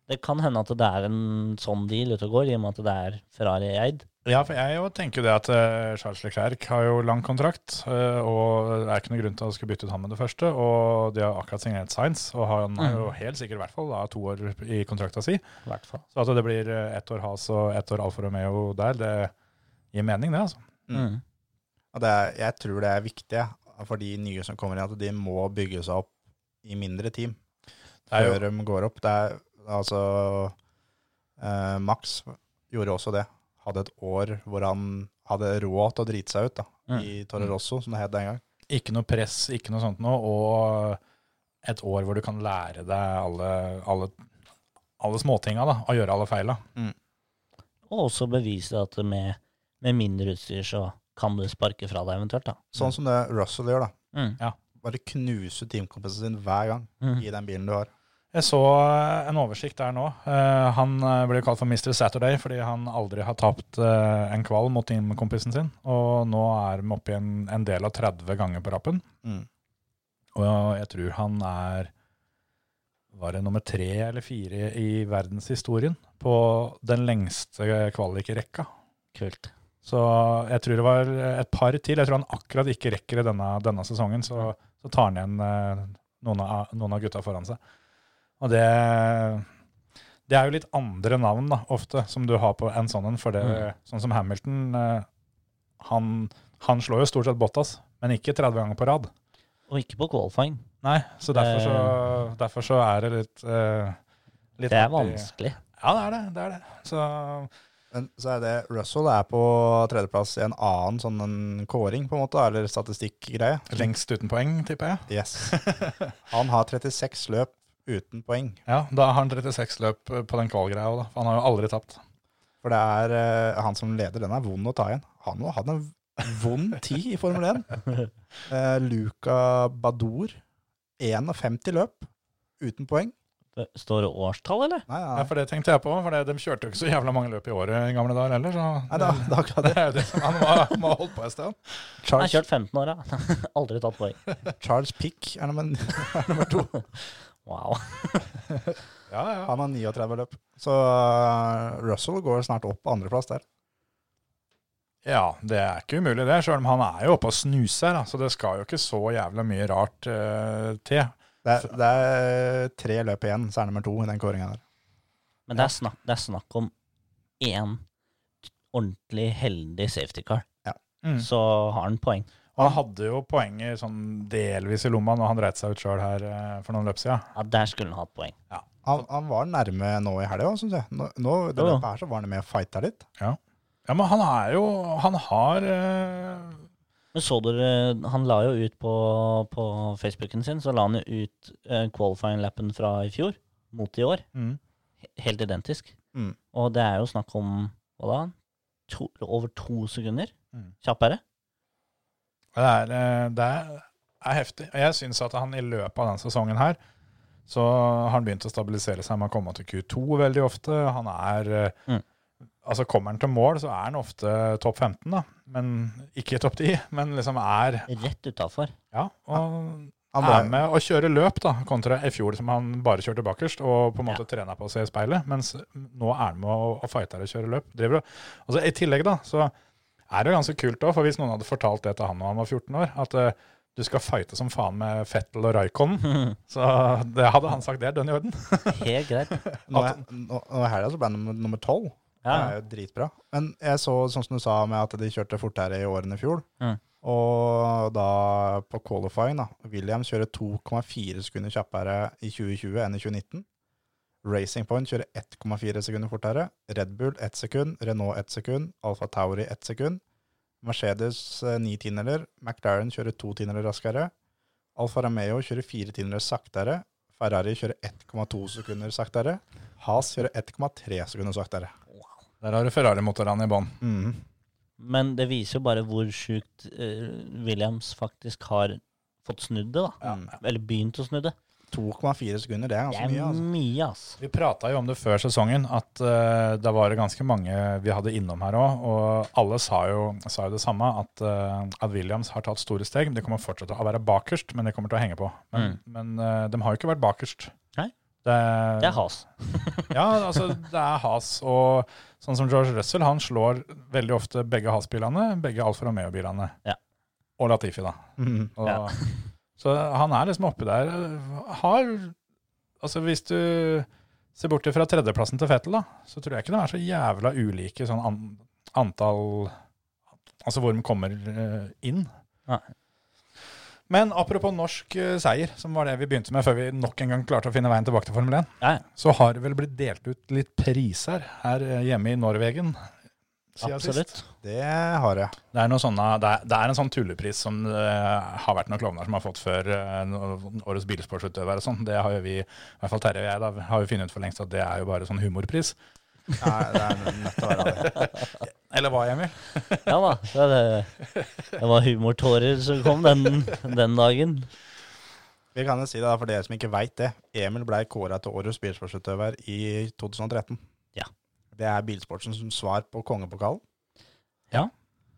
Speaker 4: det kan hende at det er en sånn deal ute og går, i og med at det er Ferrari-eid.
Speaker 1: Ja, for jeg jo tenker jo det at eh, Charles Leclerc har jo lang kontrakt, eh, og det er ikke noen grunn til å skulle bytte ut han med det første. Og de har akkurat signert Science, og han er
Speaker 4: Mm.
Speaker 1: jo helt sikkert i hvert fall da, to år i kontrakta si.
Speaker 4: I hvert fall.
Speaker 1: Så at det blir eh, ett år Has og ett år Alfa Romeo der, det gir mening, det. altså.
Speaker 4: Mm.
Speaker 5: Og det er, jeg tror det er viktig for de nye som kommer inn, at de må bygge seg opp i mindre team
Speaker 1: Det er jo,
Speaker 5: før de går opp. Det er, Altså, eh, Max gjorde også det. Hadde et år hvor han hadde råd til å drite seg ut da,
Speaker 4: Mm.
Speaker 5: i Torre Rosso, som det het
Speaker 1: Mm.
Speaker 5: den gang.
Speaker 1: Ikke noe press, ikke noe sånt noe, og et år hvor du kan lære deg alle, alle, alle småtinga, da, og gjøre alle feila.
Speaker 4: Og også bevise at med, med mindre utstyr så kan du sparke fra deg eventuelt, da.
Speaker 5: Sånn som det Russell gjør, da.
Speaker 4: Mm.
Speaker 5: Bare knuse teamkompisen sin hver gang
Speaker 4: Mm.
Speaker 5: i den bilen du har.
Speaker 1: Jeg så en oversikt der nå. Eh, Han eh, ble kalt for Mr. Saturday fordi han aldri har tapt eh, en kval mot teamkompisen sin. Og nå er de oppe i en, en del av 30 ganger på rappen.
Speaker 5: Mm.
Speaker 1: Og jeg tror han er Var det nummer tre eller fire i verdenshistorien på den lengste kvalikrekka.
Speaker 4: Kult.
Speaker 1: Så jeg tror det var et par til. Jeg tror han akkurat ikke rekker det denne, denne sesongen. Så, så tar han igjen eh, noen av, noen av gutta foran seg. Og det Det er jo litt andre navn da, ofte som du har på en sånn en. For det,
Speaker 4: Mm.
Speaker 1: sånn som Hamilton eh, han, han slår jo stort sett Bottas, men ikke 30 ganger på rad.
Speaker 4: Og ikke på qualifying.
Speaker 1: Nei, så derfor så, derfor så er det litt, eh, litt
Speaker 4: Det er
Speaker 1: artig.
Speaker 4: vanskelig.
Speaker 1: Ja, det er det. det, er det. Så
Speaker 5: Men så er det Russell er på tredjeplass i en annen sånn en kåring, på en måte, eller statistikkgreie.
Speaker 1: lengst uten poeng, tipper jeg.
Speaker 5: Yes.
Speaker 1: (laughs)
Speaker 5: Han har 36 løp uten poeng.
Speaker 1: Ja, Da har han 36 løp eh, på den kvalgreia òg, da. For han har jo aldri tapt.
Speaker 5: For det er eh, han som leder, den er vond å ta igjen. Han har hatt en vond tid i Formel
Speaker 1: (laughs)
Speaker 5: 1. Eh, Luca Badour, 51 løp uten poeng.
Speaker 4: Står det årstall, eller?
Speaker 5: Nei,
Speaker 1: Ja,
Speaker 5: nei,
Speaker 1: For det tenkte jeg på, for det, de kjørte jo ikke så jævla mange løp i året i gamle dager heller, så
Speaker 5: nei da, da kan
Speaker 1: (laughs) det er jo det som han må, må ha holdt på en stund.
Speaker 4: Jeg har
Speaker 5: Charles,
Speaker 4: kjørt 15 år, ja. (laughs) Aldri tatt poeng.
Speaker 5: Charles Pick er nummer, er nummer to.
Speaker 4: Wow.
Speaker 1: Ja, ja.
Speaker 5: Han har 39 løp. Så eh, Russell går snart opp på andreplass der.
Speaker 1: ja, det er ikke umulig det, sjøl om han er jo oppe og snuser, da, så det skal jo ikke så jævla mye rart eh, til.
Speaker 5: Det er, det er tre løp igjen, så er nummer to i den kåringa der.
Speaker 4: Men det er snakk, det er snakk om én ordentlig heldig safety car.
Speaker 5: Ja.
Speaker 1: Mm.
Speaker 4: Så har han poeng.
Speaker 1: Og han hadde jo poenget sånn delvis i lomma når han dreit seg ut sjøl her eh, for noen løp siden.
Speaker 4: Ja, der skulle han hatt poeng.
Speaker 5: Han, han var nærme nå i helga, syns jeg. Nå, nå, det
Speaker 4: Jo, jo.
Speaker 5: løpet her så var han med og fighta litt.
Speaker 1: Ja, men han er jo Han har eh,
Speaker 4: Men så dere, han la jo ut på, på Facebooken sin, så la han jo ut eh, qualifying-lappen fra i fjor mot i år.
Speaker 1: mm,
Speaker 4: He- Helt identisk.
Speaker 5: Mm.
Speaker 4: Og det er jo snakk om hva da? To, over to sekunder
Speaker 1: Mm.
Speaker 4: kjappere.
Speaker 1: det, er, eh, det er, er heftig. Og Jeg syns at han i løpet av denne sesongen her så har han begynt å stabilisere seg med å komme til Q2 veldig ofte. Han er eh,
Speaker 4: Mm.
Speaker 1: Altså Kommer han til mål, så er han ofte topp 15, da. Men ikke topp 10, men liksom er
Speaker 4: Rett utafor.
Speaker 1: Ja. Og
Speaker 5: Han
Speaker 1: er
Speaker 5: var,
Speaker 1: med å kjøre løp, da, kontra i fjor som han bare kjørte bakerst og på en måte trena på å se i speilet. Mens nå er han med og, og fighter og kjører løp. Driver og Altså, I tillegg da, så er det jo ganske kult òg, for hvis noen hadde fortalt det til han da han var 14 år, at eh, du skal fighte som faen med Fettel og Raikon,
Speaker 5: (laughs)
Speaker 1: så det hadde han sagt det er dønn i orden.
Speaker 4: Helt greit.
Speaker 5: nå er- nå- nå i helga så ble han nummer- nummer tolv.
Speaker 4: Ja.
Speaker 5: Det er jo dritbra. Men jeg så, sånn som du sa, med at de kjørte fortere i årene i fjor.
Speaker 4: Mm.
Speaker 5: Og da på qualifying, da. William kjører 2,4 sekunder kjappere i 2020 enn i 2019. Racing Point kjører 1,4 sekunder fortere. Red Bull 1 sekund, Renault 1 sekund, Alfa Tauri 1 sekund. Mercedes 9 tiendeler, McLaren kjører 2 tiendeler raskere. Alfa Romeo kjører 4 tiendeler saktere. Ferrari kjører 1,2 sekunder saktere. Has kjører 1,3 sekunder saktere.
Speaker 1: Der har du Ferrari-motorene i bånn.
Speaker 5: Mhm.
Speaker 4: Men det viser jo bare hvor sjukt eh, Williams faktisk har fått snudd det, da.
Speaker 5: mm.
Speaker 4: Eller begynt å snu det.
Speaker 5: 2,4 sekunder, det er
Speaker 4: Det
Speaker 5: ganske
Speaker 4: er
Speaker 5: mye. altså.
Speaker 4: mye, ass.
Speaker 1: Vi prata jo om det før sesongen, at eh, det var ganske mange vi hadde innom her òg. Og alle sa jo, sa jo det samme, at, eh, at Williams har tatt store steg. De kommer fortsatt til å være bakerst, men de kommer til å henge på. Men, men eh, de har jo ikke vært bakerst.
Speaker 4: Mm. Nei.
Speaker 1: Det,
Speaker 4: Det er has.
Speaker 1: ja, altså, det er has. Og sånn som George Russell, han slår veldig ofte begge has-bilene, begge Alfa Romeo-bilene.
Speaker 4: Ja.
Speaker 1: Og Latifi, da.
Speaker 5: Mhm.
Speaker 1: Og,
Speaker 4: Ja.
Speaker 1: så han er liksom oppi der. Har Altså, hvis du ser bort fra tredjeplassen til Fettel, da, så tror jeg ikke de er så jævla ulike sånn an, antall Altså hvor de kommer eh, inn.
Speaker 4: Nei.
Speaker 1: Men apropos norsk eh, seier, som var det vi begynte med før vi nok en gang klarte å finne veien tilbake til Formel 1,
Speaker 4: Ja, ja.
Speaker 1: så har det vel blitt delt ut litt priser her eh, hjemme i Norvegen. siden
Speaker 4: absolutt.
Speaker 1: sist.
Speaker 5: Det har
Speaker 4: (laughs)
Speaker 5: jeg.
Speaker 1: Det er, noe sånne, det, er, det er en sånn tullepris som eh, har vært noen klovner som har fått før eh, no- årets bilsportsutøver og sånn. Det har jo vi, i hvert fall Terje og jeg, da, har jo funnet ut for lengst at det er jo bare sånn humorpris.
Speaker 5: Nei, det er nødt til å være det.
Speaker 1: Eller hva, Emil?
Speaker 4: Ja da. Det, det, det var humortårer som kom den, den dagen.
Speaker 5: Vi kan jo si det da, for dere som ikke veit det. Emil blei kåra til årets bilsportsutøver i 2013.
Speaker 4: Ja.
Speaker 5: Det er bilsportens svar på kongepokalen.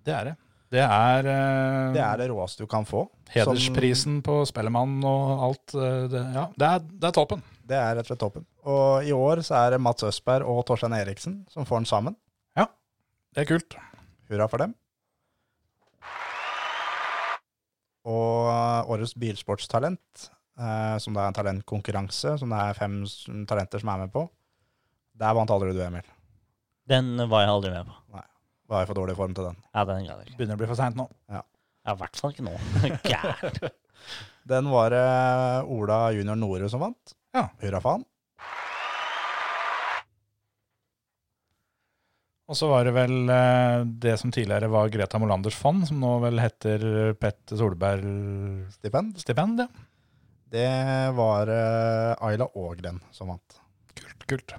Speaker 1: Det er det. Det er, eh,
Speaker 5: Det er det råeste du kan få.
Speaker 1: hedersprisen på Spellemann og alt. eh, det, ja, det er, det er toppen.
Speaker 5: Som, det er rett og slett toppen. Og i år så er det Mats Østberg og Torstein Eriksen som får den sammen.
Speaker 1: Det er kult.
Speaker 5: Hurra for dem. Og eh, årets bilsportstalent, eh, som det er en talentkonkurranse, som det er fem s- talenter som er med på, der vant aldri du, Emil.
Speaker 4: Den var jeg aldri med på.
Speaker 5: Var i for dårlig form til den.
Speaker 4: Ja, den ga jeg ikke.
Speaker 1: Begynner å bli for seint nå.
Speaker 4: Ja, I hvert fall ikke nå. Gæren.
Speaker 5: Den var det Ola junior Norud som vant.
Speaker 1: Ja.
Speaker 5: Hurra for han.
Speaker 1: Og så var det vel eh, det som tidligere var Greta Molanders fond, som nå vel heter Petter Solberg-stipendet.
Speaker 5: Stipend. Det var eh, Ayla Ågren som vant.
Speaker 1: Kult, kult.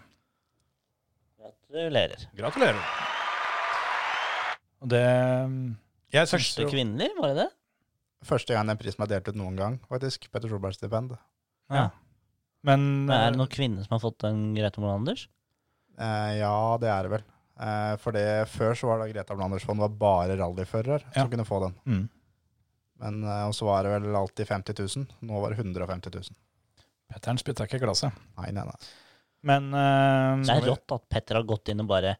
Speaker 4: Gratulerer.
Speaker 1: Gratulerer. Og det eh, jeg synes
Speaker 4: Første
Speaker 1: jo-
Speaker 4: kvinnelig, var det det?
Speaker 5: Første gang den prisen er delt ut noen gang, faktisk. Petter Solbergs stipend.
Speaker 1: Ja. Men
Speaker 4: Men er det
Speaker 1: eh,
Speaker 4: noen kvinner som har fått den Grete Molanders?
Speaker 5: Eh, ja, det er det vel. Eh, for det, før så var det Greta Blandersson var bare rallyfører
Speaker 1: Ja.
Speaker 5: som kunne få den.
Speaker 1: mm,
Speaker 5: Men eh, og så var det vel alltid 50 000. Nå var det 150 000.
Speaker 1: Petteren spytta ikke i glasset.
Speaker 5: Nei, nei, nei.
Speaker 1: Men eh,
Speaker 4: Det er rått at Petter har gått inn og bare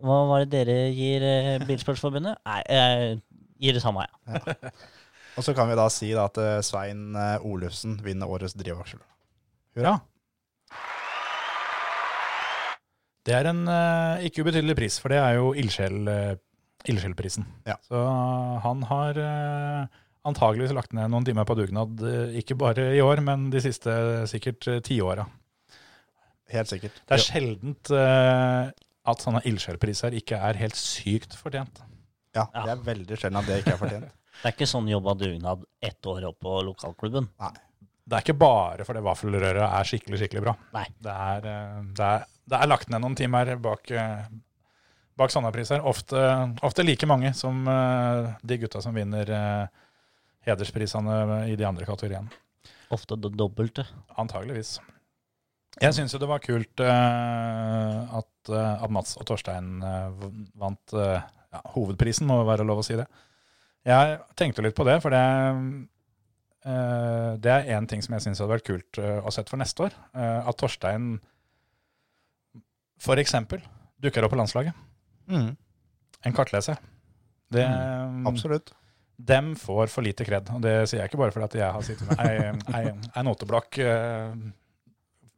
Speaker 4: Hva var det dere gir eh, Bilsportsforbundet? Nei, jeg gir det samme, ja.
Speaker 5: Og så kan vi da si da at eh, Svein eh, Olufsen vinner årets drivaksel.
Speaker 1: Ja. Det er en eh, ikke ubetydelig pris, for det er jo ildsjel, eh, ildsjelprisen.
Speaker 5: Ja.
Speaker 1: Så han har uh, antageligvis lagt ned noen timer på dugnad, eh, ikke bare i år, men de siste eh, sikkert eh, tiåra.
Speaker 5: Helt sikkert.
Speaker 1: Det er sjeldent eh, at sånne ildsjelpriser ikke er helt sykt fortjent.
Speaker 5: Ja, det er veldig sjelden at det ikke er
Speaker 1: (laughs)
Speaker 5: fortjent.
Speaker 4: Det er ikke sånn jobba dugnad ett år opp på lokalklubben.
Speaker 1: Det er ikke bare fordi vaffelrøret er skikkelig, skikkelig bra.
Speaker 4: Nei.
Speaker 1: Det er, eh, det er, det er lagt ned noen timer bak, eh, bak sånne priser. Ofte, ofte like mange som eh, de gutta som vinner eh, hedersprisene i de andre kategoriene.
Speaker 4: Ofte det dobbelte.
Speaker 1: Antageligvis. Jeg syns jo det var kult eh, at, eh, at Mats og Torstein eh, v- vant eh, ja, hovedprisen, må være lov å si det. Jeg tenkte litt på det, for det, eh, det er én ting som jeg syns hadde vært kult eh, å sett for neste år. eh, at Torstein f.eks. dukker opp på landslaget.
Speaker 5: Mm,
Speaker 1: En kartleser. Det, Mm. eh,
Speaker 5: absolutt.
Speaker 1: dem får for lite kred. Og det sier jeg ikke bare fordi at jeg har sittet med ei- ei ei noteblokk eh,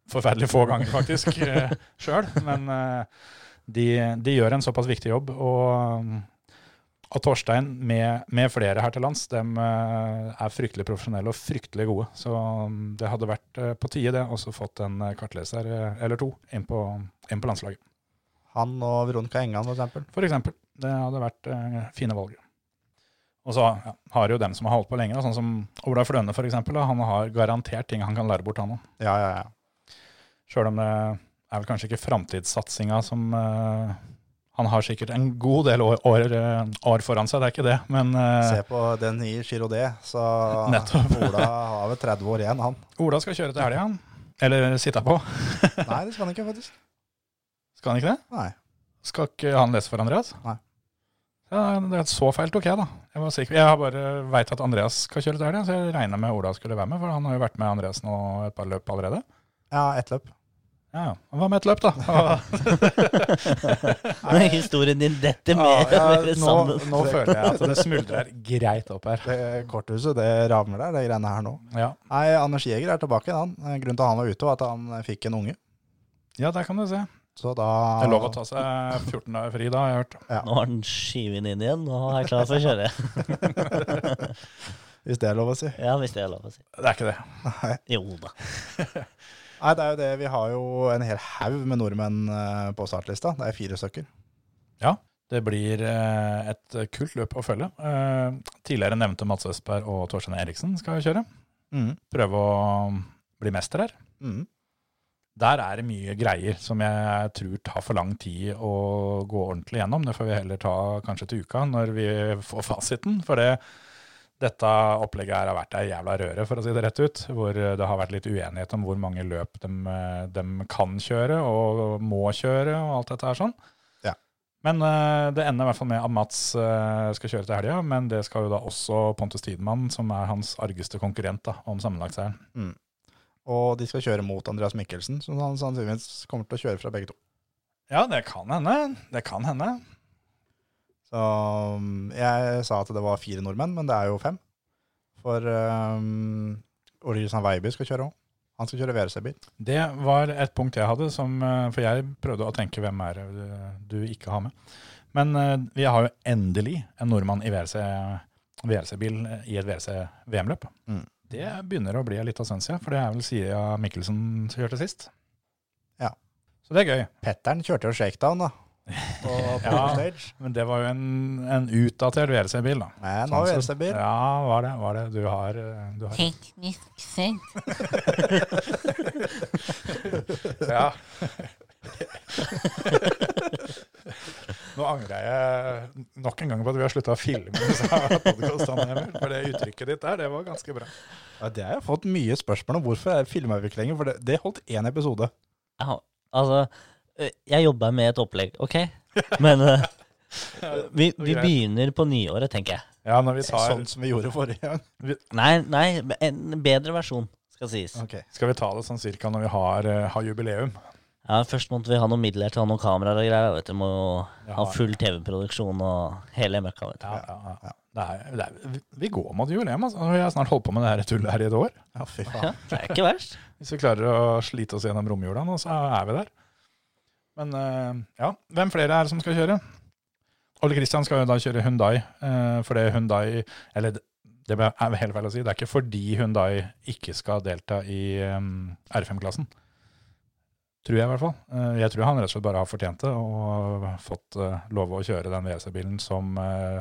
Speaker 1: forferdelig få ganger, faktisk, uh, sjøl. Men eh, de, de gjør en såpass viktig jobb. Og, eh, og Torstein, med, med flere her til lands, dem eh, er fryktelig profesjonelle og fryktelig gode. Så mm, det hadde vært eh, på tide, det, også fått en eh, kartleser eh, eller to inn på, inn på landslaget.
Speaker 5: Han og Veronica Engan, for eksempel.
Speaker 1: For eksempel. Det hadde vært eh, fine valg. Og så ja, har jo dem som har holdt på lenge, da, sånn som Ola Fløne for eksempel, da, han har garantert ting han kan lære bort, han òg.
Speaker 5: Ja, ja, ja.
Speaker 1: Sjøl om det er vel kanskje ikke framtidssatsinga som eh, Han har sikkert en god del år, år, eh, år foran seg, det er ikke det, men eh,
Speaker 5: Se på den i Giro D, så
Speaker 1: (laughs) Nettopp.
Speaker 5: Ola har vel 30 år igjen, han.
Speaker 1: Ola skal kjøre til helga, han. Eller sitte på.
Speaker 5: Nei, det skal han ikke, faktisk.
Speaker 1: Skal han ikke det?
Speaker 5: Nei.
Speaker 1: Skal ikke han lese for Andreas?
Speaker 5: Nei.
Speaker 1: Ja, det er så feil tok jeg, da. Jeg, var sikker. jeg har bare veit at Andreas skal kjøre til helga, så jeg regna med Ola skulle være med, for han har jo vært med Andreas nå et par løp allerede.
Speaker 5: Ja, ett løp.
Speaker 1: Ja, ja. Hva med et løp,
Speaker 5: (laughs)
Speaker 1: da?
Speaker 4: (laughs) Historien din
Speaker 1: Ja,
Speaker 4: detter mer og
Speaker 1: ja,
Speaker 4: mer
Speaker 1: nå,
Speaker 4: sammen.
Speaker 1: (laughs) nå føler jeg at det smuldrer greit opp her.
Speaker 5: Det korthuset, det rammer der, det greiene her nå.
Speaker 1: Ja,
Speaker 5: Nei, Anders Jæger er tilbake, han. Eh, Grunnen til at han var ute, var at han eh, fikk en unge.
Speaker 1: ja der kan du se.
Speaker 5: Så da
Speaker 1: Det er lov å ta seg 14 dager fri da, har jeg hørt.
Speaker 4: Nå har den skyvet inn igjen, og er klar for å kjøre.
Speaker 5: hvis det er lov å si.
Speaker 4: Ja, hvis det er lov å si.
Speaker 5: Det er ikke det. Nei.
Speaker 4: Jo da.
Speaker 5: Nei, det er jo det. Vi har jo en hel haug med nordmenn eh, på startlista. Det er fire stykker.
Speaker 1: Det blir eh, et kult løp å følge. Eh, Tidligere nevnte Mats Østberg og Torstein Eriksen skal kjøre.
Speaker 5: Mm.
Speaker 1: Prøve å bli mester her.
Speaker 5: Mm.
Speaker 1: Der er det mye greier som jeg tror tar for lang tid å gå ordentlig gjennom. Det får vi heller ta kanskje til uka når vi får fasiten. For det, dette opplegget her har vært ei jævla røre, for å si det rett ut. Hvor det har vært litt uenighet om hvor mange løp de, kan kjøre og må kjøre og alt dette her sånn.
Speaker 5: Ja.
Speaker 1: Men eh, det ender i hvert fall med at Mats eh, skal kjøre til helga, men det skal jo da også Pontus Tidemann, som er hans argeste konkurrent da, om sammenlagtseieren.
Speaker 5: Og de skal kjøre mot Andreas Mikkelsen, som han sannsynligvis kommer til å kjøre fra begge to.
Speaker 1: Ja, det kan hende. Det kan hende.
Speaker 5: Så um, jeg sa at det var fire nordmenn, men det er jo fem. For um, Orisan Veiby skal kjøre òg. Han skal kjøre VRC-bil.
Speaker 1: Det var et punkt jeg hadde, som, eh, for jeg prøvde å tenke hvem er det eh, du ikke har med. Men eh, vi har jo endelig en nordmann i VRC-bil eh, i et VRC-VM-løp.
Speaker 5: Mm.
Speaker 1: Det begynner å bli en liten stund siden, for det er vel siden Mikkelsen kjørte sist.
Speaker 5: Ja.
Speaker 1: Så det er gøy.
Speaker 5: Petteren kjørte jo (laughs) shakedown, da. På, på
Speaker 1: Ja.
Speaker 5: stage.
Speaker 1: Men det var jo en, en utdatert VRC-bil, da.
Speaker 5: Men nå er
Speaker 1: Sånn sett.
Speaker 5: VRC-bil.
Speaker 1: Ja, var det. Var det. Du har, eh, du har
Speaker 7: Teknisk sett
Speaker 5: (laughs)
Speaker 1: Ja. Nå angrer jeg nok en gang på at vi har slutta å filme podkastene, for det uttrykket ditt der, det var ganske bra.
Speaker 5: (laughs) Ja, det har jeg fått mye spørsmål om. Hvorfor filma vi ikke lenger? For det, det holdt én episode.
Speaker 4: Ja, altså, ø, jeg jobba med et opplegg, OK? Men ø, vi, vi
Speaker 1: greit.
Speaker 4: begynner på nyåret, tenker jeg.
Speaker 1: Ja, når vi tar,
Speaker 5: Sånn som vi gjorde forrige gang.
Speaker 4: Nei, nei, en bedre versjon, skal sies.
Speaker 1: Skal vi ta det sånn cirka når vi har, eh, har jubileum?
Speaker 4: Ja, Først måtte vi ha noen midler til å ha noen kameraer og greier. Vet du, må jo ha full TV-produksjon og hele møkka. vet du.
Speaker 1: Ja, ja, ja. Det er, det er, vi- vi går mot jubileum, altså. Vi har snart holdt på med det her tullet her i et år.
Speaker 5: Ja, fy faen.
Speaker 4: Ja, det er ikke verst.
Speaker 1: Hvis vi klarer å slite oss gjennom romjula nå, så er vi der. Men eh, ja, hvem flere er det som skal kjøre? Ole Kristian skal jo da kjøre Hundai, for det Hundai Eller det- det er vel helt feil å si, det er ikke fordi Hundai ikke skal delta i um, R5-klassen. Tror jeg, i hvert fall. Eh, jeg tror han rett og slett bare har fortjent det og fått eh, lov å kjøre den WC-bilen som uh,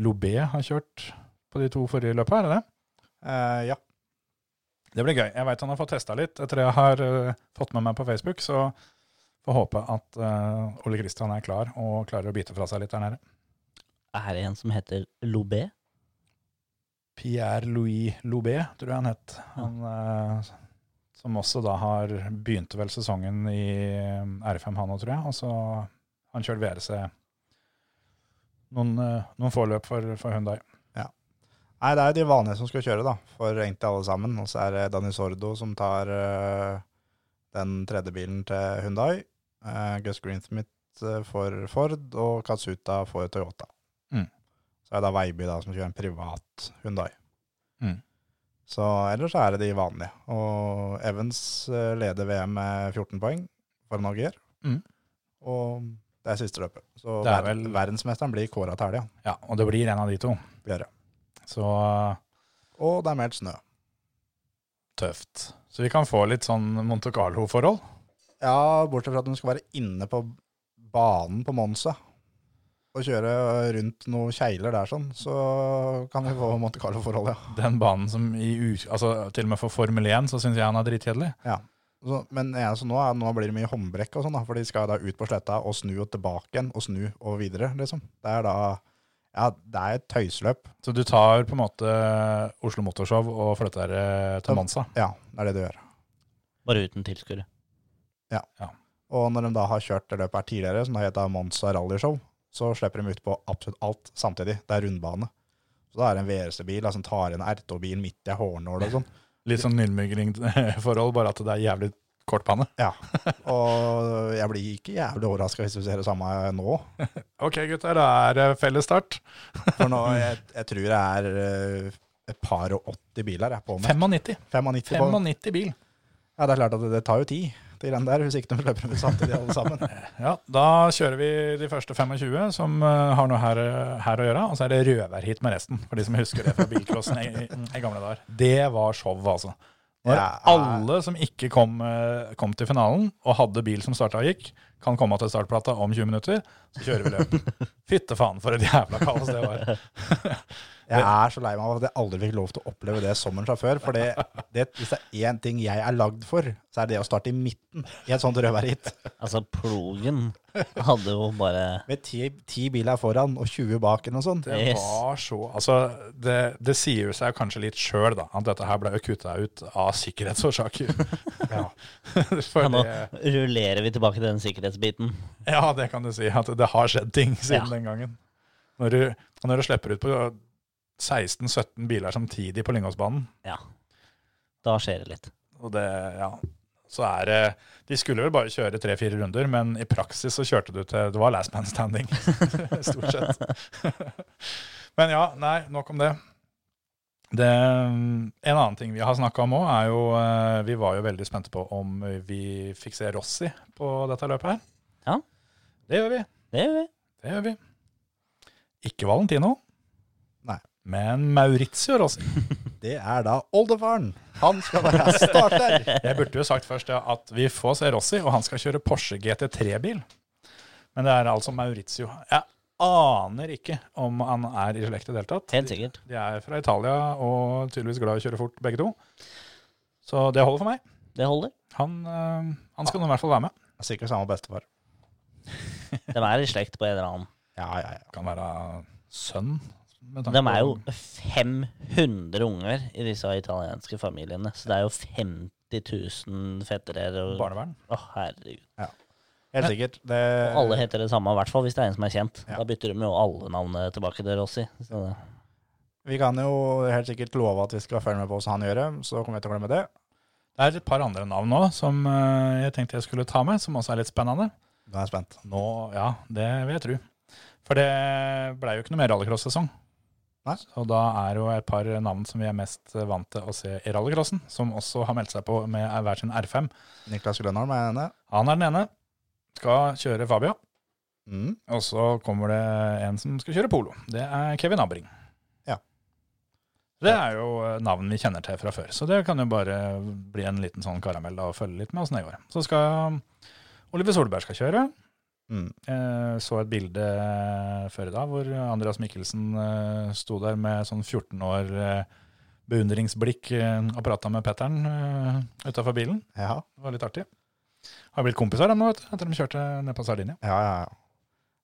Speaker 1: Lobé har kjørt på de to forrige løpa, er det det?
Speaker 5: Eh, ja.
Speaker 1: Det blir gøy. Jeg veit han har fått testa litt etter jeg har eh, fått med meg på Facebook, så får håpe at eh, Ole Kristian er klar og klarer å bite fra seg litt der nede.
Speaker 4: Er det en som heter Lobé?
Speaker 1: Pierre-Louis Lobé, tror jeg han het. Han, eh, som også da har begynte vel sesongen i eh, R5 han òg, tror jeg. Og så han kjørt VRC noen, eh, noen få løp for, for Hyundai.
Speaker 5: Nei, det er jo de vanlige som skal kjøre, da. For egentlig alle sammen. Og så er det Danny Sordo som tar eh, den tredje bilen til Hundai. Gus Greensmith eh, for Ford, og Katsuta for Toyota.
Speaker 1: Mm.
Speaker 5: Så er det da Veiby da, som kjører en privat Hundai.
Speaker 1: Mm.
Speaker 5: Så ellers så er det de vanlige. Og Evans eh, leder VM med 14 poeng for Norge.
Speaker 1: Mm.
Speaker 5: Og det er siste løpet. Så
Speaker 1: Det er
Speaker 5: verden-
Speaker 1: vel-
Speaker 5: verdensmesteren blir kåra til helga.
Speaker 1: Ja, og det blir en av de to.
Speaker 5: Blir det.
Speaker 1: Så
Speaker 5: Og det er meldt snø.
Speaker 1: tøft. Så vi kan få litt sånn Monte Carlo-forhold.
Speaker 5: Ja, bortsett fra at de skal være inne på banen på Monza og kjøre rundt noen kjegler der sånn, så kan vi få Monte Carlo-forhold, ja.
Speaker 1: den banen som i ut- altså, Til og med for Formel 1 så syns jeg han er drittkjedelig.
Speaker 5: Så, men ja, så nå, er, nå blir det mye håndbrekk og sånn, da, for de skal da ut på sletta og snu og tilbake igjen, og snu og videre, liksom. Det er da Ja, det er et tøyseløp.
Speaker 1: Så du tar på en måte Oslo Motorshow og flytter det til Monza.
Speaker 5: Ja, det er det du gjør.
Speaker 4: Bare uten tilskuere.
Speaker 5: Og når de da har kjørt det løpet her tidligere, som da heter Monza Rallyshow, så slipper de ut på absolutt alt samtidig. Det er rundbane. Så da er det en VRC-bil da, som tar en RT-bil midt i hårnål og sånn.
Speaker 1: Litt sånn Nürnbergring-forhold, bare at det er jævlig kort panne.
Speaker 5: Og jeg blir ikke jævlig overraska hvis vi ser det samme nå.
Speaker 1: Ok, gutter, da er det felles start.
Speaker 5: For nå, jeg, jeg tror det er eh, et par og 80 biler jeg er på med.
Speaker 1: 95.
Speaker 5: 95 på.
Speaker 1: 95 bil.
Speaker 5: Ja, det er klart at det, det tar jo tid. de greiene der, hvis ikke de løper rundt samtidig alle sammen.
Speaker 1: Ja, da kjører vi de første 25 som eh, har noe her, eh, her å gjøre, og så er det røverhit med resten, for de som husker det fra bilcrossen i, i, i gamle dager. Det var show, altså. Det var
Speaker 5: Ja.
Speaker 1: Alle som ikke kom, eh, kom til finalen og hadde bil som starta og gikk, kan komme til startplata om 20 minutter, så kjører vi løp. Fytte faen for et jævla kaos det var.
Speaker 5: Jeg er så lei meg av at jeg aldri fikk lov til å oppleve det som en sjåfør. For det, det, hvis det er én ting jeg er lagd for, så er det å starte i midten i et sånt rødværhit.
Speaker 4: Altså, plogen hadde jo bare
Speaker 5: Med ti, ti biler foran og sånn. 20 bak eller noe sånt.
Speaker 1: Det
Speaker 4: Yes.
Speaker 1: var så Altså, det, det sier jo seg kanskje litt sjøl, da, at dette her ble jo kutta ut av sikkerhetsårsaker. ja.
Speaker 4: Ja, Nå
Speaker 1: (laughs) Fordi, eh,
Speaker 4: rullerer vi tilbake til den sikkerhetsbiten.
Speaker 1: Ja, det kan du si. At det har skjedd ting siden
Speaker 4: Ja.
Speaker 1: den gangen. Når du, og når du slipper ut på 16-17 biler samtidig på Lyngåsbanen,
Speaker 4: Ja. Da skjer det litt.
Speaker 1: og det, ja, så er det De skulle vel bare kjøre tre-fire runder, men i praksis så kjørte du til Det var last man standing, (laughs) stort sett. men ja, nei, nok om det. Det, en annen ting vi har snakka om òg, er jo eh, Vi var jo veldig spente på om vi fikk se Rossi på dette løpet her.
Speaker 4: Ja.
Speaker 1: Det gjør vi.
Speaker 4: Det gjør vi.
Speaker 1: Det gjør vi. Ikke Valentino.
Speaker 5: Nei.
Speaker 1: Men Maurizio Rossi.
Speaker 5: Det er da oldefaren. Han skal være starter.
Speaker 1: Jeg burde jo sagt først ja, at vi får se Rossi, og han skal kjøre Porsche GT3-bil. Men det er altså Maurizio. Jeg aner ikke om han er i slekt i det hele tatt.
Speaker 4: Helt sikkert.
Speaker 1: De er fra Italia og tydeligvis glad i å kjøre fort, begge to. Så det holder for meg.
Speaker 4: Det holder.
Speaker 1: Han, øh, han skal nå i hvert fall være med.
Speaker 5: Sikkert samme bestefar.
Speaker 4: De er i slekt på en eller annen.
Speaker 5: Ja, ja, ja.
Speaker 1: Kan være sønn. med tanke
Speaker 4: De er jo
Speaker 1: på-
Speaker 4: 500 unger i disse italienske familiene, så det er jo 50 000 fettere. Og,
Speaker 1: Barnevern.
Speaker 4: Å, herregud.
Speaker 5: Helt sikkert. Det,
Speaker 4: Og alle heter det samme, i hvert fall hvis det er en som er kjent.
Speaker 5: Ja.
Speaker 4: Da bytter de jo alle navnene tilbake til Rossi. Så det,
Speaker 5: vi kan jo helt sikkert love at vi skal følge med på hvordan han gjør det. Så kommer jeg til å glemme det.
Speaker 1: Det er et par andre navn nå som øh, jeg tenkte jeg skulle ta med, som også er litt spennende.
Speaker 5: Nå er jeg spent.
Speaker 1: Nå, ja, det vil jeg tro. For det blei jo ikke noe mer rallycross-sesong.
Speaker 5: Nei.
Speaker 1: Så da er jo et par navn som vi er mest vant til å se i rallycrossen, som også har meldt seg på med hver sin R5.
Speaker 5: Niklas Grønholm er henne.
Speaker 1: Han er den ene, skal kjøre Fabia.
Speaker 5: Mm.
Speaker 1: Og så kommer det en som skal kjøre polo. Det er Kevin Abring.
Speaker 5: Ja.
Speaker 1: Det er jo eh, navn vi kjenner til fra før, så det kan jo bare bli en liten sånn karamell da, og følge litt med åssen det går. Så skal Oliver Solberg skal kjøre.
Speaker 5: Mm.
Speaker 1: Jeg så et bilde før i dag hvor Andreas Mikkelsen eh, sto der med sånn 14 år eh, beundringsblikk eh, og prata med Petteren eh, utafor bilen.
Speaker 5: Ja,
Speaker 1: Det var litt artig. Har blitt kompiser, de nå, vet du, etter de kjørte ned på Sardinia.
Speaker 5: ja, ja. ja.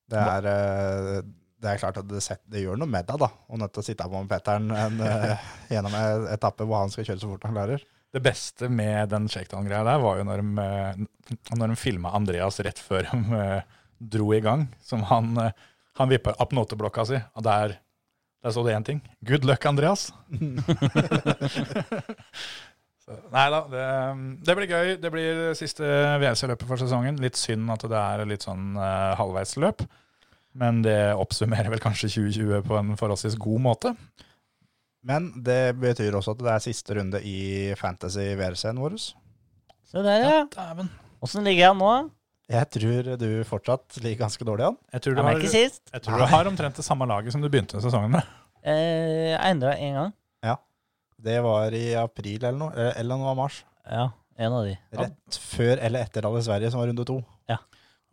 Speaker 5: Det er, eh, det er klart at det, set, det gjør noe med deg, da. Å nødt til å sitte her med Petteren
Speaker 4: (laughs)
Speaker 5: en, eh, gjennom en etappe hvor han skal kjøre så fort han klarer.
Speaker 1: Det beste med den shakedown-greia der, var jo når de, eh, når de filma Andreas rett før de eh, dro i gang. Som han, eh, han vippa opp noteblokka si, og der, der så det én ting. Good luck, (laughs) Andreas! Så, nei da, det, eh, det blir gøy. Det blir siste WC-løpet for sesongen. Litt synd at det er litt sånn eh, halvveisløp. Men det oppsummerer vel kanskje 2020 på en forholdsvis god måte.
Speaker 5: Men det betyr også at det er siste runde i fantasy VRC-en vår.
Speaker 4: se der, ja.
Speaker 1: Dæven.
Speaker 4: Åssen ligger han nå?
Speaker 5: Jeg tror du fortsatt ligger ganske dårlig an.
Speaker 1: Jeg tror, du
Speaker 4: Han
Speaker 1: har,
Speaker 4: er ikke sist.
Speaker 1: jeg tror du har omtrent det samme laget som du begynte sesongen med.
Speaker 4: Eh, jeg endra én gang.
Speaker 5: Det var i april eller noe, eh, eller det var mars.
Speaker 4: Ja, en av de.
Speaker 5: Rett før eller etter alle Sverige, som var runde to.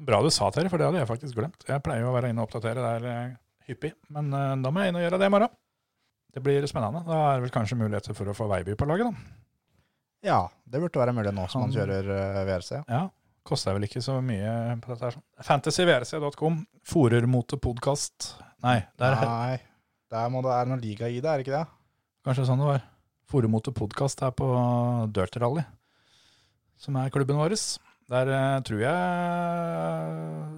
Speaker 1: Bra du sa til det, for det hadde jeg faktisk glemt. Jeg pleier jo å være inne og oppdatere der eh, hyppig, men eh, da må jeg inn og gjøre det i morgen. Det blir spennende. Da er det vel kanskje muligheter for å få Veiby på laget, da.
Speaker 5: Ja, det burde være mulig nå som
Speaker 1: Han-
Speaker 5: han kjører eh, VRC.
Speaker 1: Ja, Koster vel ikke så mye på dette her. sånn. Fantasyvrc.com. Forermotepodkast. Nei, det er
Speaker 5: Nei, der må det være noen liga i det, er det ikke det?
Speaker 1: kanskje sånn det var. Forermotepodkast her på Dirt Rally, som er klubben vår. Der eh, tror jeg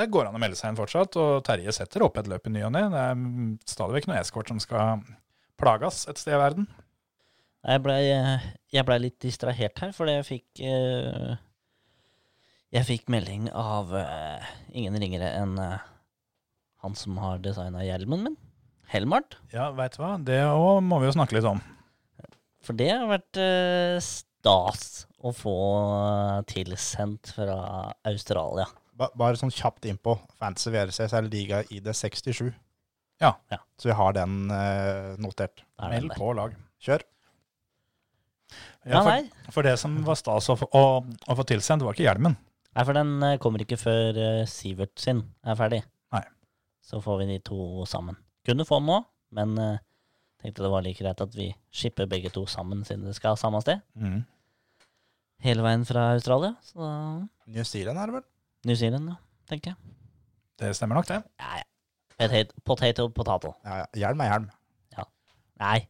Speaker 1: Det går an å melde seg inn fortsatt, og Terje setter opp et løp i ny og ne. Det er mm, stadig vekk noe eskort som skal plages et sted i verden.
Speaker 4: Jeg blei jeg ble litt distrahert her, fordi jeg fikk eh, Jeg fikk melding av eh, ingen ringere enn eh, han som har designa hjelmen min, Helmart.
Speaker 1: Ja, veit du hva, det òg må vi jo snakke litt om.
Speaker 4: For det har vært eh, stas å få eh, tilsendt fra Australia.
Speaker 5: Ba- Bare sånn kjapt innpå. Fantasy VRCS er liga ID67.
Speaker 1: Ja.
Speaker 4: Ja.
Speaker 5: Så vi har den eh, notert.
Speaker 4: Da er den
Speaker 5: Meld
Speaker 4: der.
Speaker 5: på lag. Kjør.
Speaker 4: Ja,
Speaker 1: for,
Speaker 4: nei.
Speaker 1: for det som var stas å, få- å, å få tilsendt, var ikke hjelmen.
Speaker 4: Nei, for den eh, kommer ikke før eh, Sivert sin er ferdig.
Speaker 1: Nei.
Speaker 4: Så får vi de to sammen. Kunne få den nå, men eh, tenkte det var like greit at vi shipper begge to sammen, siden det skal samme sted.
Speaker 1: Mm.
Speaker 4: Hele veien fra Australia. Så da
Speaker 5: New Zealand er det vel?
Speaker 4: New Zealand, ja, tenker jeg.
Speaker 1: Det stemmer nok, det.
Speaker 4: Ja, ja. Potato, potato, potato.
Speaker 5: Ja, ja. Hjelm er hjelm.
Speaker 4: Nei.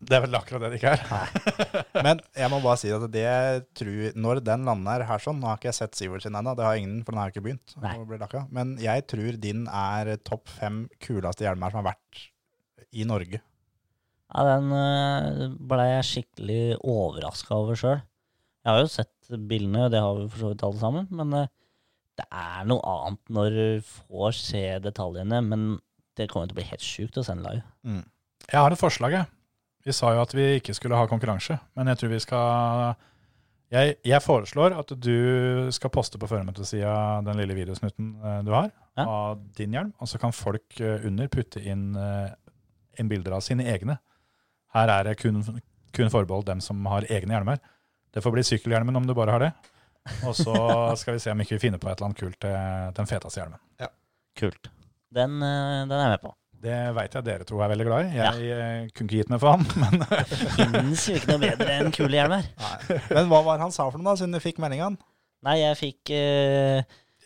Speaker 1: Det er vel akkurat det det ikke er.
Speaker 5: (laughs) Men jeg må bare si at det jeg tror Når den lander her sånn Nå har ikke jeg sett Sivert sin ennå, det har ingen, for den har ikke begynt. å
Speaker 4: Nei.
Speaker 5: bli lakka. Men jeg tror din er topp fem kuleste hjelmer som har vært i Norge.
Speaker 4: Ja, den eh, ble jeg skikkelig overraska over sjøl. Jeg har jo sett bildene, og det har vi for så vidt alle sammen, men eh, det er noe annet når du får se detaljene. Men det kommer til å bli helt sjukt å sende live.
Speaker 1: Jeg har et forslag, jeg. Vi sa jo at vi ikke skulle ha konkurranse, men jeg tror vi skal Jeg, jeg foreslår at du skal poste på føremøtesida den lille videosnutten eh, du har
Speaker 4: Ja.
Speaker 1: av din hjelm, og så kan folk eh, under putte inn, eh, inn bilder av sine egne. Her er det kun, kun forbeholdt dem som har egne hjelmer. Det får bli sykkelhjelmen om du bare har det. Og så skal vi se om ikke vi finner på et eller annet kult til til den feteste hjelmen.
Speaker 4: Kult. Den, eh, den er jeg med på.
Speaker 1: Det veit jeg dere to er veldig glad i. Jeg eh, kunne ikke gitt meg faen, (laughs) men
Speaker 4: Fins jo ikke noe bedre enn kule hjelmer.
Speaker 5: Men hva var det han sa for noe, da, siden du fikk meldinga?
Speaker 4: Nei, jeg fikk eh,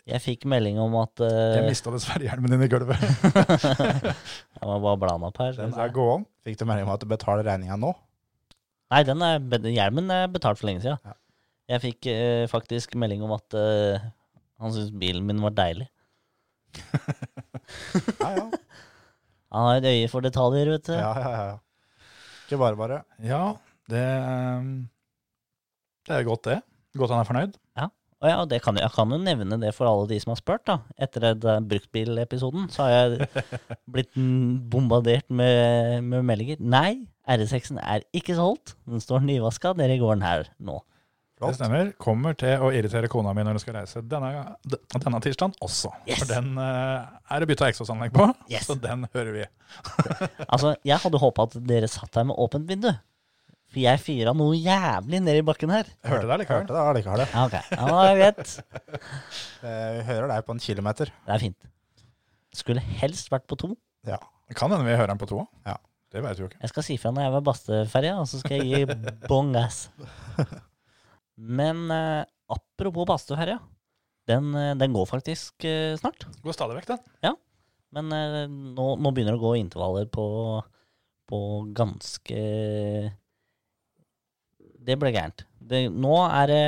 Speaker 4: Jeg fikk melding om at eh,
Speaker 1: jeg mista dessverre hjelmen din i gulvet. (laughs)
Speaker 4: Jeg må bare bla den opp her.
Speaker 5: Den er gåen. Fikk du melding om at du betaler regninga nå?
Speaker 4: Nei, den er, be- hjelmen er betalt for lenge siden.
Speaker 5: Ja.
Speaker 4: Jeg fikk eh, faktisk melding om at eh, han syntes bilen min var deilig.
Speaker 5: Ja, ja.
Speaker 4: Han har et øye for detaljer, vet du.
Speaker 5: ja, ja, ja, ja. Ikke bare bare.
Speaker 1: Ja, det, ehm, det er godt det. Godt han er fornøyd.
Speaker 4: Og ja, og det kan, jeg kan jo nevne det for alle de som har spurt, da. Etter den bruktbilepisoden så har jeg blitt mm, bombardert med, med meldinger. Nei, RS6-en er ikke solgt. Den står nyvaska nede i gården her nå.
Speaker 1: Det stemmer. Kommer til å irritere kona mi når hun skal reise denne, d- denne tirsdagen også.
Speaker 4: Yes.
Speaker 1: For den eh, er det bytta eksosanlegg på,
Speaker 4: Yes.
Speaker 1: så den hører vi.
Speaker 4: Altså, jeg hadde håpa at dere satt her med åpent vindu. For jeg fyra noe jævlig nede i bakken her.
Speaker 1: Jeg hørte det likevel.
Speaker 5: Hørte det, allikevel.
Speaker 4: Ja, ok. Ja, det er greit.
Speaker 5: Eh, vi hører deg på en kilometer.
Speaker 4: Det er fint. Skulle helst vært på to.
Speaker 5: Ja.
Speaker 1: Det kan hende vi hører den på toa.
Speaker 5: Ja.
Speaker 1: Det vet vi jo ikke.
Speaker 4: Jeg skal si fra når jeg er ved Bastøferja, og så skal jeg gi bong ass. Men eh, apropos Bastøferja, den, eh, den går faktisk eh, snart.
Speaker 1: Går stadig vekk, den.
Speaker 4: Men eh, nå, nå begynner det å gå intervaller på, på ganske Det ble gærent. Det, nå er det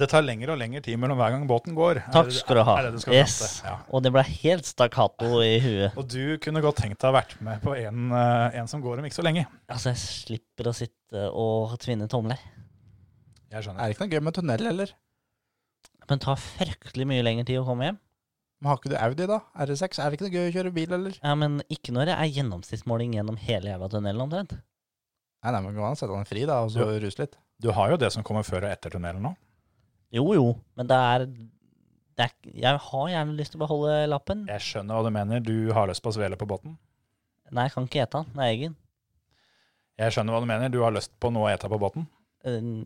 Speaker 1: Det tar lengre og lengre tid mellom hver gang båten går. Er
Speaker 4: Takk
Speaker 1: det-
Speaker 4: skal du ha.
Speaker 1: Er det du skal
Speaker 4: Yes.
Speaker 1: vente? Ja.
Speaker 4: Og det ble helt stakkato i huet.
Speaker 1: Og du kunne godt tenkt deg å ha vært med på en, eh, en som går om ikke så lenge.
Speaker 4: Altså, jeg slipper å sitte og tvinne tomler.
Speaker 1: Jeg
Speaker 5: Er
Speaker 1: skjønner.
Speaker 5: det ikke noe gøy med tunnel, eller?
Speaker 4: Men det tar fryktelig mye lengre tid å komme hjem.
Speaker 5: Men har ikke du Audi, da? R6? Er det ikke noe gøy å kjøre bil, eller?
Speaker 4: Ja, men ikke når det er gjennomsnittsmåling gjennom hele jævla tunnelen omtrent.
Speaker 5: Nei, nei, men gå an å sette den fri, da, og så ruse litt.
Speaker 1: Du har jo det som kommer før og etter tunnelen nå.
Speaker 4: Jo, jo, men det er, det er Jeg har gjerne lyst til å beholde lappen.
Speaker 1: Jeg skjønner hva du mener. Du har lyst på å svele på båten.
Speaker 4: Nei, jeg kan ikke ete den. Den er egen.
Speaker 1: Jeg skjønner hva du mener. Du har lyst på noe å ete på båten.
Speaker 4: Eh,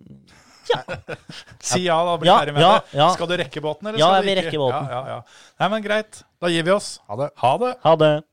Speaker 1: Si ja, da. Bli
Speaker 4: Ja,
Speaker 1: ferdig med
Speaker 4: ja,
Speaker 1: det.
Speaker 4: ja.
Speaker 1: Skal du rekke båten, eller
Speaker 4: Ja,
Speaker 1: skal du
Speaker 4: jeg vil
Speaker 1: ikke?
Speaker 4: rekke båten.
Speaker 1: Ja, ja, ja. Nei, men greit. Da gir vi oss.
Speaker 5: Ha det.
Speaker 1: Ha det.
Speaker 4: Ha det.